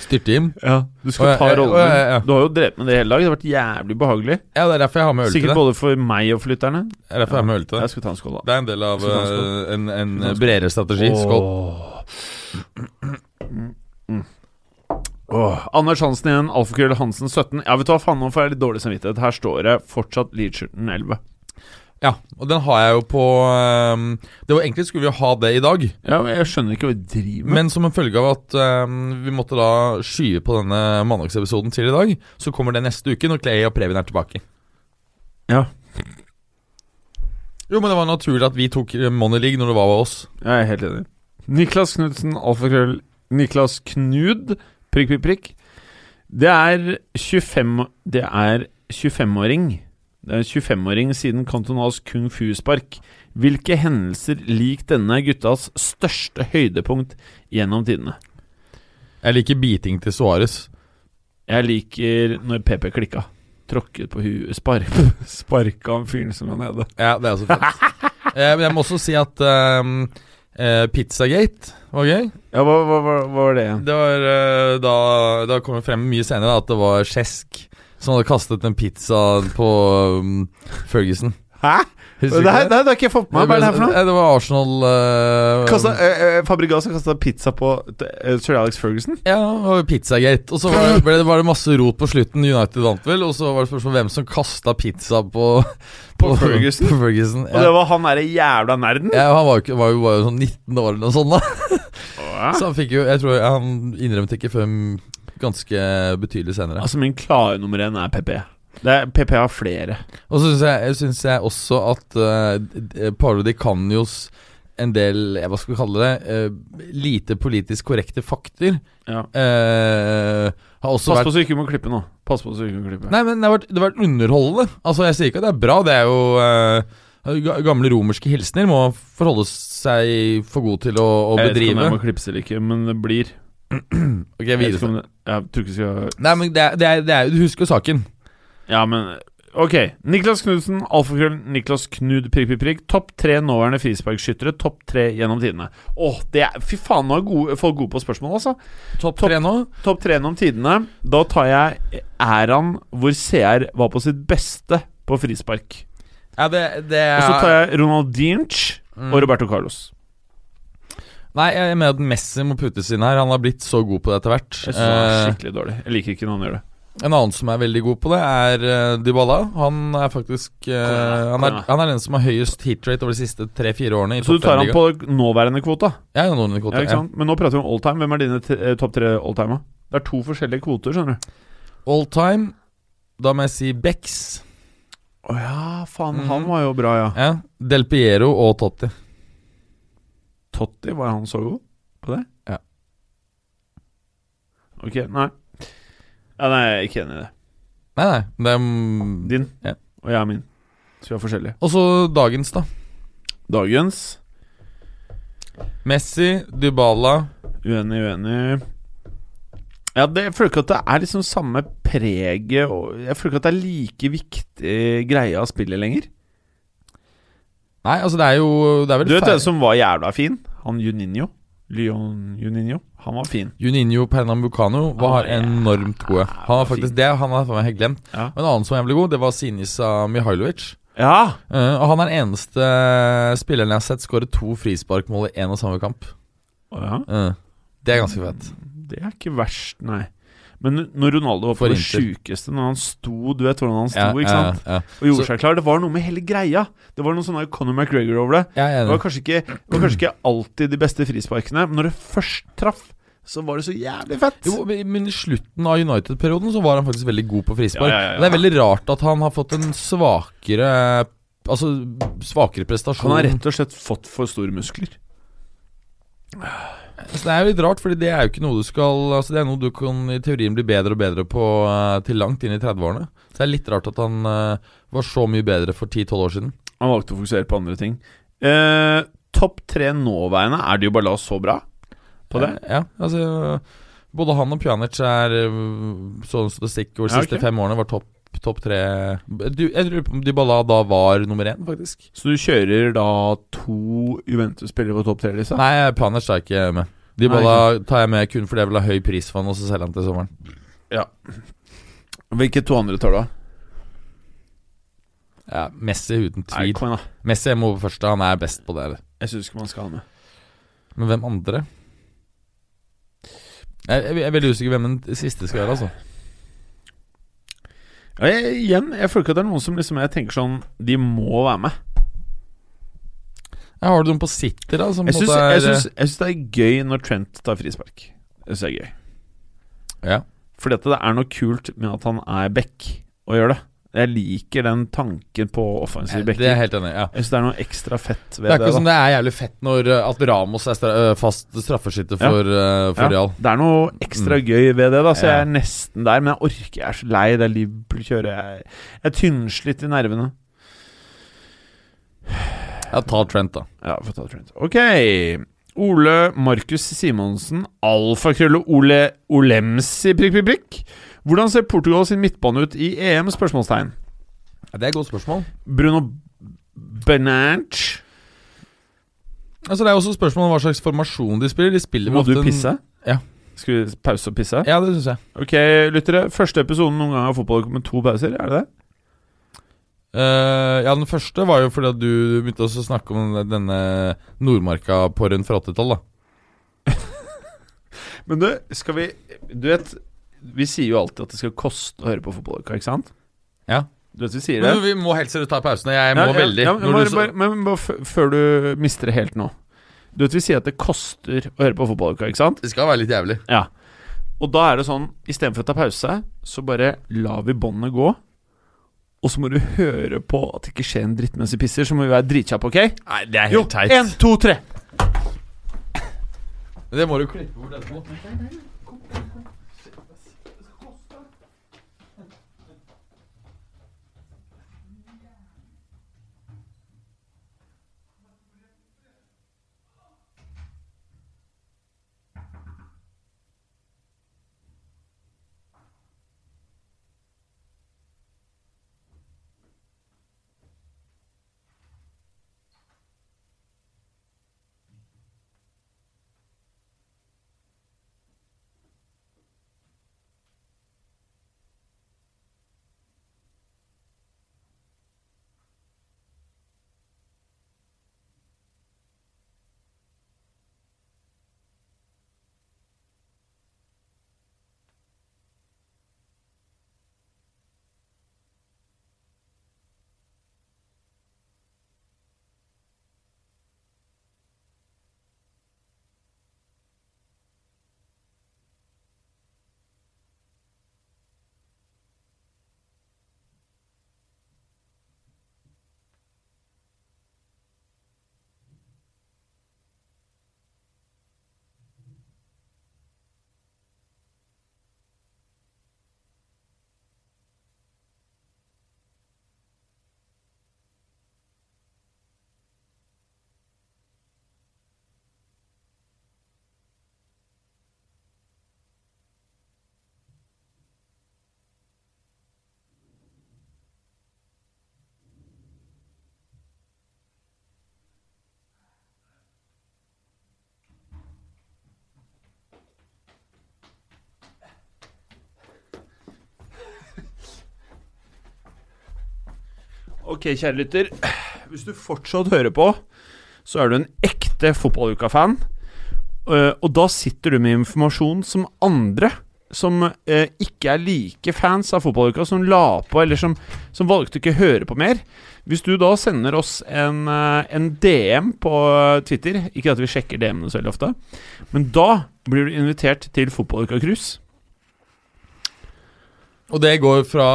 [SPEAKER 2] Styrte-Jim.
[SPEAKER 1] Ja, du
[SPEAKER 2] Å,
[SPEAKER 1] skal
[SPEAKER 2] ja,
[SPEAKER 1] ta
[SPEAKER 2] ja,
[SPEAKER 1] rollen
[SPEAKER 2] å, ja,
[SPEAKER 1] din.
[SPEAKER 2] ja.
[SPEAKER 1] Du har jo drept med det hele dag. Det har vært jævlig behagelig.
[SPEAKER 2] Ja, det er derfor jeg har med øl til
[SPEAKER 1] Sikkert
[SPEAKER 2] deg.
[SPEAKER 1] både for meg og for lytterne.
[SPEAKER 2] Det er derfor jeg har med øl til
[SPEAKER 1] Jeg
[SPEAKER 2] deg.
[SPEAKER 1] skal ta en skål, da.
[SPEAKER 2] Det er en del av
[SPEAKER 1] Skal vi ta en skål?
[SPEAKER 2] eh, en,
[SPEAKER 1] Skal
[SPEAKER 2] en
[SPEAKER 1] vi ta en skål?
[SPEAKER 2] bredere strategi. Skål.
[SPEAKER 1] Mm, mm. Åh, Anders Hansen igjen, alfakrøll Hansen 17. Ja, vet du hva, faen, nå får jeg litt dårlig samvittighet. Her står det fortsatt Leedshirten 11.
[SPEAKER 2] Ja, og den har jeg jo på ehm, Det var Egentlig skulle vi jo ha det i dag,
[SPEAKER 1] Ja, men jeg skjønner ikke hva vi driver med.
[SPEAKER 2] men som en følge av at ehm, vi måtte da skyve på denne mandagsepisoden til i dag, så kommer det neste uke når Clay og Preben er tilbake.
[SPEAKER 1] Ja.
[SPEAKER 2] Jo, men det var naturlig at vi tok eh, Money League når det var oss.
[SPEAKER 1] Jeg er helt enig. Niklas Knudsen, alfakrøll Niklas Knud, prikk, prikk, prikk. Det er 25 Det er 25-åring. Det er 25-åring siden Cantonas kung fu-spark. Hvilke hendelser lik denne er guttas største høydepunkt gjennom tidene?
[SPEAKER 2] Jeg liker beating til Suárez.
[SPEAKER 1] Jeg liker når PP klikka. Tråkket på huet, spark, [laughs] sparka han fyren som var nede.
[SPEAKER 2] Ja, det er også fett.
[SPEAKER 1] [laughs]
[SPEAKER 2] eh, men jeg må også si at ehm, eh, Pizzagate var gøy.
[SPEAKER 1] Ja, hva, hva, hva, hva var det igjen?
[SPEAKER 2] Det var eh, da Da kom det frem mye senere da, at det var Kjesk som hadde kastet en pizza på um, Ferguson.
[SPEAKER 1] Hæ? Det,
[SPEAKER 2] Husker du
[SPEAKER 1] her- det
[SPEAKER 2] ikke det?
[SPEAKER 1] her har ikke jeg fått med meg. Hva er det her for noe?
[SPEAKER 2] Eh, det var Arsenal eh,
[SPEAKER 1] Kasta, eh, eh, Fabregas har kasta pizza på eh, Sir Alex Ferguson.
[SPEAKER 2] Ja, og Pizzagate. Og så var det, ble det, var det masse rot på slutten. United vant vel, og så var det spørsmål om hvem som kasta pizza på
[SPEAKER 1] På Ferguson?
[SPEAKER 2] På [laughs] Ferguson
[SPEAKER 1] Og det
[SPEAKER 2] ja.
[SPEAKER 1] var han derre jævla nerden.
[SPEAKER 2] Ja, han var jo, ikke, var jo bare sånn 19 år eller noe sånt. da
[SPEAKER 1] Åh.
[SPEAKER 2] Så han fikk jo Jeg tror ja, han innrømte ikke før mm, ganske betydelig senere.
[SPEAKER 1] Altså, min klare nummer én er PP. Det er, PP har flere.
[SPEAKER 2] Og så syns jeg, jeg synes jeg også at eh, Paolo Di Canios en del, eh, hva skal vi kalle det, eh, lite politisk korrekte fakter
[SPEAKER 1] Ja.
[SPEAKER 2] eh, har også
[SPEAKER 1] Pass
[SPEAKER 2] vært
[SPEAKER 1] på så du ikke må klippe nå. Pass på så du ikke må klippe.
[SPEAKER 2] Nei, men det har vært, det har vært underholdende. Altså, Jeg sier ikke at det er bra, det er jo eh, ga- Gamle romerske hilsener må forholde seg for god til å, å
[SPEAKER 1] jeg vet ikke om
[SPEAKER 2] bedrive.
[SPEAKER 1] jeg må klippes eller ikke, men det blir.
[SPEAKER 2] Ok,
[SPEAKER 1] Jeg, vet ikke
[SPEAKER 2] videre.
[SPEAKER 1] om det, jeg tror ikke vi skal
[SPEAKER 2] Nei, men det er, det er, det er, Du husker jo saken.
[SPEAKER 1] Ja, men Ok. Niklas Knudsen, alfakrøll Niklas Knud, prikk, prikk, prikk. Topp tre nåværende frisparkskyttere. Topp tre gjennom tidene. Åh, det er Fy faen, nå er gode, folk gode på spørsmål, altså.
[SPEAKER 2] Topp tre nå.
[SPEAKER 1] Topp tre gjennom tidene. Da tar jeg æraen hvor CR var på sitt beste på frispark.
[SPEAKER 2] Ja, Mm. det, det er
[SPEAKER 1] Og så tar jeg Ronaldinch og Roberto Carlos.
[SPEAKER 2] Nei, jeg mener at Messi må puttes inn her. Han har blitt så god på det etter hvert.
[SPEAKER 1] Jeg synes han er
[SPEAKER 2] Eh,
[SPEAKER 1] skikkelig dårlig. Jeg liker ikke når han gjør det.
[SPEAKER 2] en annen som er veldig god på det, er eh, Dybala. Han er faktisk eh,
[SPEAKER 1] Kom igjen,
[SPEAKER 2] han, er,
[SPEAKER 1] kom igjen.
[SPEAKER 2] han er den som har høyest hitrate over de siste tre-fire årene. I
[SPEAKER 1] Så du
[SPEAKER 2] topp
[SPEAKER 1] tar han
[SPEAKER 2] fem-liga.
[SPEAKER 1] på nåværende kvota?
[SPEAKER 2] Ja, ja, noen kvoter,
[SPEAKER 1] Ja, ikke sant? Men nå prater vi om alltime. Hvem er dine t- eh, topp tre alltime? Det er to forskjellige kvoter, skjønner du.
[SPEAKER 2] ja. All time. Da må jeg si Bex.
[SPEAKER 1] Å ja, faen.
[SPEAKER 2] Mhm.
[SPEAKER 1] Han var jo bra, ja.
[SPEAKER 2] Ja. Del Piero og Totti.
[SPEAKER 1] Totti, var han så god på det?
[SPEAKER 2] Ja.
[SPEAKER 1] Ok, nei. Ja, nei, jeg er ikke enig i det.
[SPEAKER 2] Nei, nei. Det er, mm,
[SPEAKER 1] Din
[SPEAKER 2] Ja.
[SPEAKER 1] og jeg er min. Så vi er forskjellige.
[SPEAKER 2] Og så dagens, da.
[SPEAKER 1] Dagens
[SPEAKER 2] Messi, Dybala
[SPEAKER 1] Uenig, uenig. Ja, det, jeg føler ikke at det er liksom samme preget og Jeg føler ikke at det er like viktig greie av spillet lenger.
[SPEAKER 2] Nei, altså det er jo det er vel
[SPEAKER 1] Du vet
[SPEAKER 2] feil-
[SPEAKER 1] den som var jævla fin? Han Juninho. Leon Juninho. Han var fin.
[SPEAKER 2] Juninho Pernambucano var
[SPEAKER 1] Ah, ja.
[SPEAKER 2] enormt gode. Han var faktisk det, han har jeg faen meg helt glemt.
[SPEAKER 1] Ja.
[SPEAKER 2] Og En annen som var jævlig god, det var Sinisa Mihailovic.
[SPEAKER 1] Ja!
[SPEAKER 2] Eh, og han er den eneste eh, spilleren jeg har sett skåre to frisparkmål i én og samme kamp.
[SPEAKER 1] Å ja.
[SPEAKER 2] Eh, det er ganske fett.
[SPEAKER 1] Det er ikke verst, nei. Men når Ronaldo var på
[SPEAKER 2] For
[SPEAKER 1] det
[SPEAKER 2] Inter.
[SPEAKER 1] sjukeste, når han sto Du vet hvordan han sto,
[SPEAKER 2] Ja,
[SPEAKER 1] ikke sant?
[SPEAKER 2] Ja, ja.
[SPEAKER 1] Og gjorde
[SPEAKER 2] Så-
[SPEAKER 1] seg klar. Det var noe med hele greia. Det var noe sånn der Conor McGregor over det.
[SPEAKER 2] Jeg er
[SPEAKER 1] Det
[SPEAKER 2] enig.
[SPEAKER 1] var kanskje ikke, det var kanskje ikke alltid de beste frisparkene, men når det først traff, så var det så jævlig fett.
[SPEAKER 2] Jo, men i slutten av United-perioden så var han faktisk veldig god på frispark.
[SPEAKER 1] Ja, ja, ja.
[SPEAKER 2] Det er veldig rart at han har fått en svakere Altså svakere
[SPEAKER 1] Han
[SPEAKER 2] prestasjon.
[SPEAKER 1] har rett og slett fått for store muskler.
[SPEAKER 2] Så det er jo litt rart, Fordi det er jo ikke noe du skal Altså det er noe du kan i teorien bli bedre og bedre på eh, til langt inn i 30-årene. Så det er litt rart at han eh, var så mye bedre for 10-12 år siden.
[SPEAKER 1] Han valgte å fokusere på andre ting. Eh, Topp tre nåværende er det jo bare la oss så bra på det.
[SPEAKER 2] Eh, Ja, altså Både han og Pjanic er eh, sånn statistikk over de
[SPEAKER 1] Ja,
[SPEAKER 2] siste
[SPEAKER 1] ok.
[SPEAKER 2] fem årene var topp topp tre du, Jeg lurer på om Dybala da var nummer én, faktisk.
[SPEAKER 1] Så du kjører da to Juventus-spillere på topp tre-lista?
[SPEAKER 2] Nei, Pjanic er ikke med. De
[SPEAKER 1] Nei,
[SPEAKER 2] bare tar jeg med kun fordi jeg vil ha høy pris for han, og så selger han til sommeren.
[SPEAKER 1] Hvilke to andre tar du av?
[SPEAKER 2] Ja, Messi
[SPEAKER 1] Nei,
[SPEAKER 2] uten tvil.
[SPEAKER 1] kom igjen, da.
[SPEAKER 2] Messi må på første, han er best på det. eller?
[SPEAKER 1] Jeg syns ikke man skal ha med.
[SPEAKER 2] Men hvem andre? Jeg, jeg, jeg er veldig usikker hvem den siste skal være, altså.
[SPEAKER 1] Ja, jeg, igjen, jeg føler ikke at det er noen som liksom jeg tenker sånn De må være med.
[SPEAKER 2] Jeg har du noen på sitter, da? Som
[SPEAKER 1] Jeg
[SPEAKER 2] på en
[SPEAKER 1] syns
[SPEAKER 2] måte er,
[SPEAKER 1] jeg syns- jeg syns det er gøy når Trent tar frispark. Jeg syns det er gøy.
[SPEAKER 2] Ja.
[SPEAKER 1] Fordi at det er noe kult med at han er back og gjør det. Jeg liker den tanken på
[SPEAKER 2] eh, Det
[SPEAKER 1] offensive
[SPEAKER 2] er jeg
[SPEAKER 1] backer.
[SPEAKER 2] helt enig i. Ja.
[SPEAKER 1] Jeg syns det er noe ekstra fett
[SPEAKER 2] Det
[SPEAKER 1] ved det.
[SPEAKER 2] er ikke sånn-
[SPEAKER 1] da.
[SPEAKER 2] som det er jævlig fett når eh, at Ramos er stra eh, fast straffeskytter for, eh, for
[SPEAKER 1] ja,
[SPEAKER 2] Real.
[SPEAKER 1] det er noe ekstra gøy ved det, da så
[SPEAKER 2] Mm. Ja.
[SPEAKER 1] jeg er nesten der. Men jeg orker, jeg er så lei det Liverpool kjører. Jeg, jeg er tynnslitt i nervene.
[SPEAKER 2] Ja, ta Trent, da.
[SPEAKER 1] Ja, får ta Trent. Ok. Ole Markus Simonsen, alfakrølle Ole Olemsi, prikk, prikk, prikk. Hvordan ser Portugal sin midtbane ut i EM? spørsmålstegn
[SPEAKER 2] Ja, det er et godt spørsmål.
[SPEAKER 1] Bruno Bernanch.
[SPEAKER 2] Altså, det er også spørsmål om hva slags formasjon de spiller. De spiller
[SPEAKER 1] Må
[SPEAKER 2] ofte
[SPEAKER 1] du
[SPEAKER 2] en-
[SPEAKER 1] pisse?
[SPEAKER 2] Ja.
[SPEAKER 1] Skal vi pause og pisse?
[SPEAKER 2] Ja, det syns jeg.
[SPEAKER 1] Ok, lyttere. Første episoden noen gang av fotball med to pauser, er det det?
[SPEAKER 2] Eh, ja, Den første var jo fordi at du begynte også å snakke om den- denne Nordmarka på rundt fra 80-tall. da.
[SPEAKER 1] Men du, skal vi Du vet, vi sier jo alltid at det skal koste å høre på fotballuka, ikke sant?
[SPEAKER 2] Ja.
[SPEAKER 1] Du vet vi sier det?
[SPEAKER 2] Men vi må helt seriøst ta pausen. Jeg
[SPEAKER 1] Ja,
[SPEAKER 2] må
[SPEAKER 1] ja,
[SPEAKER 2] veldig.
[SPEAKER 1] ja, men
[SPEAKER 2] når
[SPEAKER 1] bare,
[SPEAKER 2] du så-
[SPEAKER 1] bare, men bare f- før du mister det helt nå. Du vet vi sier at det koster å høre på fotballuka, ikke sant?
[SPEAKER 2] det skal være litt jævlig.
[SPEAKER 1] Ja. Og da er det sånn, istedenfor å ta pause, så bare lar vi båndet gå. Og så må du høre på at det ikke skjer en dritt mens vi pisser, så må vi være dritkjappe, OK?
[SPEAKER 2] Nei, Det er
[SPEAKER 1] Jo, én, to, tre.
[SPEAKER 2] Det må du klippe bort etterpå.
[SPEAKER 1] Ok, kjære lytter. Hvis du fortsatt hører på, så er du en ekte fotballuka-fan. Eh, Og da sitter du med informasjon som andre som eh, ikke er like fans av fotballuka, som la på, eller som, som valgte ikke å høre på mer. Hvis du da sender oss en, eh, en DM på eh, Twitter Ikke at vi sjekker DM-ene så veldig ofte, men da blir du invitert til fotballuka-cruise.
[SPEAKER 2] Og det går fra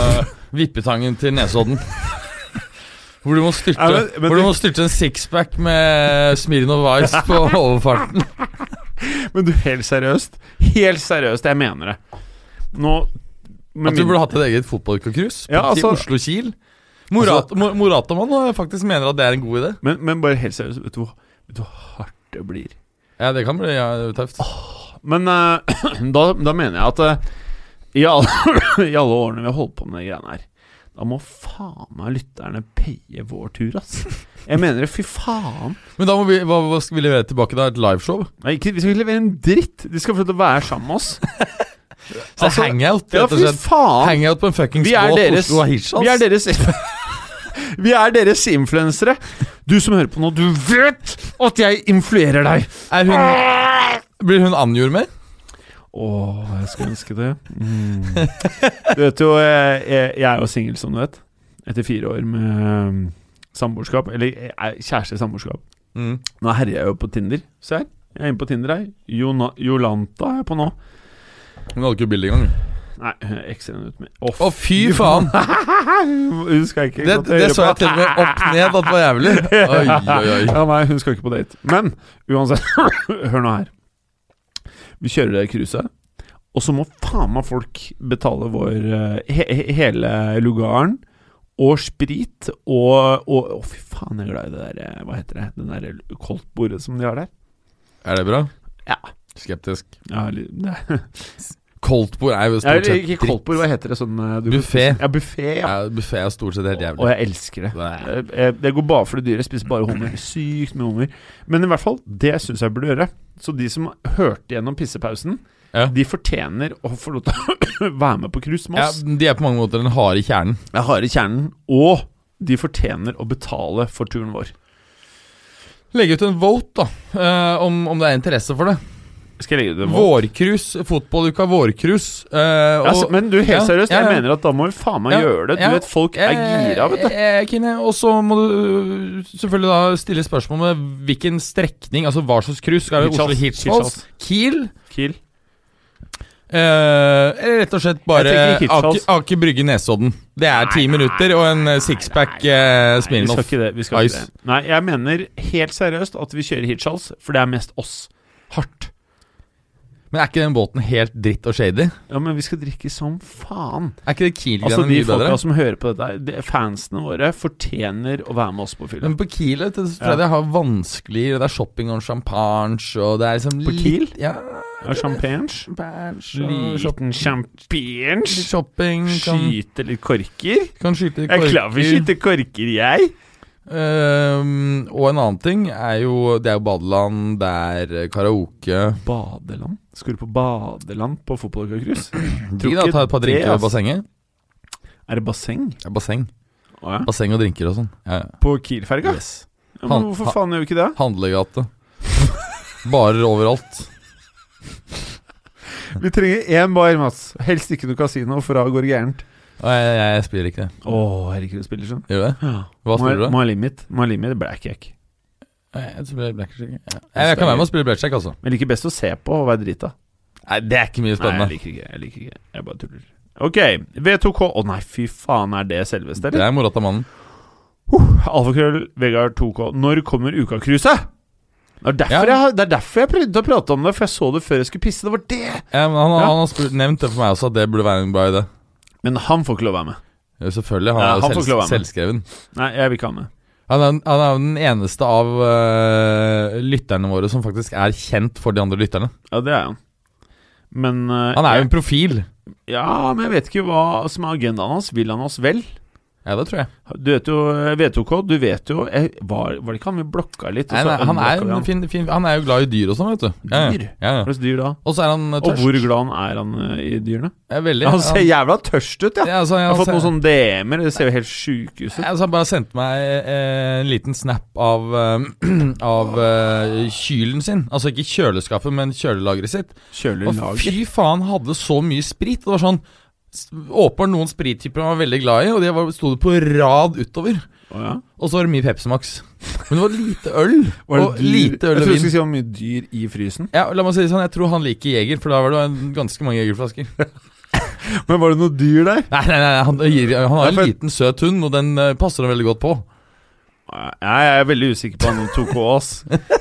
[SPEAKER 2] eh, Vippetangen til Nesodden. [laughs] Hvor du må styrte,
[SPEAKER 1] Ja, men- men
[SPEAKER 2] hvor du
[SPEAKER 1] det-
[SPEAKER 2] må styrte en sixpack med Smirnov Ice på overfarten.
[SPEAKER 1] Men du, helt seriøst. Helt seriøst, jeg mener det. Nå med
[SPEAKER 2] At du
[SPEAKER 1] min-
[SPEAKER 2] burde hatt et eget fotballcruise
[SPEAKER 1] Ja, altså-
[SPEAKER 2] til Oslo-Kiel. Morat, Altså, Mo- Moratamann eh, faktisk mener at det er en god idé.
[SPEAKER 1] men, men bare helt seriøst, vet du, hvor- vet du hvor hardt det blir?
[SPEAKER 2] Ja, det kan bli ja, tøft.
[SPEAKER 1] Men eh, [clears throat] da, da mener jeg at eh, i, alle, [clears throat] i alle årene vi har holdt på med de greiene her da må faen meg lytterne paye vår tur, ass. Jeg mener det, fy faen.
[SPEAKER 2] Men da må vi, hva, hva skal vi levere tilbake da? Et liveshow?
[SPEAKER 1] Nei, ikke, vi skal ikke levere en dritt. De skal få lov til å være sammen med
[SPEAKER 2] [laughs]
[SPEAKER 1] oss.
[SPEAKER 2] Så
[SPEAKER 1] Altså,
[SPEAKER 2] hangout,
[SPEAKER 1] Ja,
[SPEAKER 2] rett og
[SPEAKER 1] fy
[SPEAKER 2] slett.
[SPEAKER 1] faen.
[SPEAKER 2] Hangout på en fuckings
[SPEAKER 1] Vi er
[SPEAKER 2] båt
[SPEAKER 1] deres-
[SPEAKER 2] Oslo Ahisha.
[SPEAKER 1] Vi er deres [laughs] Vi er deres influensere. Du som hører på nå, du vet at jeg influerer deg. Ah!
[SPEAKER 2] Er hun, blir hun angjort mer?
[SPEAKER 1] Åh, jeg skulle ønske det. Mm. Du vet jo, jeg, jeg jeg er jo singel, som du vet. Etter fire år med um, samboerskap. Eller eh, kjæreste i samboerskap.
[SPEAKER 2] Mm.
[SPEAKER 1] Nå herjer jeg jo på Tinder. Se her. Jeg er inne på Tinder her. Jona, Jolanta er jeg på nå.
[SPEAKER 2] Hun hadde ikke bilde engang.
[SPEAKER 1] Nei, ekser henne ut med Å,
[SPEAKER 2] Å, fy faen!
[SPEAKER 1] [laughs] Hun skal ikke
[SPEAKER 2] Det,
[SPEAKER 1] gå til
[SPEAKER 2] det
[SPEAKER 1] høyre
[SPEAKER 2] så
[SPEAKER 1] på.
[SPEAKER 2] jeg til og med opp ned at det var jævlig. Oi, oi, oi.
[SPEAKER 1] [laughs] Ja, nei, hun skal ikke på date. Men uansett, [laughs] hør nå her. Vi kjører det cruiset, og så må faen meg folk betale vår eh, he he- hele lugaren. Og sprit og og- Å, fy faen, jeg er glad i det der eh, Hva heter det? Den der koldtbordet som de har der?
[SPEAKER 2] Er det bra?
[SPEAKER 1] Ja.
[SPEAKER 2] Skeptisk.
[SPEAKER 1] Ja, [laughs] eller- nei.
[SPEAKER 2] Koldtbord er
[SPEAKER 1] Ja,
[SPEAKER 2] jo stort
[SPEAKER 1] eller
[SPEAKER 2] sett
[SPEAKER 1] ikke koldtbord, hva heter det sånn eh, du-
[SPEAKER 2] Buffé.
[SPEAKER 1] Ja, buffé, ja.
[SPEAKER 2] Ja, Buffé er stort sett helt
[SPEAKER 1] Og
[SPEAKER 2] jævlig.
[SPEAKER 1] jeg elsker det.
[SPEAKER 2] Nei.
[SPEAKER 1] Eh, eh, Det går bare for det dyre. Jeg spiser bare hummer. Sykt med hummer. Men i hvert fall, det syns jeg burde gjøre. Så de som hørte gjennom pissepausen,
[SPEAKER 2] Ja.
[SPEAKER 1] de fortjener å få lov til å [coughs] være med på cruise med
[SPEAKER 2] Ja,
[SPEAKER 1] oss.
[SPEAKER 2] de er på mange måter den harde kjernen.
[SPEAKER 1] Jeg har i kjernen. Og de fortjener å betale for turen vår.
[SPEAKER 2] Legge ut en vote, da, eh, om, om det er interesse for det.
[SPEAKER 1] Skal jeg legge ut en vote?
[SPEAKER 2] Vårkrus, fotballuka Vårkrus. eh, og-
[SPEAKER 1] Ja, altså, men du, helt
[SPEAKER 2] Ja,
[SPEAKER 1] seriøst,
[SPEAKER 2] ja, ja.
[SPEAKER 1] jeg mener at da må vi faen meg
[SPEAKER 2] Ja,
[SPEAKER 1] gjøre det. Du
[SPEAKER 2] ja.
[SPEAKER 1] vet, folk er gira, vet du.
[SPEAKER 2] Eh, eh, Kine, og så må du øh, selvfølgelig da stille spørsmål med hvilken strekning, altså hva slags cruise. Skal det være Oslo
[SPEAKER 1] Hirtshals,
[SPEAKER 2] Hirtshals? Kiel?
[SPEAKER 1] Kiel.
[SPEAKER 2] eh, Eller rett og slett bare
[SPEAKER 1] Jeg tenker Hirtshals.
[SPEAKER 2] Aker Ake Brygge Nesodden. Det er ti minutter og en eh, sixpack eh,
[SPEAKER 1] Nei, vi skal
[SPEAKER 2] Smirnoff.
[SPEAKER 1] ikke det. Vi skal ikke
[SPEAKER 2] Ice.
[SPEAKER 1] det. Nei, jeg mener helt seriøst at vi kjører Hirtshals, for det er mest oss. Hardt.
[SPEAKER 2] Men er ikke den båten helt dritt og shady?
[SPEAKER 1] Ja, men vi skal drikke som faen.
[SPEAKER 2] Er ikke det Kiel-greiene
[SPEAKER 1] Altså De
[SPEAKER 2] mye bedre?
[SPEAKER 1] folka som hører på dette, her, de- fansene våre, fortjener å være med oss på fylla.
[SPEAKER 2] Men på Kiel vet du, så tror jeg
[SPEAKER 1] Ja.
[SPEAKER 2] det har vanskelig Det er shopping og champagne og det er liksom
[SPEAKER 1] På Kiel?
[SPEAKER 2] litt- Ja,
[SPEAKER 1] Ja, Champagne.
[SPEAKER 2] champagne og
[SPEAKER 1] Liten champagne.
[SPEAKER 2] shopping kan-
[SPEAKER 1] Skyte litt korker.
[SPEAKER 2] Kan skyte
[SPEAKER 1] Jeg er klar for å skyte korker, jeg.
[SPEAKER 2] Ehm, og en annen ting er jo Det er jo badeland, det er eh, karaoke
[SPEAKER 1] Badeland? Skal du på badeland på
[SPEAKER 2] [clears throat]
[SPEAKER 1] fotballcruise?
[SPEAKER 2] Tror da,
[SPEAKER 1] ikke
[SPEAKER 2] Ta et par
[SPEAKER 1] det,
[SPEAKER 2] drinker
[SPEAKER 1] ass.
[SPEAKER 2] ved bassenget.
[SPEAKER 1] Er det basseng?
[SPEAKER 2] Ja, basseng.
[SPEAKER 1] Å ja.
[SPEAKER 2] Basseng og drinker og sånn. Ja, ja.
[SPEAKER 1] På Kiel-ferga?
[SPEAKER 2] Yes.
[SPEAKER 1] Ja,
[SPEAKER 2] Han-
[SPEAKER 1] men hvorfor
[SPEAKER 2] han-
[SPEAKER 1] faen gjør vi ikke det? [laughs]
[SPEAKER 2] Handlegate. Barer overalt.
[SPEAKER 1] Vi trenger én bar, Mats. Helst ikke noe kasino, for da går det gærent.
[SPEAKER 2] Nei, jeg, jeg, jeg spiller ikke det.
[SPEAKER 1] Å, herregud, spiller sånn.
[SPEAKER 2] Gjør du det? Hva spiller du?
[SPEAKER 1] Må ha limit. Må ha limit, blackjack.
[SPEAKER 2] Nei, Jeg spiller blackjack. Ja. Jeg, jeg kan være med og spille blackjack, altså.
[SPEAKER 1] Men liker best å se på og være drita.
[SPEAKER 2] Nei, Det er ikke mye
[SPEAKER 1] Nei,
[SPEAKER 2] spennende.
[SPEAKER 1] jeg liker ikke, jeg liker ikke Jeg bare tuller Ok, V2K Å nei, fy faen, er det selveste,
[SPEAKER 2] det
[SPEAKER 1] eller?
[SPEAKER 2] er Moratamannen.
[SPEAKER 1] Alfakrøll, Vegard 2K Når kommer ukakruset? Det er,
[SPEAKER 2] Ja.
[SPEAKER 1] derfor jeg, har- det er derfor jeg prøvde å prate om det, for jeg så det før jeg skulle pisse. Det var det!
[SPEAKER 2] Ja, men han,
[SPEAKER 1] Ja.
[SPEAKER 2] han har spurt, nevnt det for meg også, at det burde være en bra idé.
[SPEAKER 1] Men han får ikke lov å være med.
[SPEAKER 2] Ja, Selvfølgelig. Han
[SPEAKER 1] Ja,
[SPEAKER 2] er
[SPEAKER 1] han
[SPEAKER 2] jo
[SPEAKER 1] får ikke lov
[SPEAKER 2] selv,
[SPEAKER 1] å være med.
[SPEAKER 2] selvskreven.
[SPEAKER 1] Nei, jeg vil ikke ha med.
[SPEAKER 2] Han er, han er jo den eneste av øh, lytterne våre som faktisk er kjent for de andre lytterne.
[SPEAKER 1] Ja, det er han. Men eh,
[SPEAKER 2] Han er jo
[SPEAKER 1] jeg,
[SPEAKER 2] en profil.
[SPEAKER 1] Ja, men jeg vet ikke hva som er agendaen hans. Vil han oss vel?
[SPEAKER 2] Ja, det tror jeg.
[SPEAKER 1] Du vet jo eh, VTK, du vet jo jeg, var, var det ikke han vi blokka litt? og
[SPEAKER 2] Nei,
[SPEAKER 1] så
[SPEAKER 2] nei, han, er
[SPEAKER 1] unblokka vi
[SPEAKER 2] en fin, fin, han er jo glad i dyr og sånn, vet du. Ja, ja.
[SPEAKER 1] Dyr?
[SPEAKER 2] Ja,
[SPEAKER 1] Hva
[SPEAKER 2] ja.
[SPEAKER 1] slags dyr da?
[SPEAKER 2] Og så er han eh,
[SPEAKER 1] Og
[SPEAKER 2] tørst.
[SPEAKER 1] hvor glad han er han eh, i dyrene?
[SPEAKER 2] Ja, veldig.
[SPEAKER 1] Han ser jævla tørst ut, sånn- ja!
[SPEAKER 2] ja, altså,
[SPEAKER 1] Jeg har
[SPEAKER 2] han
[SPEAKER 1] fått sånn- noen
[SPEAKER 2] ser-
[SPEAKER 1] sånne DM-er, det ser jo helt sjukehus ut.
[SPEAKER 2] Ja, altså, han bare sendte meg eh, en liten snap av, eh, [clears throat] av eh, kylen sin. Altså ikke kjøleskapet, men kjølelageret sitt.
[SPEAKER 1] Kjøler
[SPEAKER 2] Og
[SPEAKER 1] lager.
[SPEAKER 2] fy faen, hadde så mye sprit. Det var sånn s- Åpenbart noen sprittyper han var veldig glad i, og de var- sto det på rad utover.
[SPEAKER 1] Å, ja.
[SPEAKER 2] Og så var det mye Pepsi Max. Men det var lite øl.
[SPEAKER 1] [laughs] Var det
[SPEAKER 2] og
[SPEAKER 1] dyr?
[SPEAKER 2] lite øl
[SPEAKER 1] Jeg tror
[SPEAKER 2] og
[SPEAKER 1] du
[SPEAKER 2] vin.
[SPEAKER 1] skulle si om mye dyr i frysen.
[SPEAKER 2] Ja, la meg si det sånn, Jeg tror han liker Jeger, for da var det en- ganske
[SPEAKER 1] [laughs]
[SPEAKER 2] mange Jegerflasker.
[SPEAKER 1] Men var det noe dyr der?
[SPEAKER 2] Nei, nei, nei, han, gir, han har
[SPEAKER 1] Ja, for-
[SPEAKER 2] en liten, søt hund, og den eh, passer han veldig godt på.
[SPEAKER 1] Nei, jeg er veldig usikker på han om 2K, [laughs] ass.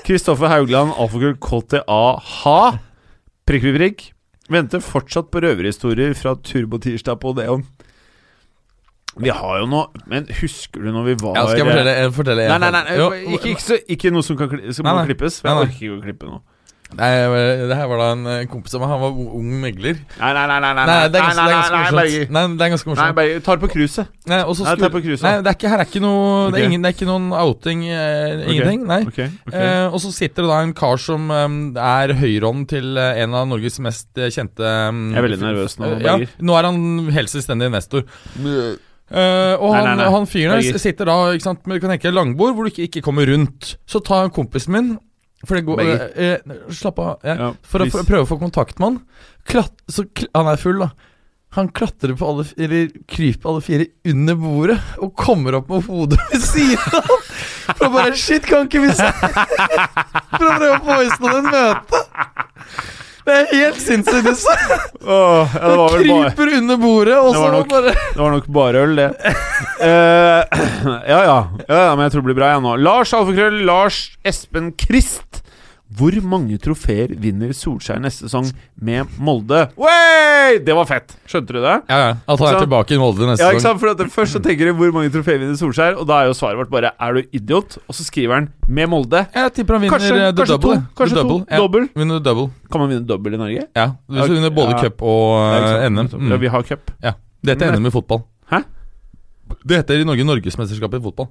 [SPEAKER 1] Kristoffer Haugland, alfakull KTA, ha! Prikk, prikk, prikk. Venter fortsatt på røverhistorier fra Turbotirsdag på Odeon. Vi har jo noe Men husker du når vi var
[SPEAKER 2] Ja, skal jeg fortelle, jeg fortelle
[SPEAKER 1] Nei, nei, nei, nei
[SPEAKER 2] Jo,
[SPEAKER 1] ikke, ikke, så, ikke noe som kan kli, som
[SPEAKER 2] Nei,
[SPEAKER 1] må
[SPEAKER 2] nei.
[SPEAKER 1] klippes. For
[SPEAKER 2] Nei, nei.
[SPEAKER 1] jeg orker ikke å klippe nå.
[SPEAKER 2] Nei, det her var da en eh, kompis av meg. Han var o- ung megler.
[SPEAKER 1] Nei, nei, nei. nei, nei,
[SPEAKER 2] Nei, det er ganske, det er
[SPEAKER 1] nei,
[SPEAKER 2] ganske
[SPEAKER 1] nei,
[SPEAKER 2] morsomt. Nei, det er ganske
[SPEAKER 1] Nei,
[SPEAKER 2] morsomt.
[SPEAKER 1] bare ta det på kruset.
[SPEAKER 2] Nei, og så
[SPEAKER 1] Nei, ta
[SPEAKER 2] skulle,
[SPEAKER 1] på kruset.
[SPEAKER 2] nei, det er ikke, her er ikke noe Det
[SPEAKER 1] Ok.
[SPEAKER 2] er, ingen, det er ikke noen outing. eh, Ingenting. Nei.
[SPEAKER 1] Ok, ok.
[SPEAKER 2] Eh, og så sitter det da en kar som eh, er høyrehånd til eh, en av Norges mest eh, kjente eh,
[SPEAKER 1] Jeg er veldig nervøs nå,
[SPEAKER 2] Ja,
[SPEAKER 1] Berger.
[SPEAKER 2] nå er han helt selvstendig investor. Eh, og
[SPEAKER 1] Nei,
[SPEAKER 2] han,
[SPEAKER 1] nei, nei.
[SPEAKER 2] han fyren der
[SPEAKER 1] Berger.
[SPEAKER 2] s- sitter da ikke sant, med du kan tenke, langbord hvor du ikke, ikke kommer rundt. Så tar han kompisen min for det går,
[SPEAKER 1] Berger.
[SPEAKER 2] eh, eh, Slapp av. Jeg,
[SPEAKER 1] Ja,
[SPEAKER 2] for å
[SPEAKER 1] please.
[SPEAKER 2] pr- prøve å få kontakt med han. Klat så kl han er full, da. Han klatrer på alle f- Eller kryper alle fire under bordet og kommer opp med hodet ved siden av. For å bare Shit, kan ikke vi se [laughs] For å prøve å få i stand et møte. Det er helt sinnssykt. det så-
[SPEAKER 1] Åh, ja, det
[SPEAKER 2] Han
[SPEAKER 1] var vel
[SPEAKER 2] [laughs]
[SPEAKER 1] bare
[SPEAKER 2] kryper under bordet, og
[SPEAKER 1] Det var
[SPEAKER 2] så
[SPEAKER 1] nok-
[SPEAKER 2] bare
[SPEAKER 1] Det var nok bare øl, det. Eh, [clears throat] ja, ja, ja, ja, men jeg tror det blir bra, jeg nå. Lars Alfakrøll, Lars Espen Krist. Hvor mange trofeer vinner Solskjær neste sesong med Molde? Wey! Det var fett! Skjønte du det?
[SPEAKER 2] Ja, ja. At han
[SPEAKER 1] Ikke
[SPEAKER 2] er
[SPEAKER 1] sant?
[SPEAKER 2] tilbake i Molde neste
[SPEAKER 1] Ja, ikke
[SPEAKER 2] gang.
[SPEAKER 1] sant? For at det- Først så tenker du 'hvor mange trofeer vinner Solskjær', og da er jo svaret vårt bare 'er du idiot?' Og så skriver han 'med Molde'.
[SPEAKER 2] Jeg tipper han vinner
[SPEAKER 1] Kanskje,
[SPEAKER 2] eh, the
[SPEAKER 1] kanskje
[SPEAKER 2] double.
[SPEAKER 1] to. Kanskje
[SPEAKER 2] the double.
[SPEAKER 1] to. Dobbel.
[SPEAKER 2] Ja. Vinner the double.
[SPEAKER 1] Kan man vinne dobbel i Norge?
[SPEAKER 2] Ja. Hvis du
[SPEAKER 1] Ja,
[SPEAKER 2] vinner både
[SPEAKER 1] ja.
[SPEAKER 2] cup og
[SPEAKER 1] Ja, ikke
[SPEAKER 2] eh,
[SPEAKER 1] sant?
[SPEAKER 2] NM.
[SPEAKER 1] Ja,
[SPEAKER 2] Mm.
[SPEAKER 1] vi har cup.
[SPEAKER 2] Ja. Det heter NM i fotball.
[SPEAKER 1] Hæ?
[SPEAKER 2] Det heter i Norge Norgesmesterskapet i fotball.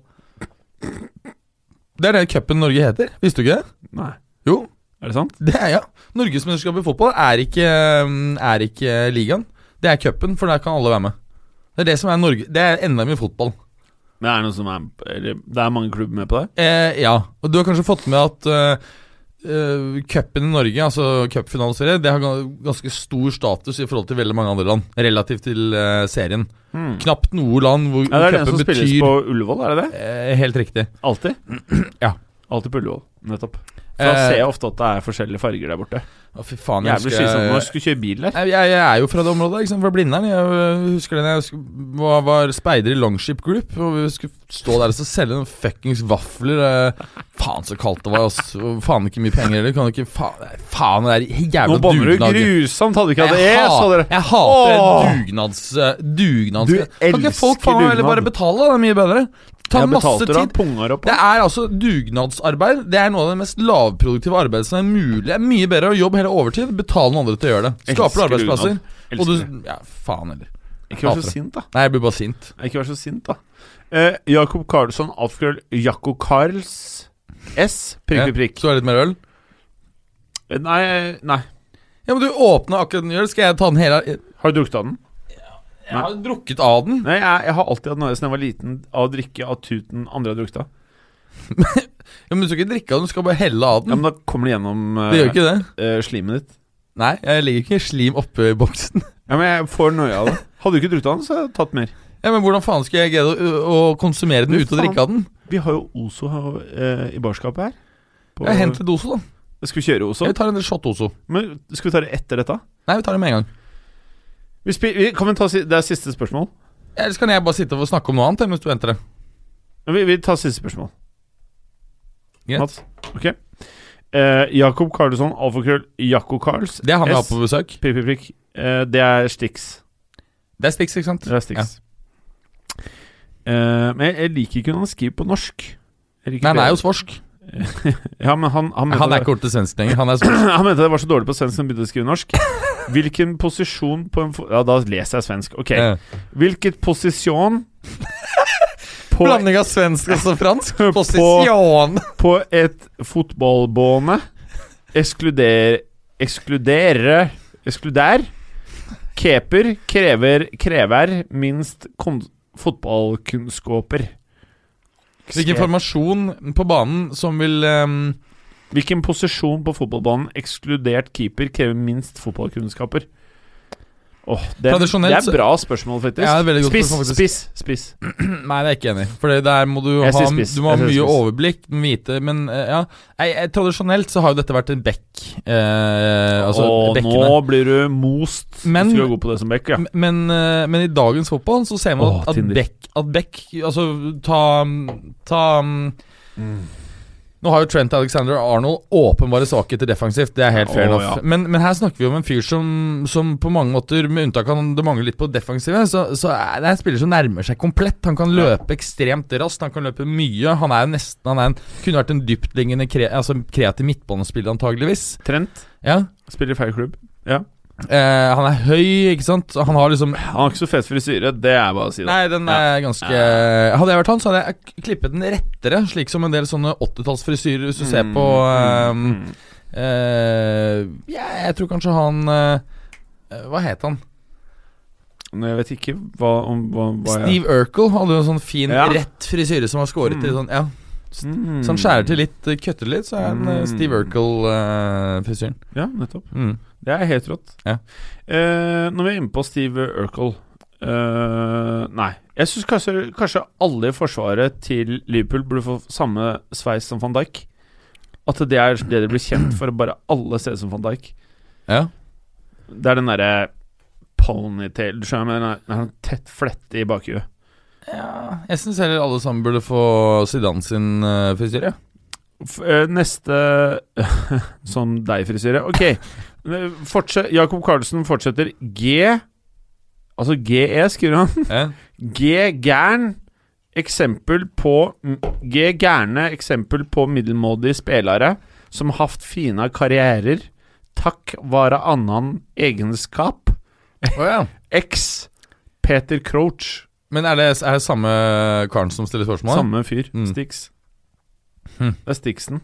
[SPEAKER 2] Det er det cupen Norge heter. Visste du ikke det?
[SPEAKER 1] Nei,
[SPEAKER 2] Jo,
[SPEAKER 1] er det sant?
[SPEAKER 2] det er ja. Norgesmesterskapet i fotball er ikke, mm, er ikke ligaen. Det er cupen, for der kan alle være med. Det er det som er Norge Det er NM i fotball.
[SPEAKER 1] Men er det noe som er eller, Det er mange klubber med på det?
[SPEAKER 2] Eh, ja, og du har kanskje fått med at eh, eh, cupen i Norge, altså cupfinaleserie, det har ga- ganske stor status i forhold til veldig mange andre land, relativt til eh, serien.
[SPEAKER 1] Hmm.
[SPEAKER 2] Knapt noe land hvor
[SPEAKER 1] Ja, det er den
[SPEAKER 2] cupen
[SPEAKER 1] som spilles
[SPEAKER 2] betyr
[SPEAKER 1] på Ullevål, er det det?
[SPEAKER 2] eh, Helt riktig.
[SPEAKER 1] Alltid?
[SPEAKER 2] [clears throat] Ja.
[SPEAKER 1] Alltid på Ullevål. Nettopp. For Da
[SPEAKER 2] Eh,
[SPEAKER 1] ser jeg ofte at det er forskjellige farger der borte.
[SPEAKER 2] Å, fy faen, jeg
[SPEAKER 1] Jævlig
[SPEAKER 2] husker
[SPEAKER 1] slitsomt når du
[SPEAKER 2] jeg,
[SPEAKER 1] skulle kjøre bil der.
[SPEAKER 2] jeg, jeg er jo fra det området, ikke sant, fra Blindern. Jeg øh, husker det da jeg sk- var, var speider i Longship Group, og vi skulle stå der og så selge noen fuckings vafler. eh. Faen så kaldt det var, ass. Og Faen ikke mye penger heller. Kan du ikke Faen, nei, faen det er jævla
[SPEAKER 1] Nå banner du
[SPEAKER 2] dugnad.
[SPEAKER 1] grusomt! Hadde du ikke hatt
[SPEAKER 2] Jeg
[SPEAKER 1] es,
[SPEAKER 2] ha-
[SPEAKER 1] hadde dere
[SPEAKER 2] Jeg hater
[SPEAKER 1] Åh!
[SPEAKER 2] dugnads... dugnads
[SPEAKER 1] Du
[SPEAKER 2] kan ikke folk
[SPEAKER 1] elsker
[SPEAKER 2] faen meg heller
[SPEAKER 1] dugnad.
[SPEAKER 2] bare betale? da? Det er mye bedre. Ta
[SPEAKER 1] Jeg
[SPEAKER 2] masse
[SPEAKER 1] betalte da
[SPEAKER 2] tid.
[SPEAKER 1] pungar opp.
[SPEAKER 2] Det er altså dugnadsarbeid. Det er noe av det mest lavproduktive arbeidet som er mulig. Det er mye bedre å jobbe hele overtid. Betale noen andre til å gjøre det. Skaper du
[SPEAKER 1] Elsker
[SPEAKER 2] arbeidsplasser.
[SPEAKER 1] Elsker
[SPEAKER 2] Og du
[SPEAKER 1] det.
[SPEAKER 2] Ja, faen heller.
[SPEAKER 1] Ikke vær
[SPEAKER 2] hater
[SPEAKER 1] så
[SPEAKER 2] det.
[SPEAKER 1] sint, da.
[SPEAKER 2] Nei, jeg blir bare sint.
[SPEAKER 1] Ikke vær så sint, da. Eh, Jakob Karlsson, alfakrøll Jakko Karls S, prikk,
[SPEAKER 2] Ja.
[SPEAKER 1] prikk, prikk.
[SPEAKER 2] Skal du ha litt mer øl?
[SPEAKER 1] Eh, Nei, nei.
[SPEAKER 2] Ja, men du åpna akkurat den øl. Skal jeg ta den hele Jeg
[SPEAKER 1] Har du drukket av den?
[SPEAKER 2] jeg har jo drukket av den.
[SPEAKER 1] Nei, jeg, jeg har alltid hatt noe siden jeg var liten av å drikke av tuten andre har drukket av.
[SPEAKER 2] Ja, men du skal ikke drikke av den, du skal bare helle av
[SPEAKER 1] Ja,
[SPEAKER 2] den.
[SPEAKER 1] Men da kommer det gjennom
[SPEAKER 2] Det gjør
[SPEAKER 1] eh,
[SPEAKER 2] ikke det.
[SPEAKER 1] eh, slimet ditt.
[SPEAKER 2] Nei, jeg legger ikke slim oppi boksen. [laughs]
[SPEAKER 1] Ja, men jeg får nøye av det. Hadde du ikke drukket av den, så hadde jeg tatt mer.
[SPEAKER 2] Ja, men Hvordan faen skal jeg greie å, å konsumere den
[SPEAKER 1] Du
[SPEAKER 2] uten å drikke av den?
[SPEAKER 1] Vi har jo Ozo her, eh, i barskapet her. På-
[SPEAKER 2] Jeg Hent litt Ozo, da.
[SPEAKER 1] Skal vi kjøre Ozo?
[SPEAKER 2] Jeg tar en shot Ozo.
[SPEAKER 1] Men skal vi ta det etter dette?
[SPEAKER 2] Nei, vi tar det med en gang.
[SPEAKER 1] Vi spi vi, kan vi ta, si- det er siste spørsmål.
[SPEAKER 2] Ellers kan jeg bare sitte og snakke om noe annet jeg, mens du henter det.
[SPEAKER 1] Ja, Vi, vi tar siste spørsmål.
[SPEAKER 2] Greit.
[SPEAKER 1] Mats? Ok. Eh, Jakob Karlsson, alfakrøll Jakko Karls.
[SPEAKER 2] Det er han vi
[SPEAKER 1] S.
[SPEAKER 2] har på besøk.
[SPEAKER 1] Prikk, prikk, prikk. Eh, det er Stix.
[SPEAKER 2] Det er Stix, ikke sant?
[SPEAKER 1] Det er Stix. Eh, men jeg, jeg liker ikke når han skriver på norsk. Jeg liker
[SPEAKER 2] Nei, han er jo
[SPEAKER 1] bedre-
[SPEAKER 2] svorsk.
[SPEAKER 1] Ja, men han, han,
[SPEAKER 2] Han er ikke ordentlig svensk lenger. Han er svorsk.
[SPEAKER 1] Han mente det var [clears throat] så dårlig på svensk at han begynte å skrive
[SPEAKER 2] [laughs]
[SPEAKER 1] norsk. Hvilken posisjon på en fo- Ja, da leser jeg svensk. [laughs] Ok.
[SPEAKER 2] Eh, [laughs]
[SPEAKER 1] Hvilket posisjon På,
[SPEAKER 2] Blanding av svensk og så fransk.
[SPEAKER 1] [laughs] På-
[SPEAKER 2] Posisjon.
[SPEAKER 1] på et fotballbåne Eskluder... Ekskludere Ekskludær Keper krever krever minst kon fotballkunnskaper.
[SPEAKER 2] Hvilken formasjon på banen som vil ehm,
[SPEAKER 1] Hvilken posisjon på fotballbanen, ekskludert keeper, krever minst fotballkunnskaper? Åh, det, det
[SPEAKER 2] Tradisjonelt
[SPEAKER 1] er
[SPEAKER 2] så-
[SPEAKER 1] bra spørsmål, faktisk.
[SPEAKER 2] Ja, det er veldig godt
[SPEAKER 1] spiss,
[SPEAKER 2] spørsmål, faktisk.
[SPEAKER 1] spiss, spiss.
[SPEAKER 2] Nei, det er jeg ikke enig i. For det der må du
[SPEAKER 1] Jeg
[SPEAKER 2] ha,
[SPEAKER 1] sier spiss.
[SPEAKER 2] du må ha
[SPEAKER 1] Jeg
[SPEAKER 2] mye
[SPEAKER 1] sier spiss.
[SPEAKER 2] overblikk, vite Men eh, ja Nei, eh, Tradisjonelt så har jo dette vært en bekk. Eh, altså
[SPEAKER 1] Åh,
[SPEAKER 2] bekkene.
[SPEAKER 1] nå blir du most.
[SPEAKER 2] Men-
[SPEAKER 1] du skal gå på det som bekk, ja.
[SPEAKER 2] M- Men, eh, men i dagens fotball så ser man
[SPEAKER 1] Åh,
[SPEAKER 2] at, at
[SPEAKER 1] Tinder.
[SPEAKER 2] bekk At bekk Altså, ta Ta mm, Nå har jo Trent Alexander Arnold åpenbare svakheter defensivt, det er helt
[SPEAKER 1] Åh,
[SPEAKER 2] fair enough.
[SPEAKER 1] ja.
[SPEAKER 2] Men, men her snakker vi om en fyr som, som på mange måter, med unntak av det mangler litt på det defensive, så, så er det er en spiller som nærmer seg komplett. Han kan
[SPEAKER 1] Ja.
[SPEAKER 2] løpe ekstremt raskt, han kan løpe mye. Han er jo nesten Han er en, kunne vært en dyptliggende kre, altså kreativ midtbanespiller, antageligvis.
[SPEAKER 1] Trent
[SPEAKER 2] Ja.
[SPEAKER 1] spiller i feil klubb.
[SPEAKER 2] Eh, han er høy, ikke sant. Han har liksom
[SPEAKER 1] Han har ikke så fet frisyre, det er bare å si. det
[SPEAKER 2] Nei, den er ganske Hadde jeg vært han, så hadde jeg k- klippet den rettere, slik som en del sånne 80-tallsfrisyrer, hvis du ser på
[SPEAKER 1] Mm,
[SPEAKER 2] ehm,
[SPEAKER 1] mm.
[SPEAKER 2] eh, ja, Jeg tror kanskje han eh, Hva het han?
[SPEAKER 1] Men Jeg vet ikke hva, om, hva, hva jeg-
[SPEAKER 2] Steve Urkel hadde jo en sånn fin,
[SPEAKER 1] Ja.
[SPEAKER 2] rett frisyre som har skåret i
[SPEAKER 1] Mm.
[SPEAKER 2] sånn Ja.
[SPEAKER 1] Mm.
[SPEAKER 2] Så han skjærer til litt, eh, kutter litt, så er han eh,
[SPEAKER 1] Mm.
[SPEAKER 2] Steve Urkel-frisyren.
[SPEAKER 1] Ja, nettopp.
[SPEAKER 2] mm.
[SPEAKER 1] Det er helt rått.
[SPEAKER 2] Ja.
[SPEAKER 1] Eh, når vi er inne på Steve Urkel eh, Nei. Jeg syns kanskje, kanskje alle i forsvaret til Liverpool burde få samme sveis som van Dijk. At det er det de blir kjent for, bare alle ser ut som van Dijk.
[SPEAKER 2] Ja.
[SPEAKER 1] Det er den derre ponytail Du skjønner, men den er- den er en tett flette i bakhuet.
[SPEAKER 2] ja Jeg syns heller alle sammen burde få Zidane sin eh, frisyre.
[SPEAKER 1] F eh, neste [laughs] Som deg-frisyre. Ok. Eh, Fortsett, Jakob Karlsen fortsetter G Altså GE, skriver han. [laughs]
[SPEAKER 2] Ja.
[SPEAKER 1] G-gæren eksempel på G-gærne eksempel på middelmådige spillere som haft fina karrierer. Takk vare annan egenskap.
[SPEAKER 2] Å ja.
[SPEAKER 1] X Peter Crouch.
[SPEAKER 2] Men er det, er det samme karen som stiller spørsmål?
[SPEAKER 1] Samme fyr.
[SPEAKER 2] Mm.
[SPEAKER 1] Stix.
[SPEAKER 2] Hm.
[SPEAKER 1] Det er Stixen.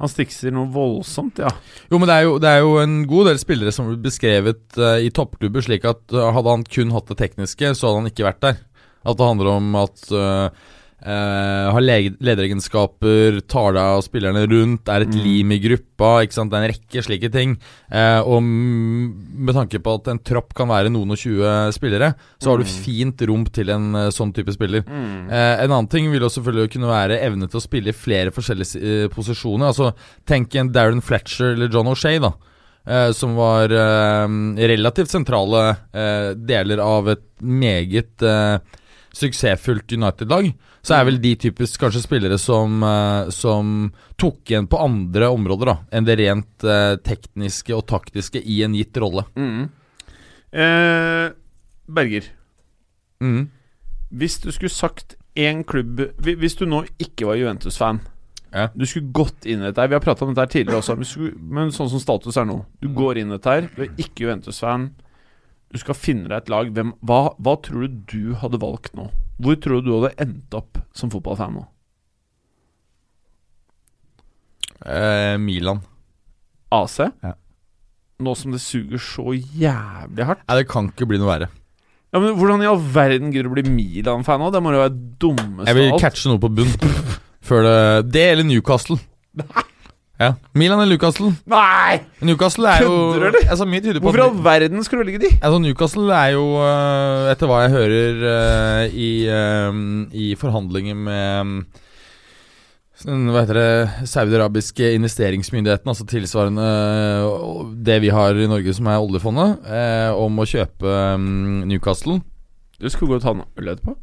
[SPEAKER 1] Han stikser noe voldsomt, ja.
[SPEAKER 2] Jo, men det er jo, det er jo en god del spillere som blir beskrevet eh, i toppklubber, slik at eh, hadde han kun hatt det tekniske, så hadde han ikke vært der. At det handler om at eh, eh, har leg- lederegenskaper, tar deg av spillerne rundt, er et
[SPEAKER 1] Mm.
[SPEAKER 2] lim i gruppa, ikke sant? det er en rekke slike ting. Eh, og mm, med tanke på at en tropp kan være noen og 20 spillere, så har du
[SPEAKER 1] Mm.
[SPEAKER 2] fint rom til en eh, sånn type spiller. Eh, en annen ting vil jo selvfølgelig kunne være evne til å spille i flere forskjellige si- eh, posisjoner. Altså, Tenk en Darren Fletcher eller John O'Shay, da. Eh, som var eh, relativt sentrale eh, deler av et meget eh, suksessfullt United-lag. Så er vel de typisk kanskje spillere som, eh, som tok igjen på andre områder da enn det rent eh, tekniske og taktiske i en gitt rolle.
[SPEAKER 1] Eh, Berger.
[SPEAKER 2] Mm.
[SPEAKER 1] Hvis du skulle sagt én klubb hvi- Hvis du nå ikke var Juventus-fan
[SPEAKER 2] Ja.
[SPEAKER 1] Du skulle gått inn i dette her Vi har prata om dette her tidligere også, men, skulle, men sånn som status er nå
[SPEAKER 2] Mm.
[SPEAKER 1] Du går inn i dette her, du er ikke Juventus-fan. Du skal finne deg et lag. Hvem, hva, hva tror du du hadde valgt nå? Hvor tror du du hadde endt opp som fotballfan nå?
[SPEAKER 2] Eh, Milan.
[SPEAKER 1] AC?
[SPEAKER 2] Ja.
[SPEAKER 1] Nå som det suger så jævlig hardt.
[SPEAKER 2] Nei, det kan ikke bli noe verre.
[SPEAKER 1] Ja, men Hvordan i all verden gidder du å bli Milan-fan nå? Det må jo være dummeste
[SPEAKER 2] Jeg vil
[SPEAKER 1] av alt.
[SPEAKER 2] catche noe på bunn Før det Det eller Newcastle. Ja. Milan eller Newcastle?
[SPEAKER 1] Nei!
[SPEAKER 2] Newcastle er jo
[SPEAKER 1] Kødder du, eller?
[SPEAKER 2] altså, mye tyder på
[SPEAKER 1] Hvorfor i
[SPEAKER 2] at
[SPEAKER 1] all verden skulle du velge de?
[SPEAKER 2] altså, Newcastle er jo, øh, etter hva jeg hører øh, i, øh, i forhandlinger med øh, den, hva heter det saudiarabiske investeringsmyndigheten, altså tilsvarende øh, det vi har i Norge som er oljefondet, øh, om å kjøpe øh, Newcastle.
[SPEAKER 1] Du skulle gå og ta en øl etterpå.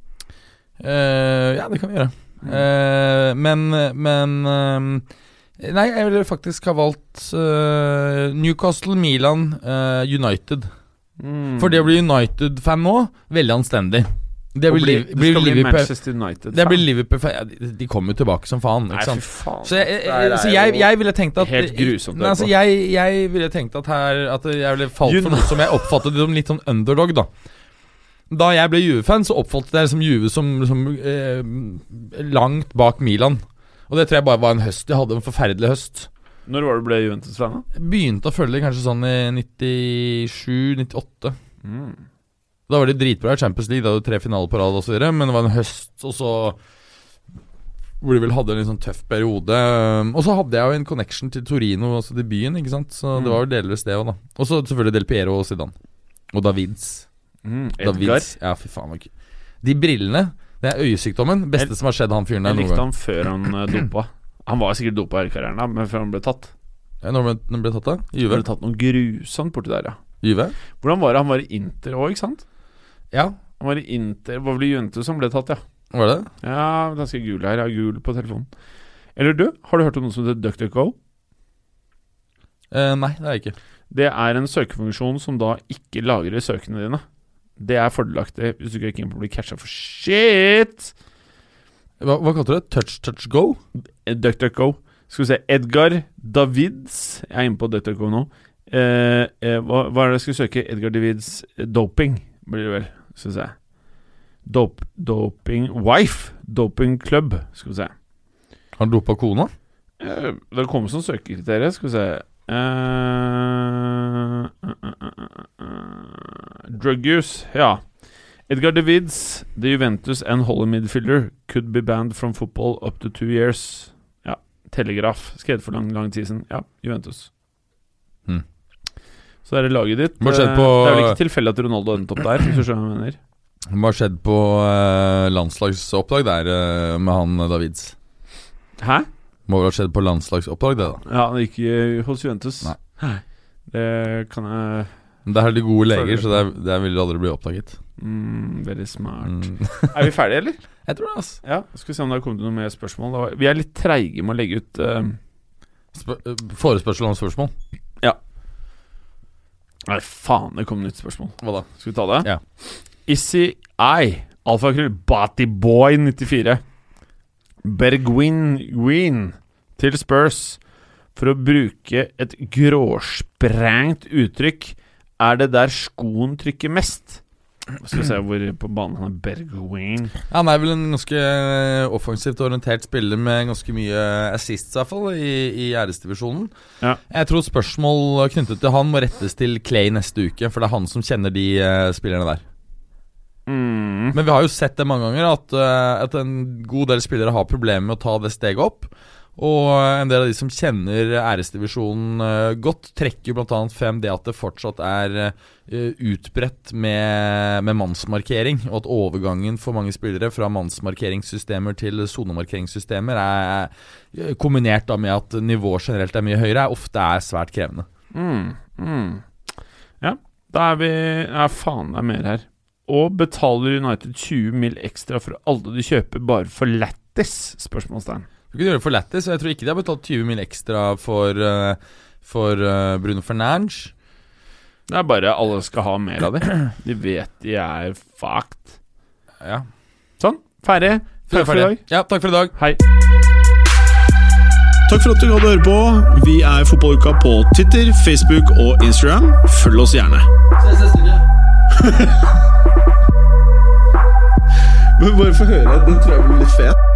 [SPEAKER 2] Eh, ja, det kan vi gjøre.
[SPEAKER 1] Mm.
[SPEAKER 2] Eh, men men eh, Nei, jeg ville faktisk ha valgt eh, Newcastle, Milan, eh, United.
[SPEAKER 1] Mm.
[SPEAKER 2] Mm. For det å bli United-fan nå, veldig anstendig. Det
[SPEAKER 1] Og
[SPEAKER 2] blir,
[SPEAKER 1] bli-
[SPEAKER 2] liv,
[SPEAKER 1] Du
[SPEAKER 2] blir
[SPEAKER 1] skal bli
[SPEAKER 2] Liverpool
[SPEAKER 1] Manchester United.
[SPEAKER 2] Det blir Liverpool ja, de, de kommer jo tilbake som faen,
[SPEAKER 1] Nei,
[SPEAKER 2] ikke sant.
[SPEAKER 1] fy faen.
[SPEAKER 2] Så jeg,
[SPEAKER 1] Det her er
[SPEAKER 2] jeg, så jeg,
[SPEAKER 1] jo
[SPEAKER 2] jeg ville tenkt at
[SPEAKER 1] helt grusomt å
[SPEAKER 2] Nei,
[SPEAKER 1] høre
[SPEAKER 2] altså,
[SPEAKER 1] på.
[SPEAKER 2] jeg, jeg ville tenkt at her At jeg ville falt for
[SPEAKER 1] Uni-
[SPEAKER 2] noe som jeg oppfattet som litt sånn underdog, da. Da jeg ble Juve-fan, så oppfattet jeg liksom Juve som, som eh, langt bak Milan. Og det tror jeg bare var en høst. Jeg hadde en forferdelig høst.
[SPEAKER 1] Når var det du ble Juventus-fan? da?
[SPEAKER 2] Jeg begynte å følge det kanskje sånn i 97-98.
[SPEAKER 1] Mm.
[SPEAKER 2] Da var de dritbra i Champions League, da hadde du tre finaler på rad og så videre, men det var en høst, og så hvor de vel hadde en litt sånn tøff periode. Um, Og så hadde jeg jo en connection til Torino, altså til byen, ikke sant. Så
[SPEAKER 1] Mm.
[SPEAKER 2] det var jo delvis det òg, da. Og så selvfølgelig Del Piero og Zidane. Og Davids.
[SPEAKER 1] Mm. Edgar.
[SPEAKER 2] Davids. Ja, fy faen. ok. De brillene, det er øyesykdommen. Beste som har skjedd han fyren der
[SPEAKER 1] Jeg
[SPEAKER 2] noen
[SPEAKER 1] likte
[SPEAKER 2] gang.
[SPEAKER 1] han før han eh, dopa. Han var sikkert dopa hele karrieren, da, men før han ble tatt.
[SPEAKER 2] Ja, Når ble- når ble tatt av?
[SPEAKER 1] Han
[SPEAKER 2] Juve?
[SPEAKER 1] ble tatt noe grusomt borti der, ja.
[SPEAKER 2] Juve?
[SPEAKER 1] Hvordan var det? Han var i Inter òg, ikke sant?
[SPEAKER 2] Ja,
[SPEAKER 1] Han var i Inter, Var vel i Juventus han ble tatt, ja.
[SPEAKER 2] var det det?
[SPEAKER 1] Ja, ganske gul her. Jeg har gul på telefonen. Eller du, har du hørt om noe som heter DuckDuckGo?
[SPEAKER 2] Eh, nei, det er jeg ikke.
[SPEAKER 1] Det er en søkefunksjon som da ikke lagrer søkene dine. Det er fordelaktig hvis du ikke er keen på å bli catcha for shit!
[SPEAKER 2] Hva, hva kalte du det? Touch, touch, go?
[SPEAKER 1] Eh, DuckDuckGo. Skal vi se Edgar Davids Jeg er inne på DuckDuckGo nå. Eh, eh, hva, hva er det jeg skal søke? Edgar Davids eh, doping, blir det vel, syns jeg. Dop, doping Wife. Doping Club, skal vi se.
[SPEAKER 2] Har han dopa kona?
[SPEAKER 1] Eh, Det kommer som søkekriterier, skal vi se Eh, eh, eh, eh, eh, Drug use, ja. Edgar Davids, the Juventus and Holland midfielder, could be banned from football up to two years. Ja, Telegraf, skrevet for lang, lang tid siden. Ja, Juventus.
[SPEAKER 2] Hmm.
[SPEAKER 1] Så er det laget ditt.
[SPEAKER 2] Bare sett
[SPEAKER 1] Eh,
[SPEAKER 2] på-
[SPEAKER 1] det er vel ikke tilfeldig at Ronaldo endte opp der, hvis du skjønner hva jeg mener.
[SPEAKER 2] Hva har skjedd på eh, landslagsoppdrag der eh, med han eh, Davids?
[SPEAKER 1] Hæ?
[SPEAKER 2] Må vel ha skjedd på landslagsoppdrag, det, da.
[SPEAKER 1] Ja, han gikk eh, hos Juventus.
[SPEAKER 2] Nei.
[SPEAKER 1] Det kan jeg
[SPEAKER 2] Men der er de gode
[SPEAKER 1] Føler
[SPEAKER 2] leger,
[SPEAKER 1] det.
[SPEAKER 2] så det, er, det vil aldri bli oppdaget.
[SPEAKER 1] mm, Veldig smart.
[SPEAKER 2] Mm.
[SPEAKER 1] [laughs] Er vi ferdige, eller?
[SPEAKER 2] Jeg tror det, altså.
[SPEAKER 1] Ja, skal vi se om det har kommet noe mer spørsmål. Det var- Vi er litt treige med å legge ut eh,
[SPEAKER 2] Sp eh, forespørsel om spørsmål?
[SPEAKER 1] Nei, faen, det kom nytt spørsmål.
[SPEAKER 2] Hva da?
[SPEAKER 1] Skal vi ta det?
[SPEAKER 2] Ja.
[SPEAKER 1] Issy I, alfakrøll, Batyboy94. Bergwin til Spurs. For å bruke et gråsprengt uttrykk, er det der skoen trykker mest. Skal vi se hvor på banen han er. Bergwin.
[SPEAKER 2] Han er vel en ganske eh, offensivt orientert spiller med ganske mye eh, assists, i hvert fall, i, i æresdivisjonen.
[SPEAKER 1] Ja.
[SPEAKER 2] Jeg tror spørsmål knyttet til han må rettes til Clay neste uke, for det er han som kjenner de eh, spillerne der.
[SPEAKER 1] Mm.
[SPEAKER 2] Men vi har jo sett det mange ganger at, eh, at en god del spillere har problemer med å ta det steget opp. Og eh, en del av de som kjenner æresdivisjonen eh, godt, trekker jo bl.a. frem det at det fortsatt er eh, utbredt med, med mannsmarkering, og at overgangen for mange spillere fra mannsmarkeringssystemer til sonemarkeringssystemer er eh, kombinert da med at nivået generelt er mye høyere, er ofte er svært krevende.
[SPEAKER 1] Mm, mm. Ja, da er vi Ja, faen, det er mer her. Og betaler United 20 mil ekstra for alle de kjøper bare for lættis? Spørsmålstegn.
[SPEAKER 2] Du kunne gjøre det for lættis, og jeg tror ikke de har betalt 20 mil ekstra for, eh, for eh, Bruno Fernange.
[SPEAKER 1] Det er bare alle skal ha mer av det. De vet de er fucked.
[SPEAKER 2] Ja.
[SPEAKER 1] Sånn, ferdig. Takk for i dag.
[SPEAKER 2] Ja, takk for i dag.
[SPEAKER 1] Hei.
[SPEAKER 4] Takk for at du hadde høre på. Vi er Fotballuka på Twitter, Facebook og Instagram. Følg oss gjerne. Men bare få høre. Den tror jeg blir litt fet.